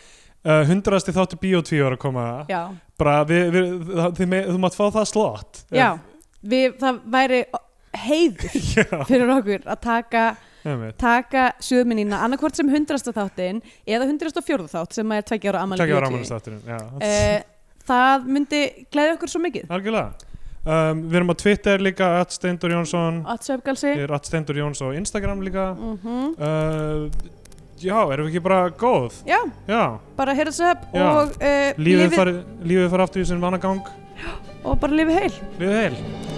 S2: uh, hundrasti þáttu Bio2 er að koma
S3: Já
S2: bara, við, við, það, þið, me- þú mátt fá það slott
S3: Já, við, það væri heiður
S2: Já,
S3: fyrir okkur að taka,
S2: einmitt.
S3: taka suðuminnina annarkvort sem 100. þáttin eða 104. þátt sem er tveggja ára amal
S2: Takk fyrir ámælistátturinn Já,
S3: Eh. Það myndi gleði okkur svo mikið
S2: algjörlega um, Við erum á Twitter líka, Atsteindur Jónsson
S3: Atsöfgalsi
S2: Ég er Atsteindur Jónsson á Instagram líka
S3: mm
S2: uh, Já, erum við ekki bara góð?
S3: Já,
S2: Já,
S3: bara heyrðu þessu upp
S2: Já.
S3: og, uh,
S2: lífið, lífið. Fari, lífið fari aftur í sinn vanagang
S3: og bara lifið heil
S2: Lífið heil